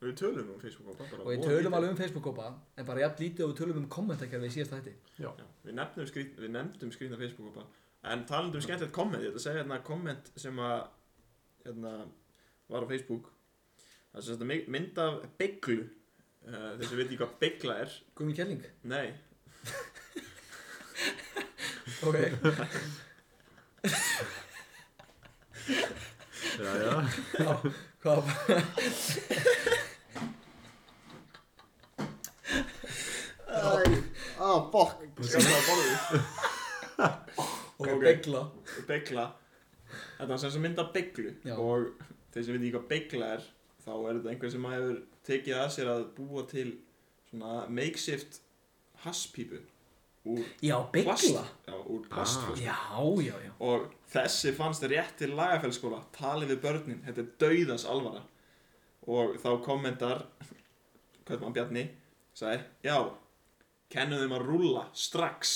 [SPEAKER 2] Við tölum um Facebook-hópa bara.
[SPEAKER 3] Og við tölum alveg um Facebook-kópa en bara jafn lítið og við tölum um kommentakerfi í síðasta hætti.
[SPEAKER 2] Já, við, nefnum skrýt, við nefndum skrýtna Facebook-hópa. En talandi um skemmtilegt komment, ég ætla að segja hérna komment sem að, hérna, var á Facebook. Það er sem þetta mynd af bygglu. Uh, þessi veit ekki hvað byggla er.
[SPEAKER 3] Gumi Kjelling.
[SPEAKER 2] Nei,
[SPEAKER 3] Ok.
[SPEAKER 4] Já, já.
[SPEAKER 3] Já, hvað?
[SPEAKER 2] Á, ah, fokk Skamma á borðið
[SPEAKER 3] Ok,
[SPEAKER 2] Ok.
[SPEAKER 3] begla.
[SPEAKER 2] Begla Þetta var sem sem mynda beglu
[SPEAKER 3] Já.
[SPEAKER 2] Og þeir sem veit ekki hvað begla er Þá er þetta einhver sem hefur tekið að sér að búa til Svona makeshift Hasspípu Úr
[SPEAKER 3] Já, begla.
[SPEAKER 2] plast Já, úr plast
[SPEAKER 3] Já, já, já.
[SPEAKER 2] Og þessi fannst rétt til lagafellskóla Talið við börnin, þetta er dauðans alvara Og þá kommentar Kaupmann Bjarni Sæði, já Kennu þeim að rúlla strax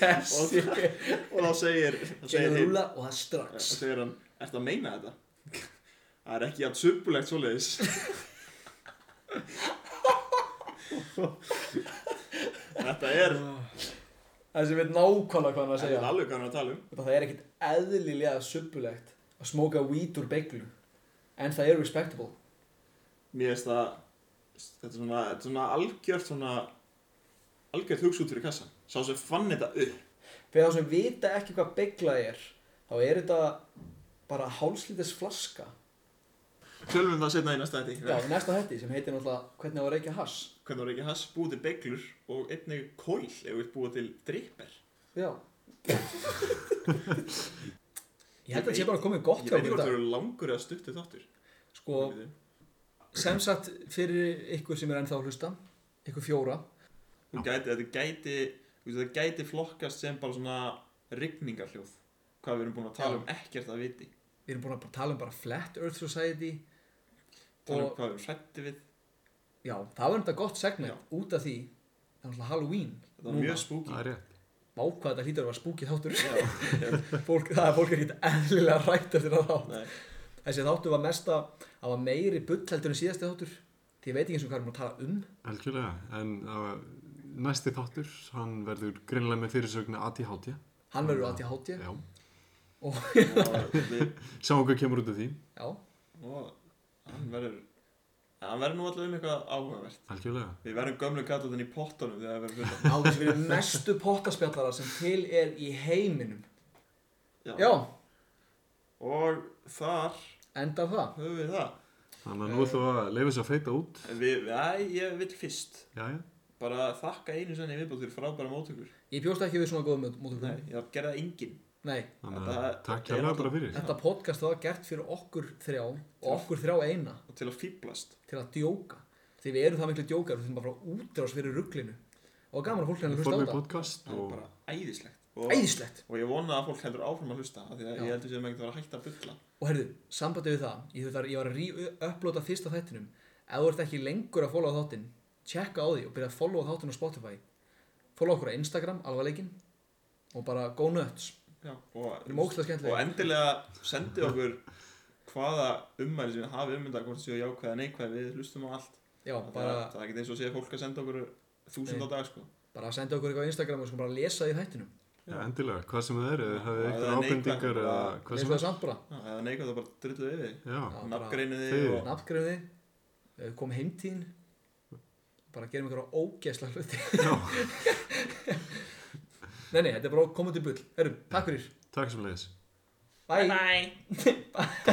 [SPEAKER 3] Þessi.
[SPEAKER 2] Og þá segir þá segir
[SPEAKER 3] Segir
[SPEAKER 2] hinn-
[SPEAKER 3] rúla og það
[SPEAKER 2] Já, og
[SPEAKER 3] strax.
[SPEAKER 2] segir Eh, hann, ertu að meina þetta? Það er ekki að söpulegt svoleiðis Þetta er
[SPEAKER 3] Þessi veit nákvæmlega hvað hann er að
[SPEAKER 2] Þetta
[SPEAKER 3] segja.
[SPEAKER 2] er alveg hvað hann er að tala um
[SPEAKER 3] Þetta- það er ekkert eðlilega subbulegt að smóka weed úr beiglu en það er respectable
[SPEAKER 2] Mér finnst það Þetta er svona, þetta er svona algjört svona Algjört hugsútur í kassan Sá sem fann þetta upp
[SPEAKER 3] fyrir þá sem vita ekki hvað beigla er þá er þetta bara hálslítis flaska
[SPEAKER 2] Tölum um það setna í næsta þetta
[SPEAKER 3] já, í næsta hætti sem heitir náttúrulega hvernig á að reykja hass
[SPEAKER 2] Hvernig voru ekki hans búið til beglur Og einnig kól ef við búið til dripper
[SPEAKER 3] já ég held að þetta sé
[SPEAKER 2] veit-
[SPEAKER 3] bara komið gott
[SPEAKER 2] Ég
[SPEAKER 3] hjá
[SPEAKER 2] veit
[SPEAKER 3] okkur í
[SPEAKER 2] ekki hvort það
[SPEAKER 3] dag
[SPEAKER 2] eru langur eða stuttu þáttur
[SPEAKER 3] sko, sem sagt fyrir ykkur sem er ennþá að hlusta ykkur fjóra
[SPEAKER 2] Þú gæti, þetta gæti, þú veist, þetta gæti flokkast sem bara svona rigningarhljóð. Hvað við erum búin að tala um ekkert að viti.
[SPEAKER 3] Við erum búin að tala um bara Flat Earth Society
[SPEAKER 2] Tala um
[SPEAKER 3] Og-
[SPEAKER 2] hvað við erum hrætti við.
[SPEAKER 3] Já, það var þetta gott segment út af því Það er náttúrulega Halloween
[SPEAKER 2] Þetta var mjög spooky.
[SPEAKER 4] það er rétt.
[SPEAKER 3] Vá hvað þetta hlýtur að vera spúkið þáttur
[SPEAKER 2] Já,
[SPEAKER 3] fólk, Það er fólk er ekkert eðlilega rætt eftir það þátt
[SPEAKER 2] Nei.
[SPEAKER 3] Þessi þáttur var mesta Það var meiri bull heldur en síðasti þáttur Því ég veit ekki eins og hvað erum að tala um
[SPEAKER 4] Algjörlega, en uh, næsti þáttur, hann verður greinilega með fyrirsögnu ADHD.
[SPEAKER 3] Hann verður aðtíð hátja
[SPEAKER 4] Já,
[SPEAKER 3] og,
[SPEAKER 2] og við,
[SPEAKER 4] sjáum hvað kemur út af því.
[SPEAKER 3] Já,
[SPEAKER 2] og hann verður, ja, hann verður nú alltaf um eitthvað áhugavert.
[SPEAKER 4] Algjörlega.
[SPEAKER 2] Við verðum gömlu kallatinn í pottunum þegar það verður fullt.
[SPEAKER 3] á þess við erum mestu pottaspjallara sem til er í heiminum
[SPEAKER 2] Já.
[SPEAKER 3] Já,
[SPEAKER 2] Og þar
[SPEAKER 3] enda það
[SPEAKER 2] höfum við það.
[SPEAKER 4] Þannig að nú ætlum við að leifa þess að feita út.
[SPEAKER 2] En Við, já, ég vil fyrst
[SPEAKER 4] Jæja,
[SPEAKER 2] bara þakka einu senni viðbútt fyrir frábæra móttökur.
[SPEAKER 3] Ég bjóst ekki við svona góðum mótökum
[SPEAKER 2] Nei, ég gerði það enginn.
[SPEAKER 3] Nei,
[SPEAKER 4] þannig að
[SPEAKER 2] Þetta-
[SPEAKER 4] takk
[SPEAKER 2] þetta er
[SPEAKER 4] hérlega
[SPEAKER 2] alltaf-
[SPEAKER 4] bara fyrir.
[SPEAKER 3] þetta podcast var gert fyrir okkur þrjá og okkur þrjá eina
[SPEAKER 2] Og til að fýblast.
[SPEAKER 3] til að djóka því við erum það miklu djókar við þurfum bara að fara útrás fyrir rugglinu og gaman að fólk hérna hlusta á
[SPEAKER 4] Formið
[SPEAKER 3] þetta
[SPEAKER 4] podcast
[SPEAKER 2] Það
[SPEAKER 4] og
[SPEAKER 2] er bara æðislegt. Og,
[SPEAKER 3] æðislegt
[SPEAKER 2] Og ég vona að fólk heldur áfram að hlusta af því að
[SPEAKER 3] Já.
[SPEAKER 2] ég heldur sem ekkert að vera hægt að bulla.
[SPEAKER 3] og herðu, sambandi við það ég, þar, ég var að re-uploada fyrsta þættinum ef þú ert ekki lengur að followa þáttinn checka á því og byrja að followa þáttinn á Spotify followa okkur á Instagram, alvarleikin og bara go nuts
[SPEAKER 2] Já. Og,
[SPEAKER 3] Við erum ógeðslega skemmtilegir.
[SPEAKER 2] og endilega sendið okkur hvaða ummæli sem við hafið ummynda hvort séu jákvæða neikvæða við hlustum á allt.
[SPEAKER 3] já,
[SPEAKER 2] Af því að
[SPEAKER 3] bara,
[SPEAKER 2] Það er ekki eins og sé fólk að senda okkur þúsund á dag sko.
[SPEAKER 3] bara senda okkur eitthvað á Instagram og sko bara lesa því þættinum
[SPEAKER 4] já, endilega, hvað sem það er, eða hafið
[SPEAKER 2] Já,
[SPEAKER 4] eitthvað
[SPEAKER 2] eða neikvætt,
[SPEAKER 4] ábendingar eða
[SPEAKER 2] bara-
[SPEAKER 4] hvað
[SPEAKER 3] lesa
[SPEAKER 4] sem
[SPEAKER 3] það
[SPEAKER 4] er.
[SPEAKER 3] samt bara
[SPEAKER 2] Já, Eða neikvæða það bara drullu yfir.
[SPEAKER 4] Já,
[SPEAKER 3] Já, bara-
[SPEAKER 2] Nafngreinu þig
[SPEAKER 4] Þegið.
[SPEAKER 2] og
[SPEAKER 3] nafngrefi þau eh, kom heimtíðin bara gerum einhverja ógeðsla hluti
[SPEAKER 4] Já.
[SPEAKER 3] nei, nei, þetta er bara komandi bull Herum, takk fyrir,
[SPEAKER 4] takk sem leiðis.
[SPEAKER 3] bye, bye.